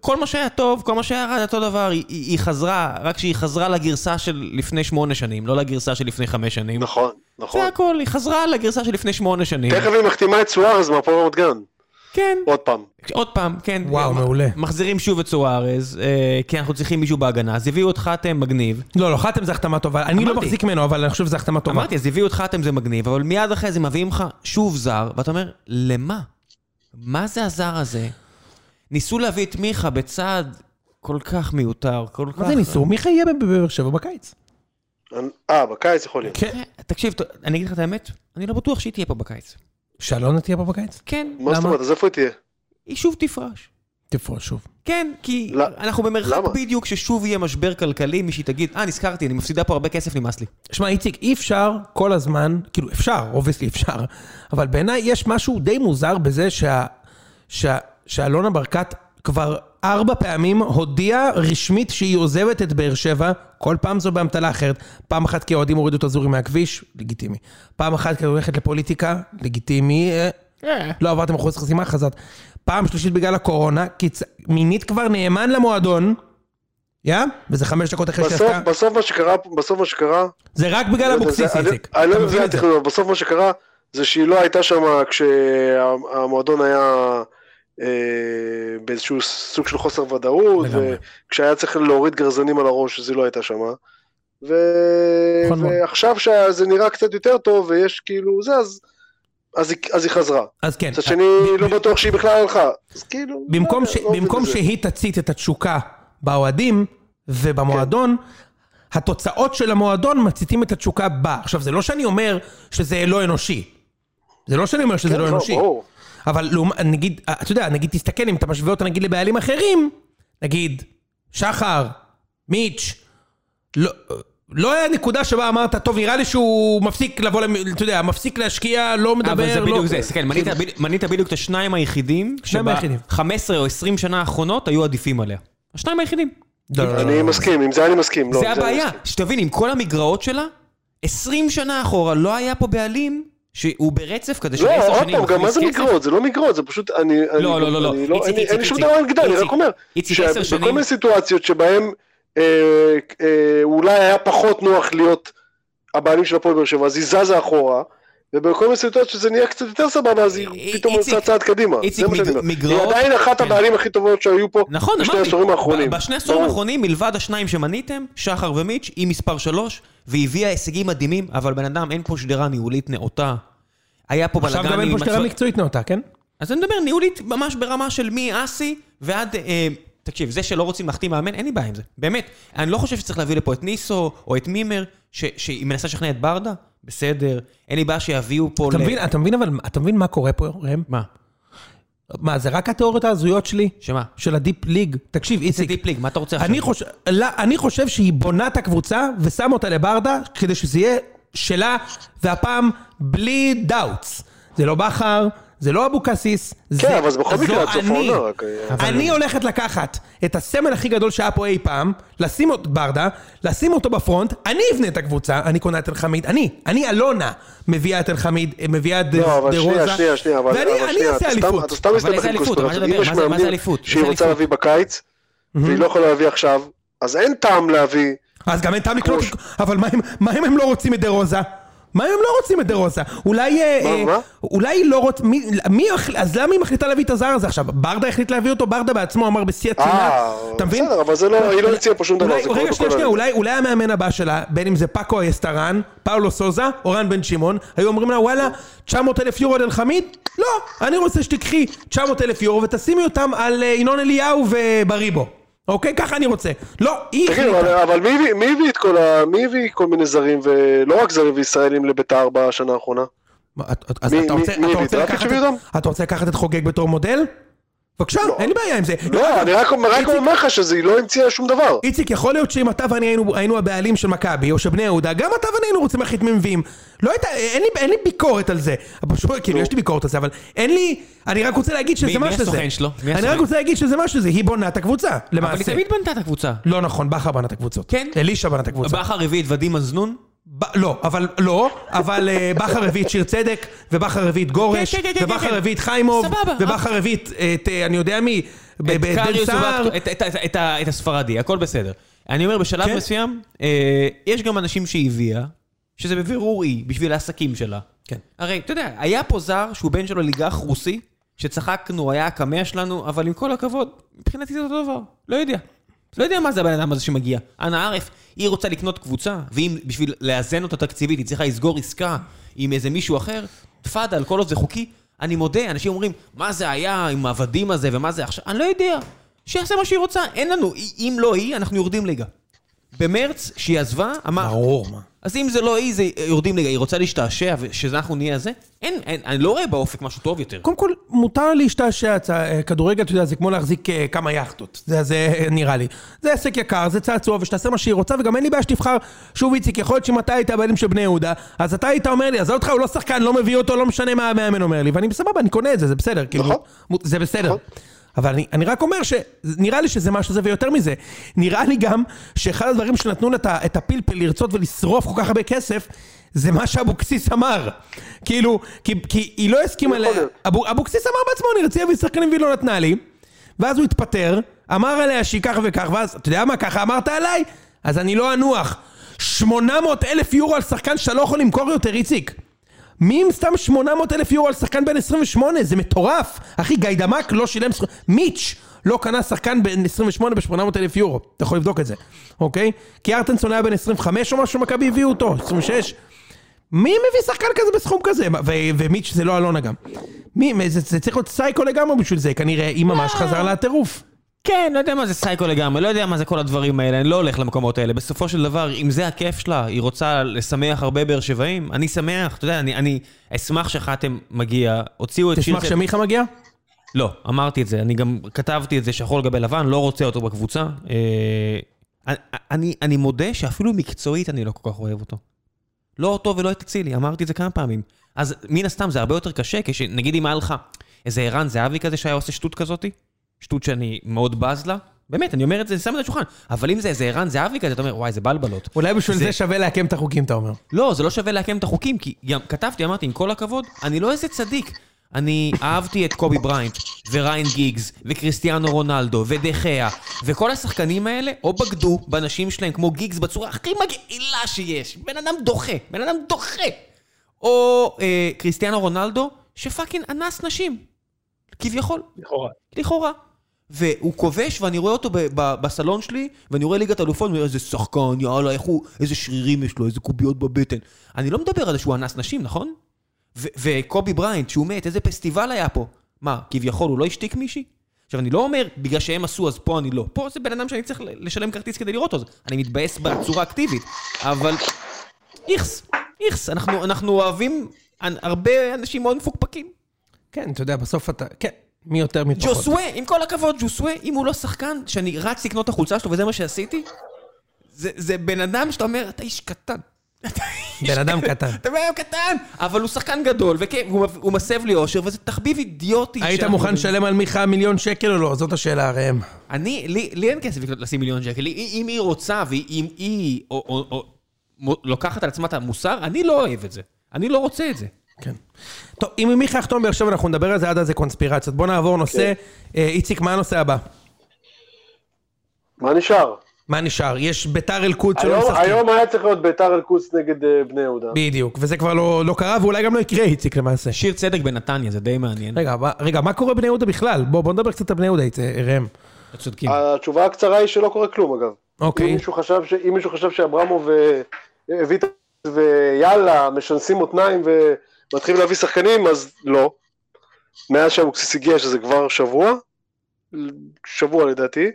Speaker 1: כל מה שהיה טוב, כל מה שהיה רע, זה אותו דבר. היא- היא היא חזרה, רק שהיא חזרה לגרסה של לפני שמונה שנים, לא לגרסה של לפני חמש שנים.
Speaker 3: נכון, נכון.
Speaker 1: זה הכל, היא חזרה לגרסה של לפני שמונה שנים.
Speaker 3: תכף היא מחתימה את סוארז מהפועל רמת גן.
Speaker 1: כן,
Speaker 3: עוד פעם.
Speaker 1: עוד פעם, כן.
Speaker 2: וואו,
Speaker 1: מ-
Speaker 2: מעולה.
Speaker 1: מחזירים שוב את סוארז, אה, כי אנחנו צריכים מישהו בהגנה, אז הביאו את חתם מגניב.
Speaker 2: לא, לא, חתם זה החתמה טובה, אני לא
Speaker 1: אמרתי.
Speaker 2: מחזיק ממנו, אבל אני חושב שזה החתמה טובה.
Speaker 1: אמרתי, אז הביאו את חתם זה מגניב, אבל מיד אחרי זה מביאים לך שוב זר, ואתה אומר, למה? מה זה הזר הזה? ניסו להביא את מיכה בצעד כל כך מיותר, כל כך...
Speaker 2: מה זה ניסו? מיכה יהיה בבאר שבע בקיץ.
Speaker 3: אה, בקיץ יכול להיות.
Speaker 2: כן.
Speaker 1: אה, תקשיב, ת- אני אגיד לך את האמת, אני לא בטוח שהיא תהיה פה בקיץ.
Speaker 2: שלונה תהיה פה בקיץ?
Speaker 1: כן,
Speaker 3: מה זאת אומרת, אז איפה היא תהיה?
Speaker 1: היא שוב תפרש.
Speaker 2: תפרוש שוב.
Speaker 1: כן, כי
Speaker 3: לא.
Speaker 1: אנחנו במרחק
Speaker 3: למה?
Speaker 1: בדיוק ששוב יהיה משבר כלכלי, מישהי תגיד, אה, נזכרתי, אני מפסידה פה הרבה כסף, נמאס לי.
Speaker 2: שמע, איציק, אי אפשר כל הזמן, כאילו, אפשר, אובייסלי אפשר, אבל בעיניי יש משהו די מוזר בזה שה, שה, שאלונה ברקת כבר ארבע פעמים הודיעה רשמית שהיא עוזבת את באר שבע, כל פעם זו באמתלה אחרת. פעם אחת כי האוהדים הורידו את הזורים מהכביש, לגיטימי. פעם אחת כי היא הולכת לפוליטיקה, לגיטימי. אה, לא עברתם אחוז חסימה, חזרת. פעם שלישית בגלל הקורונה, כי צ- מינית כבר נאמן למועדון, יא? וזה חמש דקות אחרי
Speaker 3: בסוף, בסוף מה שקרה, בסוף מה שקרה,
Speaker 2: זה רק בגלל אבוקסיס,
Speaker 3: לא, זה- אני-
Speaker 2: איציק.
Speaker 3: אני
Speaker 2: אתה
Speaker 3: לא
Speaker 2: מבין
Speaker 3: מבין
Speaker 2: את זה?
Speaker 3: התכנון, אבל בסוף מה שקרה זה שהיא לא הייתה שם כשהמועדון היה אה, באיזשהו סוג של חוסר ודאות,
Speaker 2: לגמרי.
Speaker 3: וכשהיה צריך להוריד גרזנים על הראש אז היא לא הייתה שם. ו...
Speaker 2: נכון מאוד.
Speaker 3: ועכשיו שזה נראה קצת יותר טוב ויש כאילו זה, אז, אז, היא, אז היא חזרה.
Speaker 2: אז כן.
Speaker 3: מצד שני,
Speaker 2: ב-
Speaker 3: לא בטוח שהיא בכלל הלכה. אז כאילו...
Speaker 2: במקום,
Speaker 3: לא
Speaker 2: ש...
Speaker 3: יודע, לא מבין
Speaker 2: במקום
Speaker 3: את זה.
Speaker 2: שהיא תצית את התשוקה באוהדים ובמועדון,
Speaker 3: כן.
Speaker 2: התוצאות של המועדון מציתים את התשוקה בה. עכשיו, זה לא שאני אומר שזה לא אנושי. זה לא שאני אומר שזה
Speaker 3: כן,
Speaker 2: לא
Speaker 3: לא,
Speaker 2: אנושי.
Speaker 3: ברור.
Speaker 2: אבל לעומת- נגיד, אתה יודע, נגיד תסתכל, אם אתה משווה אותה נגיד לבעלים אחרים, נגיד, שחר, מיץ', לא... לא היה נקודה שבה אמרת, טוב, נראה לי שהוא מפסיק לבוא, למ- אתה יודע, מפסיק להשקיע, לא מדבר, לא...
Speaker 1: אבל זה בדיוק זה, כן, מנית בדיוק- מנית בדיוק את השניים היחידים,
Speaker 2: שניים היחידים.
Speaker 1: 15 או 20 שנה האחרונות היו עדיפים עליה. השניים היחידים.
Speaker 2: לא, לא, לא,
Speaker 3: אני
Speaker 2: לא.
Speaker 3: מסכים, עם זה אני מסכים. לא,
Speaker 1: זה
Speaker 3: עם אני
Speaker 1: הבעיה,
Speaker 3: מסכים.
Speaker 1: שתבין, עם כל המגרעות שלה, 20 שנה אחורה לא היה פה בעלים שהוא ברצף כזה של
Speaker 3: לא,
Speaker 1: 10
Speaker 3: עוד
Speaker 1: שנים.
Speaker 3: פעם, גם מה
Speaker 1: מכניס
Speaker 3: זה
Speaker 1: כסף.
Speaker 3: מגרעות? זה לא מגרעות, זה פשוט, אני... אני-
Speaker 1: לא, לא, לא, לא.
Speaker 3: אני
Speaker 1: איציק,
Speaker 3: אין לי- אין לי
Speaker 1: איציק,
Speaker 3: שום
Speaker 1: איציק.
Speaker 3: דבר נגדה, אני רק אומר.
Speaker 1: איציק, עשר
Speaker 3: שבכל
Speaker 1: שנים-
Speaker 3: מיני סיטואציות שבהן אה, אה, אולי היה פחות נוח להיות הבעלים של הפועל באר שבע, אז היא זזה אחורה, ובכל מיני סיטואציות שזה נהיה קצת יותר סבבה, אז
Speaker 1: אי-
Speaker 3: היא פתאום
Speaker 1: אה, איציק-
Speaker 3: עושה צעד קדימה.
Speaker 1: איציק,
Speaker 3: זה מה שאני
Speaker 1: מג-
Speaker 3: אומר. היא
Speaker 1: מגרעות-
Speaker 3: עדיין אחת
Speaker 1: כן.
Speaker 3: הבעלים הכי טובות שהיו פה
Speaker 1: נכון,
Speaker 3: בשני
Speaker 1: אמרתי.
Speaker 3: העשורים האחרונים.
Speaker 1: ב- בשני העשורים
Speaker 3: ברור.
Speaker 1: האחרונים, מלבד השניים שמניתם, שחר ומיץ', היא מספר 3, והביאה הישגים מדהימים, אבל בן אדם, אין פה שדרה ניהולית נאותה. היה פה בלאגנים.
Speaker 2: עכשיו גם אין פה שדרה מקצועית נאותה, כן?
Speaker 1: אז אני מדבר ניהולית ממש ברמה של מאסי ועד... אה, תקשיב, זה שלא רוצים להחתים מאמן, אין לי בעיה עם זה. באמת. אני לא חושב שצריך להביא לפה את ניסו או את מימר, ש- שהיא מנסה לשכנע את ברדה, בסדר. אין לי בעיה שיביאו פה...
Speaker 2: אתה
Speaker 1: ל-
Speaker 2: מבין, אתה מבין אבל, אתה מבין מה קורה פה, ראם?
Speaker 1: מה?
Speaker 2: מה, זה רק התיאוריות ההזויות שלי?
Speaker 1: שמה?
Speaker 2: של הדיפ ליג? תקשיב,
Speaker 1: זה
Speaker 2: איציק,
Speaker 1: דיפ ליג, מה אתה רוצה
Speaker 2: אני חושב, לא, אני חושב שהיא בונה את הקבוצה ושמה אותה לברדה כדי שזה יהיה שלה, והפעם בלי דאוטס. זה לא בכר, זה לא אבוקסיס, זה...
Speaker 3: כן, אבל זה בכל
Speaker 2: זו
Speaker 3: מקרה עד סוף
Speaker 2: אני.
Speaker 3: העונה, רק-
Speaker 2: אבל- אני הולכת לקחת את הסמל הכי גדול שהיה פה אי פעם, לשים אותו, ברדה, לשים אותו בפרונט, אני אבנה את הקבוצה, אני קונה את אלחמיד, אני, אני אלונה מביאה את אלחמיד, מביאה את דה רוזה,
Speaker 3: לא, אבל שנייה, שנייה, שנייה, אבל
Speaker 2: ואני
Speaker 3: אבל
Speaker 2: אני
Speaker 3: שנייה,
Speaker 2: אעשה
Speaker 3: אתה סתם-
Speaker 2: אליפות.
Speaker 3: אתה סתם
Speaker 1: אבל איזה
Speaker 3: מסתבך עם
Speaker 1: אליפות?
Speaker 3: קוסטר.
Speaker 1: מה זה
Speaker 3: אם יש
Speaker 1: אליפות? מה זה
Speaker 3: מאמנים
Speaker 1: אליפות?
Speaker 3: שהיא
Speaker 1: איזה
Speaker 3: רוצה
Speaker 1: אליפות?
Speaker 3: להביא בקיץ, והיא לא יכולה להביא עכשיו, אז אין טעם להביא
Speaker 2: אז גם אין טעם לקנות,
Speaker 3: ראש.
Speaker 2: אבל מה אם- מה אם הם לא רוצים את דה רוזה? מה אם הם לא רוצים את דה רוזה? אולי... אה,
Speaker 3: מה,
Speaker 2: אה,
Speaker 3: מה?
Speaker 2: אולי היא לא רוצה... מי, מי, החל- אז למה היא מחליטה להביא את הזר הזה עכשיו? ברדה החליט להביא אותו, ברדה בעצמו אמר בשיא הצנעה.
Speaker 3: אה,
Speaker 2: אתה מבין?
Speaker 3: בסדר, אבל זה לא- היא לא המציאה פה שום דבר,
Speaker 2: אולי-
Speaker 3: זה קורה
Speaker 2: רגע,
Speaker 3: בכל
Speaker 2: שנייה, שנייה,
Speaker 3: הליגה.
Speaker 2: אולי, אולי המאמן הבא שלה, בין אם זה פאקו אסטרן, פאולו סוזה, אורן בן שמעון, היו אומרים לה, וואלה, 900 אלף יורו על אלחמיד? לא, אני רוצה שתיקחי 900 אלף יורו ותשימי אותם על אה, ינון אליהו ובריבו. אוקיי? ככה אני רוצה. לא, היא
Speaker 3: תגיד,
Speaker 2: החליטה.
Speaker 3: אבל, אבל מי, הביא- מי הביא את כל ה... מי הביא כל מיני זרים, ולא רק זרים וישראלים לביתר בשנה האחרונה?
Speaker 2: מה, את- את- אז
Speaker 3: מי-
Speaker 2: אתה
Speaker 3: מי-
Speaker 2: רוצה-
Speaker 3: מי
Speaker 2: אתה רוצה
Speaker 3: הביא?
Speaker 2: לקחת
Speaker 3: דראפיץ' הביא
Speaker 2: את-
Speaker 3: אותם?
Speaker 2: אתה רוצה לקחת את חוגג בתור מודל? בבקשה, אין לי בעיה עם זה.
Speaker 3: לא, אני רק, רק אומר לך שהיא לא המציאה שום דבר.
Speaker 2: איציק, יכול להיות שאם אתה ואני היינו, היינו הבעלים של מכבי, או של בני יהודה, גם אתה ואני היינו רוצים להחליט מי מביאים. לא הייתה, אין לי, אין לי ביקורת על זה. פשוט, כאילו, יש לי ביקורת על זה, אבל אין לי... אני רק רוצה להגיד
Speaker 1: מי- מי
Speaker 2: שזה מה שזה.
Speaker 1: הסוכן שלו? מי
Speaker 2: אני רק
Speaker 1: הסוכן?
Speaker 2: רוצה להגיד שזה מה שזה. היא בונה את הקבוצה,
Speaker 1: אבל היא
Speaker 2: למעשה.
Speaker 1: תמיד בנתה את הקבוצה.
Speaker 2: לא נכון, בכר בנה את הקבוצות.
Speaker 1: כן?
Speaker 2: אלישע בנה את הקבוצה.
Speaker 1: בכר הביא את ודים מזנון?
Speaker 2: ב- לא, אבל לא, אבל אה, בכר הביא את שיר צדק, ובכר הביא את גורש,
Speaker 1: כן, כן, כן, כן,
Speaker 2: ובכר
Speaker 1: כן.
Speaker 2: הביא את חיימוב,
Speaker 1: סבבה,
Speaker 2: ובכר הביא את, את, אה, אני יודע מי, ב-
Speaker 1: את
Speaker 2: ב- בן
Speaker 1: קריוס
Speaker 2: סער.
Speaker 1: ובקטו- את- את- את- את ה- את הספרדי, הכל בסדר. אני אומר, בשלב
Speaker 2: כן.
Speaker 1: מסוים, אה, יש גם אנשים שהיא הביאה, שזה בבירור היא, בשביל העסקים שלה.
Speaker 2: כן.
Speaker 1: הרי, אתה יודע, היה פה זר שהוא בן של אוליגח רוסי, שצחקנו, היה הקמע שלנו, אבל עם כל הכבוד, מבחינתי זה אותו דבר. לא יודע. לא יודע מה זה הבן אדם הזה שמגיע. אנא ערף, היא רוצה לקנות קבוצה, ואם בשביל לאזן אותה תקציבית היא צריכה לסגור עסקה עם איזה מישהו אחר, תפאדל, כל עוד זה חוקי. אני מודה, אנשים אומרים, מה זה היה עם העבדים הזה ומה זה עכשיו, אני לא יודע. שיעשה מה שהיא רוצה, אין לנו, אם לא היא, אנחנו יורדים ליגה. במרץ, שהיא עזבה, אמר...
Speaker 2: ברור, מה.
Speaker 1: אז אם זה לא היא, זה יורדים ליגה, היא רוצה להשתעשע, ושאנחנו נהיה זה, אין, אין, אני לא רואה באופק משהו טוב יותר.
Speaker 2: קודם כל, מותר להשתעשע, צ- אה, כדורגל, אתה יודע, זה כמו להחזיק אה, כמה יאכטות. זה, זה אה, נראה לי. זה עסק יקר, זה צעצוע, ושתעשה מה שהיא רוצה, וגם אין לי בעיה שתבחר. שוב, איציק, יכול להיות שאם אתה היית הבעלים של בני יהודה, אז אתה היית אומר לי, עזוב אותך, הוא לא שחקן, לא מביא אותו, לא משנה מה המאמן אומר לי. ואני בסבבה, אני קונה את זה, זה בסדר. כאילו,
Speaker 3: נכון.
Speaker 2: מ- זה בסדר.
Speaker 3: נכון.
Speaker 2: אבל אני, אני רק אומר שנראה לי שזה משהו זה ויותר מזה. נראה לי גם שאחד הדברים שנתנו לה את ה- את הפלפל לרצות ולשרוף כל כך הרבה כסף, זה מה שאבוקסיס אמר. כאילו, כי, כי היא לא הסכימה ל...
Speaker 3: יכול להיות.
Speaker 2: אבו- אבוקסיס אמר בעצמו, אני רציתי להביא שחקנים והיא לא נתנה לי. ואז הוא התפטר, אמר עליה שהיא כך וכך, ואז, אתה יודע מה, ככה אמרת עליי? אז אני לא אנוח. 800 אלף יורו על שחקן שאתה לא יכול למכור יותר, איציק. מי עם סתם 800 אלף יורו על שחקן בן 28? זה מטורף. אחי, גיידמק לא שילם... סכום- מיץ' לא קנה שחקן בן 28 ב-800 אלף יורו. אתה יכול לבדוק את זה, אוקיי? כי ארטנסון היה בן 25 או משהו, מכבי הביאו אותו, 26. מי מביא שחקן כזה בסכום כזה? ו- ומיץ' זה לא אלונה גם. מי, מי- זה, זה צריך להיות סייקו לגמרי בשביל זה, כנראה, היא
Speaker 3: לא.
Speaker 2: ממש חזרה לטירוף.
Speaker 1: כן, לא יודע מה זה סייקו לגמרי, לא יודע מה זה כל הדברים האלה, אני לא הולך למקומות האלה. בסופו של דבר, אם זה הכיף שלה, היא רוצה לשמח הרבה באר שבעים, אני שמח, אתה יודע, אני, אני אשמח שחתם מגיע, הוציאו את שיר...
Speaker 2: תשמח שמיכה מגיע?
Speaker 1: לא, אמרתי את זה, אני גם כתבתי את זה שחור לגבי לבן, לא רוצה אותו בקבוצה. אה, אני, אני מודה שאפילו מקצועית אני לא כל כך אוהב אותו. לא אותו ולא את אצילי, אמרתי את זה כמה פעמים. אז מן הסתם זה הרבה יותר קשה, כשנגיד אם היה לך איזה ערן זהבי כזה שהיה עושה שטות כזאתי, שטות שאני מאוד בז לה, באמת, אני אומר את זה, אני שם את זה על השולחן, אבל אם זה איזה ערן זהבי כזה, אתה אומר, וואי, זה בלבלות.
Speaker 2: אולי בשביל זה,
Speaker 1: זה
Speaker 2: שווה לעקם את החוקים, אתה אומר.
Speaker 1: לא, זה לא שווה לעקם את החוקים, כי גם כתבתי, אמרתי, עם כל הכבוד, אני לא איזה צדיק. אני אהבתי את קובי בריינט, וריין גיגס, וקריסטיאנו רונלדו, ודחיה, וכל השחקנים האלה או בגדו בנשים שלהם כמו גיגס בצורה הכי מגעילה שיש. בן אדם דוחה, בן אדם דוחה. או אה, קריסטיאנו רונלדו, שפאקינג אנס נשים. כביכול.
Speaker 4: לכאורה.
Speaker 1: לכאורה. והוא כובש, ואני רואה אותו ב- ב- בסלון שלי, ואני רואה ליגת אלופות, ואני אומר, איזה שחקן, יאללה, איך הוא, איזה שרירים יש לו, איזה קוביות בבטן. אני לא מדבר על זה שהוא אנס נשים, נכון? ו- וקובי בריינט, שהוא מת, איזה פסטיבל היה פה. מה, כביכול הוא לא השתיק מישהי? עכשיו, אני לא אומר, בגלל שהם עשו, אז פה אני לא. פה זה בן אדם שאני צריך ל- לשלם כרטיס כדי לראות אותו, אז אני מתבאס בצורה אקטיבית. אבל איכס, איכס, אנחנו, אנחנו אוהבים אנ- הרבה אנשים מאוד מפוקפקים.
Speaker 2: כן, אתה יודע, בסוף אתה... כן, מי יותר מי פחות.
Speaker 1: ג'וסווה, עם כל הכבוד, ג'וסווה, אם הוא לא שחקן, שאני רץ לקנות את החולצה שלו וזה מה שעשיתי, זה, זה בן אדם שאתה אומר, אתה איש קטן. אתה איש
Speaker 2: בן אדם קטן.
Speaker 1: אתה בן אדם קטן, אבל הוא שחקן גדול, וכן, הוא, הוא מסב לי אושר, וזה תחביב אידיוטי.
Speaker 2: היית
Speaker 1: שאנחנו-
Speaker 2: מוכן לשלם על מיכה מיליון שקל או לא? זאת השאלה, ראם.
Speaker 1: אני, לי, לי אין כסף לקנות- לשים מיליון שקל. היא- אם היא רוצה, ואם היא או, או, או, מו- לוקחת על עצמה את המוסר, אני לא אוהב את זה. אני לא רוצה את זה.
Speaker 2: כן. טוב, אם מיכה יחתום באר שבע, אנחנו נדבר על זה עד אז זה קונספירציות. בוא נעבור נושא.
Speaker 3: כן.
Speaker 2: אה, איציק, מה הנושא הבא?
Speaker 3: מה נשאר?
Speaker 2: מה נשאר? יש ביתר אל-קודס שלא
Speaker 3: היום-
Speaker 2: משחקים.
Speaker 3: היום היה צריך להיות ביתר אל-קודס נגד אה, בני יהודה.
Speaker 2: בדיוק, וזה כבר לא לא קרה ואולי גם לא יקרה, איציק, למעשה.
Speaker 1: שיר צדק בנתניה, זה די מעניין.
Speaker 2: רגע, מה- רגע, מה קורה בני יהודה בכלל? בוא, בוא נדבר קצת על בני יהודה, איציק, ראם.
Speaker 1: אתם צודקים.
Speaker 3: התשובה הקצרה היא שלא קורה כלום אגב.
Speaker 2: אוקיי.
Speaker 3: אם מישהו חשב, ש... אם מישהו חשב שאברמוב אה, הביא את ה- ויאללה, משנסים מותניים ומתחילים להביא שחקנים, אז לא. מאז שאבוקסיס הגיע, שזה כבר שבוע, שבוע לדעתי,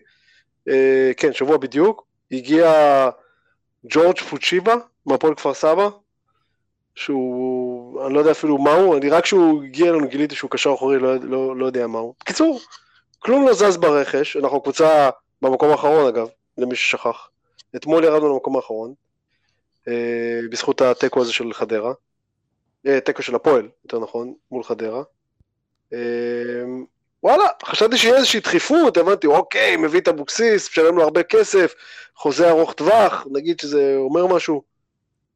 Speaker 3: אה, כן, שבוע בדיוק, הגיע ג'ורג' פוצ'יבה מהפועל כפר סבא, שהוא, אני לא יודע אפילו מה הוא, אני רק כשהוא הגיע אלינו גיליתי שהוא קשר אחורי, לא, לא, לא יודע מה הוא. בקיצור, כלום לא זז ברכש, אנחנו קבוצה במקום האחרון אגב, למי ששכח. אתמול ירדנו למקום האחרון, אה, בזכות התיקו הזה של חדרה, אה, תיקו של הפועל, יותר נכון, מול חדרה. אה, וואלה, חשבתי שיהיה איזושהי דחיפות, הבנתי, אוקיי, מביא את אבוקסיס, משלם לו הרבה כסף, חוזה ארוך טווח, נגיד שזה אומר משהו.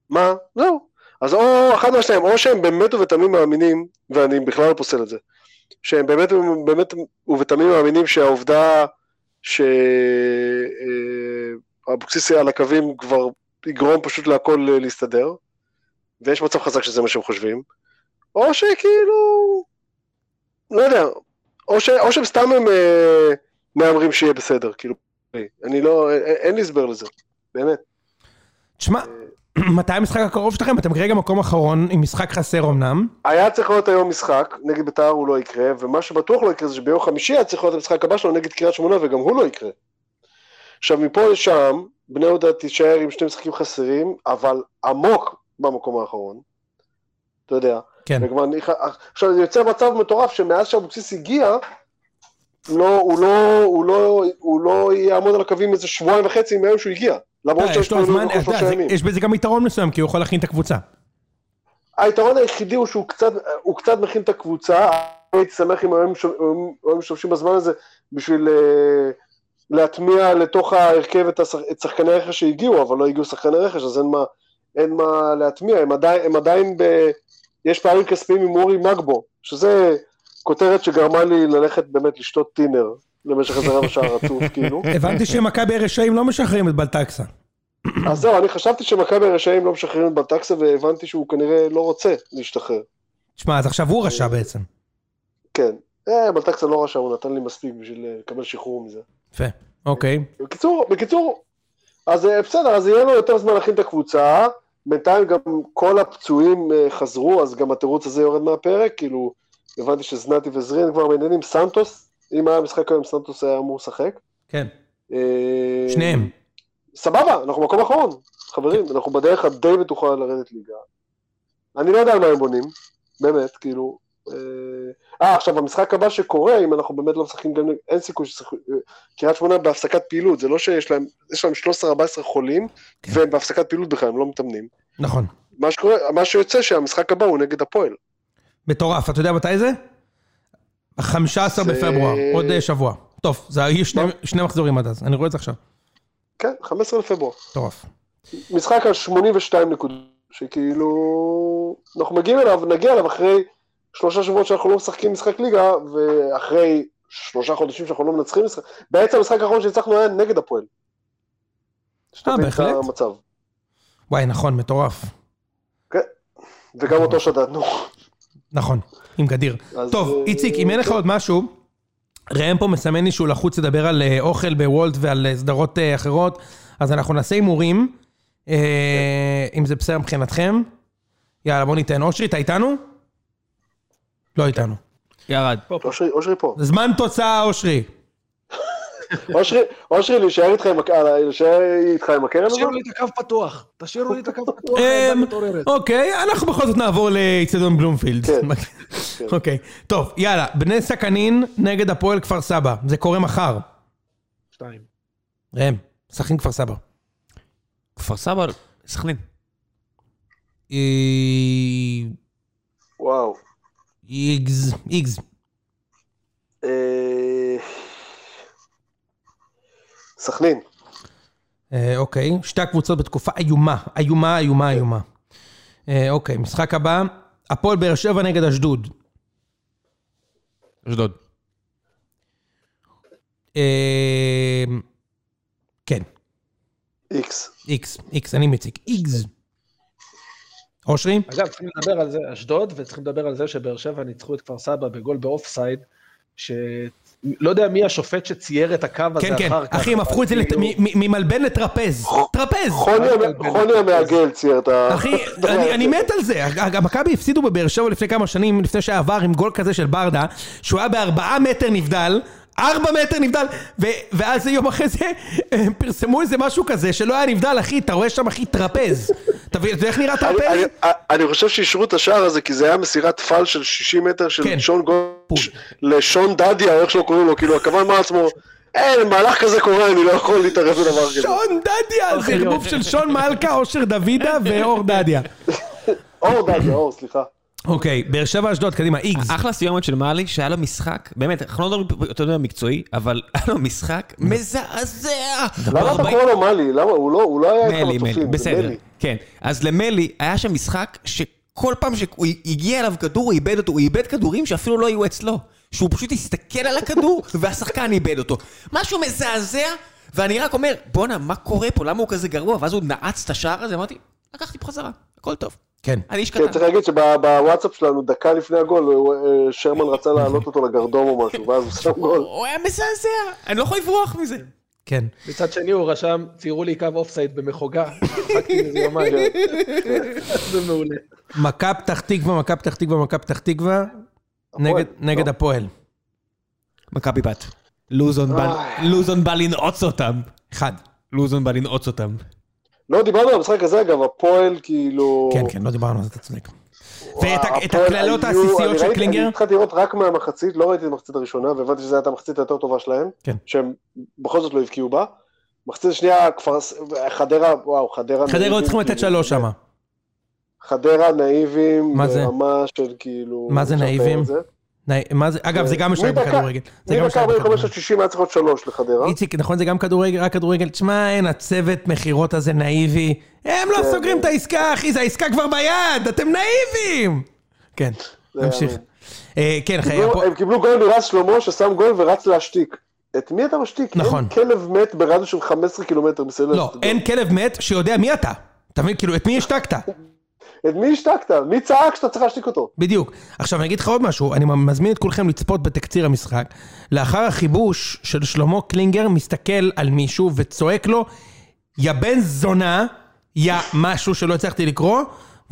Speaker 3: מה? זהו. אז או אחד מהשניים, או שהם באמת ובתמים מאמינים, ואני בכלל לא פוסל את זה, שהם באמת, באמת ובתמים מאמינים שהעובדה ש... אה, אבוקסיס על הקווים כבר יגרום פשוט להכל אה, להסתדר, ויש מצב חזק שזה מה שהם חושבים, או שכאילו, לא יודע, או, ש, או שהם סתם הם אה, מהמרים שיהיה בסדר, כאילו, אני לא, אין, אין לי הסבר לזה, באמת.
Speaker 2: תשמע, מתי המשחק הקרוב שלכם? אתם כרגע מקום אחרון, עם משחק חסר אמנם.
Speaker 3: היה צריך להיות היום משחק, נגד בית"ר הוא לא יקרה, ומה שבטוח לא יקרה זה שביום חמישי היה צריך להיות המשחק הבא שלו נגד קריית שמונה, וגם הוא לא יקרה. עכשיו, מפה לשם, בני יהודה תישאר עם שני משחקים חסרים, אבל עמוק במקום האחרון. אתה יודע.
Speaker 2: כן.
Speaker 3: וכבר, נכ- עכשיו, זה יוצא מצב מטורף שמאז שאבוקסיס הגיע, לא, הוא, לא, הוא, לא, הוא לא יעמוד על הקווים איזה שבועיים וחצי מהיום שהוא הגיע. למרות
Speaker 2: אה, יש לו
Speaker 3: שהשניים
Speaker 2: זמן,
Speaker 3: היו בכל
Speaker 2: אתה יודע,
Speaker 3: שלושה
Speaker 2: זה-
Speaker 3: ימים.
Speaker 2: יש בזה גם יתרון מסוים, כי הוא יכול להכין את הקבוצה.
Speaker 3: היתרון היחידי הוא שהוא קצת, הוא קצת מכין את הקבוצה, הייתי שמח אם היום שו- היום- היום משתמשים בזמן הזה בשביל אה, להטמיע לתוך ההרכב את, השח, את שחקני הרכש שהגיעו, אבל לא הגיעו שחקני רכש, אז אין מה, אין מה להטמיע, הם עדיין, הם עדיין ב... יש פערים כספיים עם אורי מגבו, שזה כותרת שגרמה לי ללכת באמת לשתות טינר למשך איזה רבע שעה רצוף, כאילו.
Speaker 2: הבנתי שמכבי הרשעים לא משחררים את בלטקסה.
Speaker 3: אז זהו, אני חשבתי שמכבי הרשעים לא משחררים את בלטקסה, והבנתי שהוא כנראה לא רוצה להשתחרר.
Speaker 2: תשמע, אז עכשיו הוא רשע בעצם.
Speaker 3: כן. אה, בלטקסה לא רשע, הוא נתן לי מספיק בשביל אה, לקבל שחרור מזה.
Speaker 2: יפה, אוקיי.
Speaker 3: בקיצור, בקיצור, אז אה, בסדר, אז יהיה לו יותר זמן להכין את הקבוצה, בינתיים גם כל הפצועים אה, חזרו, אז גם התירוץ הזה יורד מהפרק, כאילו, הבנתי שזנתי וזרין כבר בעניינים, סנטוס, אם היה משחק היום, סנטוס היה אמור לשחק.
Speaker 2: כן.
Speaker 3: אה,
Speaker 2: שניהם.
Speaker 3: סבבה, אנחנו מקום אחרון, חברים, אנחנו בדרך הדי בטוחה לרדת ליגה. אני לא יודע על מה הם בונים, באמת, כאילו... אה, אה, עכשיו, המשחק הבא שקורה, אם אנחנו באמת לא משחקים גם... אין סיכוי ששחקו... אה, קריית שמונה בהפסקת פעילות, זה לא שיש להם... יש להם 13-14 חולים,
Speaker 2: כן.
Speaker 3: והם בהפסקת פעילות בכלל, הם לא מתאמנים.
Speaker 2: נכון.
Speaker 3: מה שקורה, מה שיוצא שהמשחק הבא הוא נגד הפועל.
Speaker 2: מטורף, אתה יודע מתי זה? 15
Speaker 3: זה-
Speaker 2: בפברואר, עוד אה, שבוע. טוב, זה היו שני-
Speaker 3: מה?
Speaker 2: שני מחזורים עד אז, אני רואה את זה עכשיו.
Speaker 3: כן, 15 לפברואר.
Speaker 2: מטורף.
Speaker 3: משחק על 82 נקודות, שכאילו, אנחנו מגיעים אליו, נגיע אליו אחרי שלושה שבועות שאנחנו לא משחקים משחק ליגה, ואחרי שלושה חודשים שאנחנו לא מנצחים משחק, בעצם המשחק האחרון שהצלחנו היה נגד הפועל. שתבין את
Speaker 2: אה, בהחלט.
Speaker 3: המצב.
Speaker 2: וואי, נכון, מטורף.
Speaker 3: וגם אותו שדדנו.
Speaker 2: נכון, עם גדיר.
Speaker 3: אז,
Speaker 2: טוב,
Speaker 3: אה,
Speaker 2: איציק, אם אין לך
Speaker 3: כן.
Speaker 2: עוד משהו, ראם פה מסמן לי שהוא לחוץ לדבר על אה, אוכל בוולט ועל אה, סדרות אה, אחרות, אז אנחנו נעשה הימורים, אה, אם זה בסדר מבחינתכם. יאללה, בוא ניתן. אושרי, אתה איתנו? לא איתנו.
Speaker 1: ירד.
Speaker 3: אושרי, אושרי פה.
Speaker 2: זמן תוצאה, אושרי.
Speaker 3: אושרי, אושרי, להישאר איתך עם, הק- אה, להישאר איתך עם הקרן הזאת?
Speaker 4: תשאירו לי את הקו פתוח, תשאירו לי את הקו פתוח,
Speaker 2: אמ,
Speaker 4: העמדה מתעוררת.
Speaker 2: אוקיי, אנחנו בכל זאת נעבור לאיצטדיון בלומפילד.
Speaker 3: כן.
Speaker 2: אוקיי, טוב, יאללה, בני סכנין נגד הפועל כפר סבא. זה קורה מחר.
Speaker 4: שתיים.
Speaker 2: ראם, סכנין כפר סבא.
Speaker 1: כפר סבא, סכנין.
Speaker 2: אה,
Speaker 3: וואו.
Speaker 2: איגז, איגז.
Speaker 3: אה, סכנין.
Speaker 2: אה, אוקיי, שתי הקבוצות בתקופה איומה, איומה, איומה, איומה. אה, אוקיי, משחק הבא, הפועל באר שבע נגד אשדוד.
Speaker 1: אשדוד.
Speaker 2: אה, כן,
Speaker 3: איקס.
Speaker 2: איקס, איקס, אני מציג, איקס. אושרי?
Speaker 4: אגב, צריכים לדבר על זה, אשדוד, וצריכים לדבר על זה שבאר שבע ניצחו את כפר סבא בגול באופסייד, שלא יודע מי השופט שצייר את הקו הזה
Speaker 2: כן, כן,
Speaker 4: אחר כך.
Speaker 2: אחי, הם
Speaker 4: אבל
Speaker 2: הפכו את זה לת-
Speaker 4: כאילו-
Speaker 2: מ- מ- ממלבן לטרפז. טרפז!
Speaker 3: חוני המ- חוני המעגל צייר את ה...
Speaker 2: אחי,
Speaker 3: לא,
Speaker 2: אני, אני מת על זה. הג- מכבי הפסידו בבאר שבע לפני כמה שנים, לפני שהיה עבר עם גול כזה של ברדה, שהוא היה בארבעה מטר נבדל, ארבע מטר נבדל, ו, ואז יום אחרי זה הם פרסמו איזה משהו כזה שלא היה נבדל, אחי, אתה רואה שם אחי טרפז. אתה מבין, אתה יודע איך נראה
Speaker 3: אני-
Speaker 2: טרפז?
Speaker 3: אני- אני חושב שאישרו את השער הזה כי זה היה מסירת פאל של 60 מטר של
Speaker 2: כן.
Speaker 3: שון גולש
Speaker 2: פול.
Speaker 3: לשון דדיה, איך שלא קוראים לו, כאילו הכוון מה עצמו, אין, מהלך כזה קורה, אני לא יכול להתערב בדבר כזה.
Speaker 2: שון דדיה, זה ערבוב של שון מלכה, אושר דוידה ואור דדיה.
Speaker 3: אור דדיה, אור, סליחה.
Speaker 2: אוקיי, באר שבע אשדוד, קדימה, איגז.
Speaker 1: אחלה סיומת של מאלי, שהיה לו משחק, באמת, אנחנו לא מדברים, אתה יודע, מקצועי, אבל היה לו משחק מזעזע!
Speaker 3: למה אתה
Speaker 1: בארבעים-
Speaker 3: קורא לו מאלי? למה? הוא לא- הוא לא היה איתך
Speaker 1: מלי, מלי,
Speaker 3: בצופים, זה
Speaker 1: בסדר,
Speaker 3: מלי.
Speaker 1: כן. אז למלי היה שם משחק שכל פעם שהוא הגיע אליו כדור, הוא איבד אותו, הוא איבד כדורים שאפילו לא היו אצלו. שהוא פשוט הסתכל על הכדור, והשחקן איבד אותו. משהו מזעזע, ואני רק אומר, בואנה, מה קורה פה? למה הוא כזה גרוע? ואז הוא נעץ את השער הזה, אמרתי, לקחתי בחזרה, הכל טוב.
Speaker 2: כן.
Speaker 1: אני איש
Speaker 3: כן,
Speaker 1: קטן.
Speaker 3: צריך להגיד שבוואטסאפ שלנו, דקה לפני הגול, הוא- אה, שרמן רצה להעלות אותו לגרדום או משהו, ואז הוא שם גול.
Speaker 1: הוא היה מזעזע, אני לא יכול לברוח מזה.
Speaker 2: כן.
Speaker 4: מצד שני הוא רשם, ציירו לי קו אופסייד במחוגה, חכתי מזה יומיים. זה מעולה.
Speaker 2: מכה פתח תקווה, מכה פתח תקווה, מכה פתח תקווה, נגד-
Speaker 3: הפועל,
Speaker 2: נגד
Speaker 3: לא.
Speaker 2: הפועל.
Speaker 3: אה,
Speaker 1: מכבי בת. לוזון בא- לוזון בא לנעוץ אותם.
Speaker 2: אחד.
Speaker 1: לוזון בא לנעוץ אותם.
Speaker 3: לא, דיברנו על המשחק הזה, אגב, הפועל כאילו...
Speaker 2: כן, כן, לא דיברנו על זה, אתה צודק.
Speaker 3: וואו,
Speaker 2: ואת ה- את
Speaker 3: הפועל
Speaker 2: הקללות
Speaker 3: היו-
Speaker 2: העסיסיות
Speaker 3: אני
Speaker 2: של
Speaker 3: ראיתי-
Speaker 2: קלינגר?
Speaker 3: אני התחלתי לראות רק מהמחצית, לא ראיתי את המחצית הראשונה, והבנתי שזו הייתה המחצית היותר טובה שלהם.
Speaker 2: כן.
Speaker 3: שהם בכל זאת לא הבקיעו בה. מחצית השנייה, כפר... ס- חדרה, וואו, חדרה...
Speaker 2: חדרה עוד
Speaker 3: נאיבים,
Speaker 2: צריכים לתת
Speaker 3: כאילו, כן.
Speaker 2: שלוש שמה.
Speaker 3: חדרה נאיבים,
Speaker 2: מה זה?
Speaker 3: ברמה של כאילו...
Speaker 2: מה זה
Speaker 3: אפשר לתאר את
Speaker 2: נאיבים?
Speaker 3: זה.
Speaker 2: נאי- מה זה, אגב, זה גם משנה
Speaker 3: מדקה-
Speaker 2: בכדורגל. זה גם
Speaker 3: מדקה
Speaker 2: משנה
Speaker 3: 45
Speaker 2: בכדורגל.
Speaker 3: עד 60 היה צריך להיות שלוש לחדרה.
Speaker 2: איציק, נכון, זה גם כדורגל, רק כדורגל. תשמע, אין, הצוות מכירות הזה נאיבי. הם לא
Speaker 3: כן,
Speaker 2: סוגרים
Speaker 3: כן.
Speaker 2: את העסקה, אחי, זה העסקה כבר ביד, אתם נאיבים! כן,
Speaker 3: היה
Speaker 2: תמשיך.
Speaker 3: מדהים.
Speaker 2: אה, כן, חיי
Speaker 3: קיבלו-
Speaker 2: הפועל...
Speaker 3: הם קיבלו גול מרז שלמה ששם גול ורץ להשתיק. את מי אתה משתיק?
Speaker 2: נכון.
Speaker 3: אין כלב מת ברדיוס של 15 קילומטר מסדר.
Speaker 2: לא, אין כלב מת שיודע מי אתה. אתה מבין? כאילו, את מי השתקת?
Speaker 3: את מי השתקת? מי צעק שאתה צריך להשתיק אותו?
Speaker 2: בדיוק. עכשיו אני אגיד לך עוד משהו, אני מזמין את כולכם לצפות בתקציר המשחק. לאחר החיבוש של שלמה קלינגר מסתכל על מישהו וצועק לו, יא בן זונה, יא משהו שלא הצלחתי לקרוא,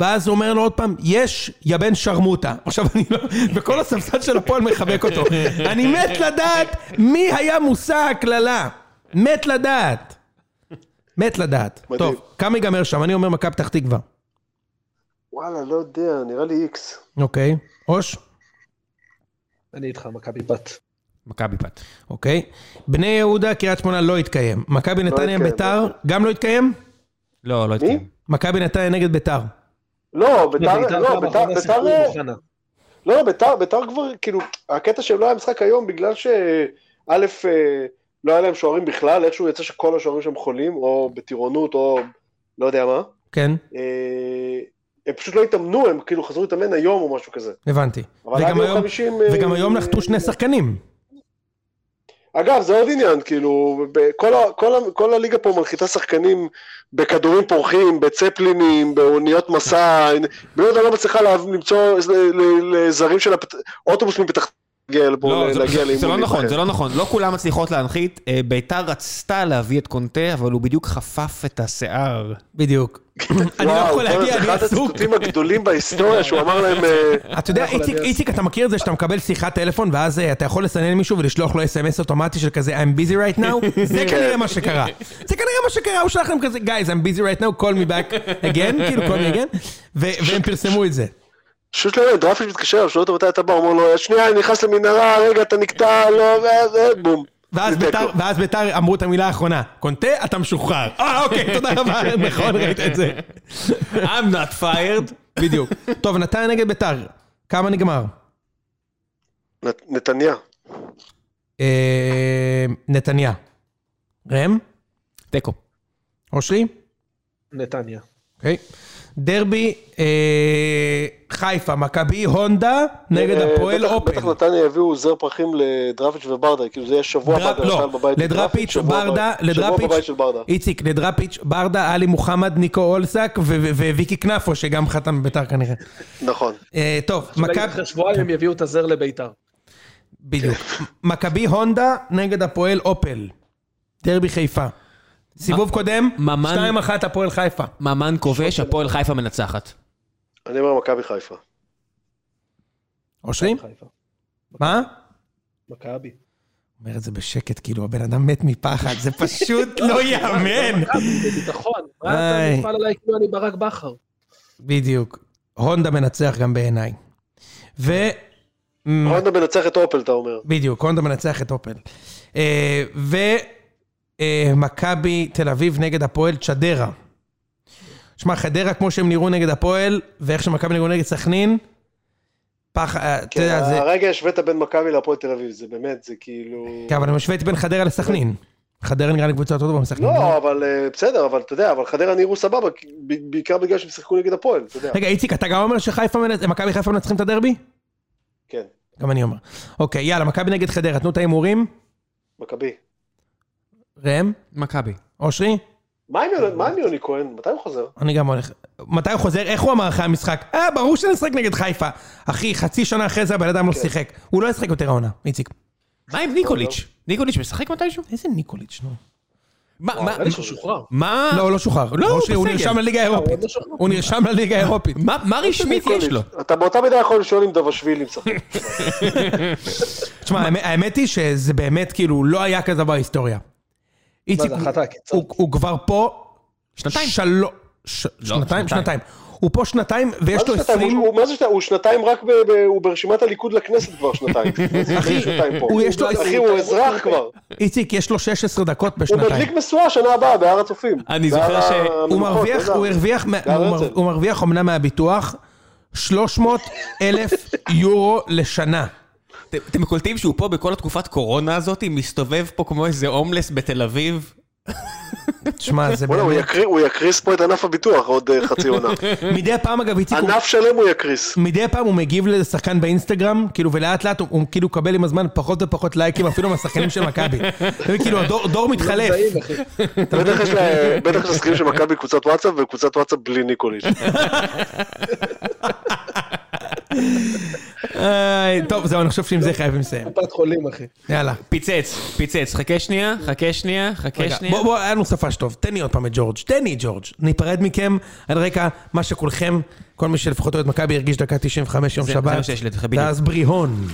Speaker 2: ואז הוא אומר לו עוד פעם, יש יא בן שרמוטה. עכשיו אני לא... וכל הספסל של הפועל מחבק אותו. אני מת לדעת מי היה מושא ההקללה. מת לדעת. מת לדעת.
Speaker 3: מדהים.
Speaker 2: טוב, כמה ייגמר שם? אני אומר מכבי פתח תקווה.
Speaker 3: וואלה, לא יודע, נראה לי איקס.
Speaker 2: אוקיי. אוש?
Speaker 4: אני איתך, מכבי בת.
Speaker 1: מכבי פת.
Speaker 2: אוקיי. בני יהודה, קריית שמונה לא התקיים. מכבי נתניה,
Speaker 3: התקיים,
Speaker 2: ביתר,
Speaker 3: לא
Speaker 2: גם לא התקיים?
Speaker 1: לא, לא
Speaker 3: מי?
Speaker 1: התקיים.
Speaker 2: מכבי נתניה נגד ביתר.
Speaker 3: לא, ביתר,
Speaker 4: בית"ר
Speaker 3: לא,
Speaker 4: פעם
Speaker 3: ביתר,
Speaker 4: אחרונה
Speaker 3: ביתר,
Speaker 4: שיחקו עם אוחנה.
Speaker 3: לא, ביתר, ביתר כבר, כאילו, הקטע שהם לא היה משחק היום בגלל ש... א', אה, לא היה להם שוערים בכלל, איכשהו יצא שכל השוערים שם חולים, או בטירונות, או לא יודע מה.
Speaker 2: כן,
Speaker 3: אה, הם פשוט לא התאמנו, הם כאילו חזרו להתאמן היום או משהו כזה.
Speaker 2: הבנתי.
Speaker 3: אבל עד
Speaker 2: וגם
Speaker 3: יום
Speaker 2: היום-
Speaker 3: 50...
Speaker 2: וגם
Speaker 3: אה,
Speaker 2: היום נחתו שני שחקנים.
Speaker 3: אגב, זה עוד עניין, כאילו, ב- כל, ה- כל, ה- כל הליגה פה מנחיתה שחקנים בכדורים פורחים, בצפלינים, באוניות מסע, בני יהודה לא מצליחה לה- למצוא איזה- ל- לזרים של הפת... אוטובוס מפתח תגיע לפה,
Speaker 1: לא, זה-
Speaker 3: להגיע
Speaker 1: זה-
Speaker 3: לאימון.
Speaker 1: זה לא נכון,
Speaker 3: להתאמן.
Speaker 1: זה לא נכון. לא כולם מצליחות להנחית. אה, ביתר רצתה להביא את קונטה, אבל הוא בדיוק חפף את השיער.
Speaker 2: בדיוק. אני לא
Speaker 3: וואו,
Speaker 2: יכול
Speaker 3: בואנה,
Speaker 2: להגיע,
Speaker 3: זה
Speaker 2: אני
Speaker 3: אחד
Speaker 2: עסוק.
Speaker 3: הציטוטים הגדולים בהיסטוריה שהוא אמר להם, אה,
Speaker 2: אתה יודע,
Speaker 4: יכול
Speaker 2: איציק,
Speaker 4: להגיע.
Speaker 2: איציק, אתה מכיר את זה שאתה מקבל שיחת טלפון, ואז אה, אתה יכול לסנן מישהו ולשלוח לו אס.אם.אס אוטומטי של כזה I'm busy right now? זה כנראה מה שקרה. זה כנראה מה שקרה, הוא שלח להם כזה, guys, I'm busy right now, call me back again, כאילו, call me again, ו- והם פרסמו את זה.
Speaker 3: פשוט לא יודע, דרפיץ' מתקשר אליו, שואל אותו מתי אתה בא, הוא אומר לו, שנייה, אני נכנס למנהרה, רגע, אתה נקטע, לא, זה, זה, בום.
Speaker 2: ואז
Speaker 3: זה
Speaker 2: ביתר,
Speaker 3: תיקו.
Speaker 2: ואז ביתר אמרו את המילה האחרונה, קונטה, אתה משוחרר. אה, אוקיי, תודה רבה, נכון, ראית את זה.
Speaker 1: I'm not fired.
Speaker 2: בדיוק. טוב, נתניה נגד ביתר, כמה נגמר?
Speaker 3: נת- נתניה,
Speaker 2: אה, נתניה. ראם?
Speaker 1: תיקו.
Speaker 2: אושרי?
Speaker 4: נתניה.
Speaker 2: אוקיי. דרבי, אה, חיפה, מכבי, הונדה, נגד
Speaker 3: אה,
Speaker 2: הפועל
Speaker 3: בטח-
Speaker 2: אופן.
Speaker 3: בטח נתניה יביאו עוזר פרחים לדראפיץ' וברדה, כאילו זה יהיה שבוע הבא
Speaker 2: דראפ-
Speaker 3: גם
Speaker 2: לא,
Speaker 3: קהל בבית של
Speaker 2: לדראפיץ',
Speaker 3: שבוע בבית-
Speaker 2: ברדה,
Speaker 3: שבוע בבית
Speaker 2: לדראפיץ',
Speaker 3: של ברדה.
Speaker 2: איציק, לדראפיץ', ברדה, עלי מוחמד, ניקו אולסק ו- ו- וויקי קנפו, שגם חתם בביתר כנראה.
Speaker 3: נכון.
Speaker 2: אה, טוב,
Speaker 4: אולי
Speaker 2: מכבי...
Speaker 4: אחרי שבועיים הם יביאו את הזר לביתר.
Speaker 2: בדיוק. מכבי הונדה נגד הפועל אופל. דרבי חיפה. סיבוב קודם,
Speaker 1: ממן-
Speaker 2: 2-1 הפועל חיפה.
Speaker 1: ממן כובש, הפועל חיפה מנצחת.
Speaker 3: אני אומר מכבי חיפה.
Speaker 2: Mm. אושרי?
Speaker 4: חיפה.
Speaker 2: מה?
Speaker 4: מכבי.
Speaker 2: אומר את זה בשקט, כאילו הבן אדם מת מפחד, זה פשוט לא ייאמן.
Speaker 4: מכבי, בביטחון. מה
Speaker 2: איי.
Speaker 4: אתה נפעל עליי כאילו אני ברק בכר?
Speaker 2: בדיוק. הונדה מנצח גם בעיניי. ו... מ-
Speaker 3: הונדה מנצח את אופל, אתה אומר.
Speaker 2: בדיוק, הונדה מנצח את אופל. אה, ו... אה, מכבי תל אביב נגד הפועל צ'דרה. שמע, חדרה כמו שהם נראו נגד הפועל, ואיך שמכבי נראו נגד סכנין, פח... אה, אתה
Speaker 3: כן,
Speaker 2: יודע, זה...
Speaker 3: הרגע השווית בין מכבי להפועל תל אביב, זה באמת, זה כאילו...
Speaker 2: כן, אבל אני משווה את בין חדרה לסכנין. חדרה נראה לי קבוצה יותר טובה מסכנין.
Speaker 3: לא, אבל אה, בסדר, אבל אתה יודע, אבל חדרה נראו סבבה, כי- ב- בעיקר בגלל שהם שיחקו נגד הפועל, אתה יודע.
Speaker 2: רגע, איציק, אתה גם אומר שחיפה מנצ... מכבי חיפה מנצחים את הדרבי?
Speaker 3: כן,
Speaker 2: גם אני אומר. אוקיי, יאללה, מכבי נגד חדרה, תנו את ההימורים.
Speaker 3: מכבי.
Speaker 2: ראם?
Speaker 1: מכבי.
Speaker 2: אושרי?
Speaker 3: מה עם יוני- מה עם יוני כהן? מתי הוא חוזר?
Speaker 2: אני גם הולך. מתי הוא חוזר? איך הוא אמר אחרי המשחק? אה, ברור שנשחק נגד חיפה. אחי, חצי שנה אחרי זה הבן אדם
Speaker 3: כן.
Speaker 2: לא שיחק. הוא לא ישחק יותר העונה, איציק.
Speaker 1: מה עם ניקוליץ'? ניקוליץ' משחק מתישהו?
Speaker 2: איזה ניקוליץ', נו.
Speaker 1: מה,
Speaker 2: אה.
Speaker 1: מה,
Speaker 4: נראה לי שהוא שוחרר.
Speaker 1: מה,
Speaker 2: לא, הוא לא שוחרר.
Speaker 1: לא, הוא
Speaker 2: אושרי, הוא
Speaker 1: בסגל. אה.
Speaker 2: נרשם
Speaker 3: אה,
Speaker 2: לליגה
Speaker 4: הוא
Speaker 2: האירופית.
Speaker 4: עוד לא שוחרר.
Speaker 2: הוא נרשם לליגה האירופית.
Speaker 1: מה, מה
Speaker 3: לא
Speaker 1: רשמית יש לו?
Speaker 3: אתה באותה מידה יכול לשאול אם דבשווילי משחק.
Speaker 2: תשמע, האמת- האמת היא שזה באמת, כאילו, לא היה כזה דבר בהיסטוריה. איציק,
Speaker 4: זה, אחת העקיצות?
Speaker 2: הוא- הוא כבר פה...
Speaker 1: שנתיים. לא,
Speaker 2: שלו- ש- שנתיים,
Speaker 1: שנתיים.
Speaker 2: שנתיים. הוא פה שנתיים, ויש
Speaker 3: מה זה
Speaker 2: לו
Speaker 3: שנתיים?
Speaker 2: עשרים...
Speaker 3: הוא- הוא- מה זה שנתיים? הוא שנתיים רק ב- ב- הוא ברשימת הליכוד לכנסת כבר שנתיים. אחי,
Speaker 2: הוא יש לו-
Speaker 3: אחי, הוא אזרח כבר.
Speaker 2: איציק, יש לו 16 דקות
Speaker 3: הוא
Speaker 2: בשנתיים.
Speaker 3: מדליק משואה שנה הבאה בהר הצופים.
Speaker 1: אני זוכר
Speaker 3: בהר
Speaker 1: ש-
Speaker 3: המנוחות,
Speaker 2: הוא מרוויח,
Speaker 3: לא
Speaker 2: הוא
Speaker 3: יודע.
Speaker 2: הרוויח, מה-
Speaker 3: בהר
Speaker 2: הוא מר-
Speaker 3: הרצל.
Speaker 2: הוא מרוויח אמנם מהביטוח 300 אלף יורו לשנה.
Speaker 1: אתם- אתם קולטים שהוא פה בכל התקופת קורונה הזאת, מסתובב פה כמו איזה הומלס בתל אביב?
Speaker 2: תשמע, זה
Speaker 3: בוא'נה, הוא
Speaker 2: באמת...
Speaker 3: יקריא- הוא יקריס פה את ענף הביטוח עוד אה, חצי עונה.
Speaker 2: מדי פעם, אגב, איציק, הוא-
Speaker 3: ענף שלם הוא יקריס.
Speaker 2: מדי פעם הוא מגיב לשחקן באינסטגרם, כאילו, ולאט לאט הוא- הוא כאילו מקבל עם הזמן פחות ופחות לייקים, אפילו מהשחקנים של מכבי. אתה מבין, כאילו, הדור דור
Speaker 3: לא,
Speaker 2: מתחלף.
Speaker 4: זעים, אחי.
Speaker 3: בטח יש לה- בטח יש לשחקנים של מכבי קבוצת וואטסאפ וקבוצת וואטסאפ בלי ניקוליץ'.
Speaker 2: איי, טוב, זהו, אני חושב שעם זה חייבים לסיים.
Speaker 4: קופת חולים, אחי.
Speaker 2: יאללה.
Speaker 1: פיצץ, פיצץ. חכה שנייה, חכה שנייה, חכה
Speaker 2: רגע,
Speaker 1: אוקיי, שנייה.
Speaker 2: בוא, בוא, היה לנו סופש טוב, תן לי עוד פעם את ג'ורג', תן לי את ג'ורג'. ניפרד מכם על רקע מה שכולכם, כל מי שלפחות אוהב את מכבי הרגיש דקה 95 יום
Speaker 1: זה-
Speaker 2: שבת.
Speaker 1: זה מה שיש לי לתת לך, בדיוק.
Speaker 2: ואז בריהון.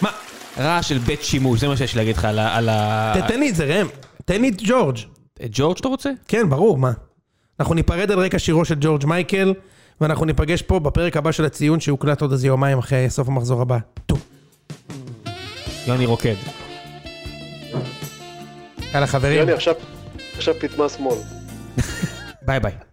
Speaker 1: מה? רעש של בית שימוש, זה מה שיש לי להגיד לך על ה- על ה...
Speaker 2: ת- תן לי את זה, ראם. תן לי את ג'ורג'.
Speaker 1: את ג'ורג' אתה רוצה?
Speaker 2: כן, ברור, מה? אנחנו ניפרד על רקע שירו של ג'ורג' מייקל, ואנחנו ניפגש פה בפרק הבא של הציון שיוקלט עוד איזה יומיים אחרי סוף המחזור הבא. טו.
Speaker 1: יוני רוקד.
Speaker 2: יאללה חברים,
Speaker 3: יוני, עכשיו עכשיו פטמה שמאל.
Speaker 1: ביי ביי.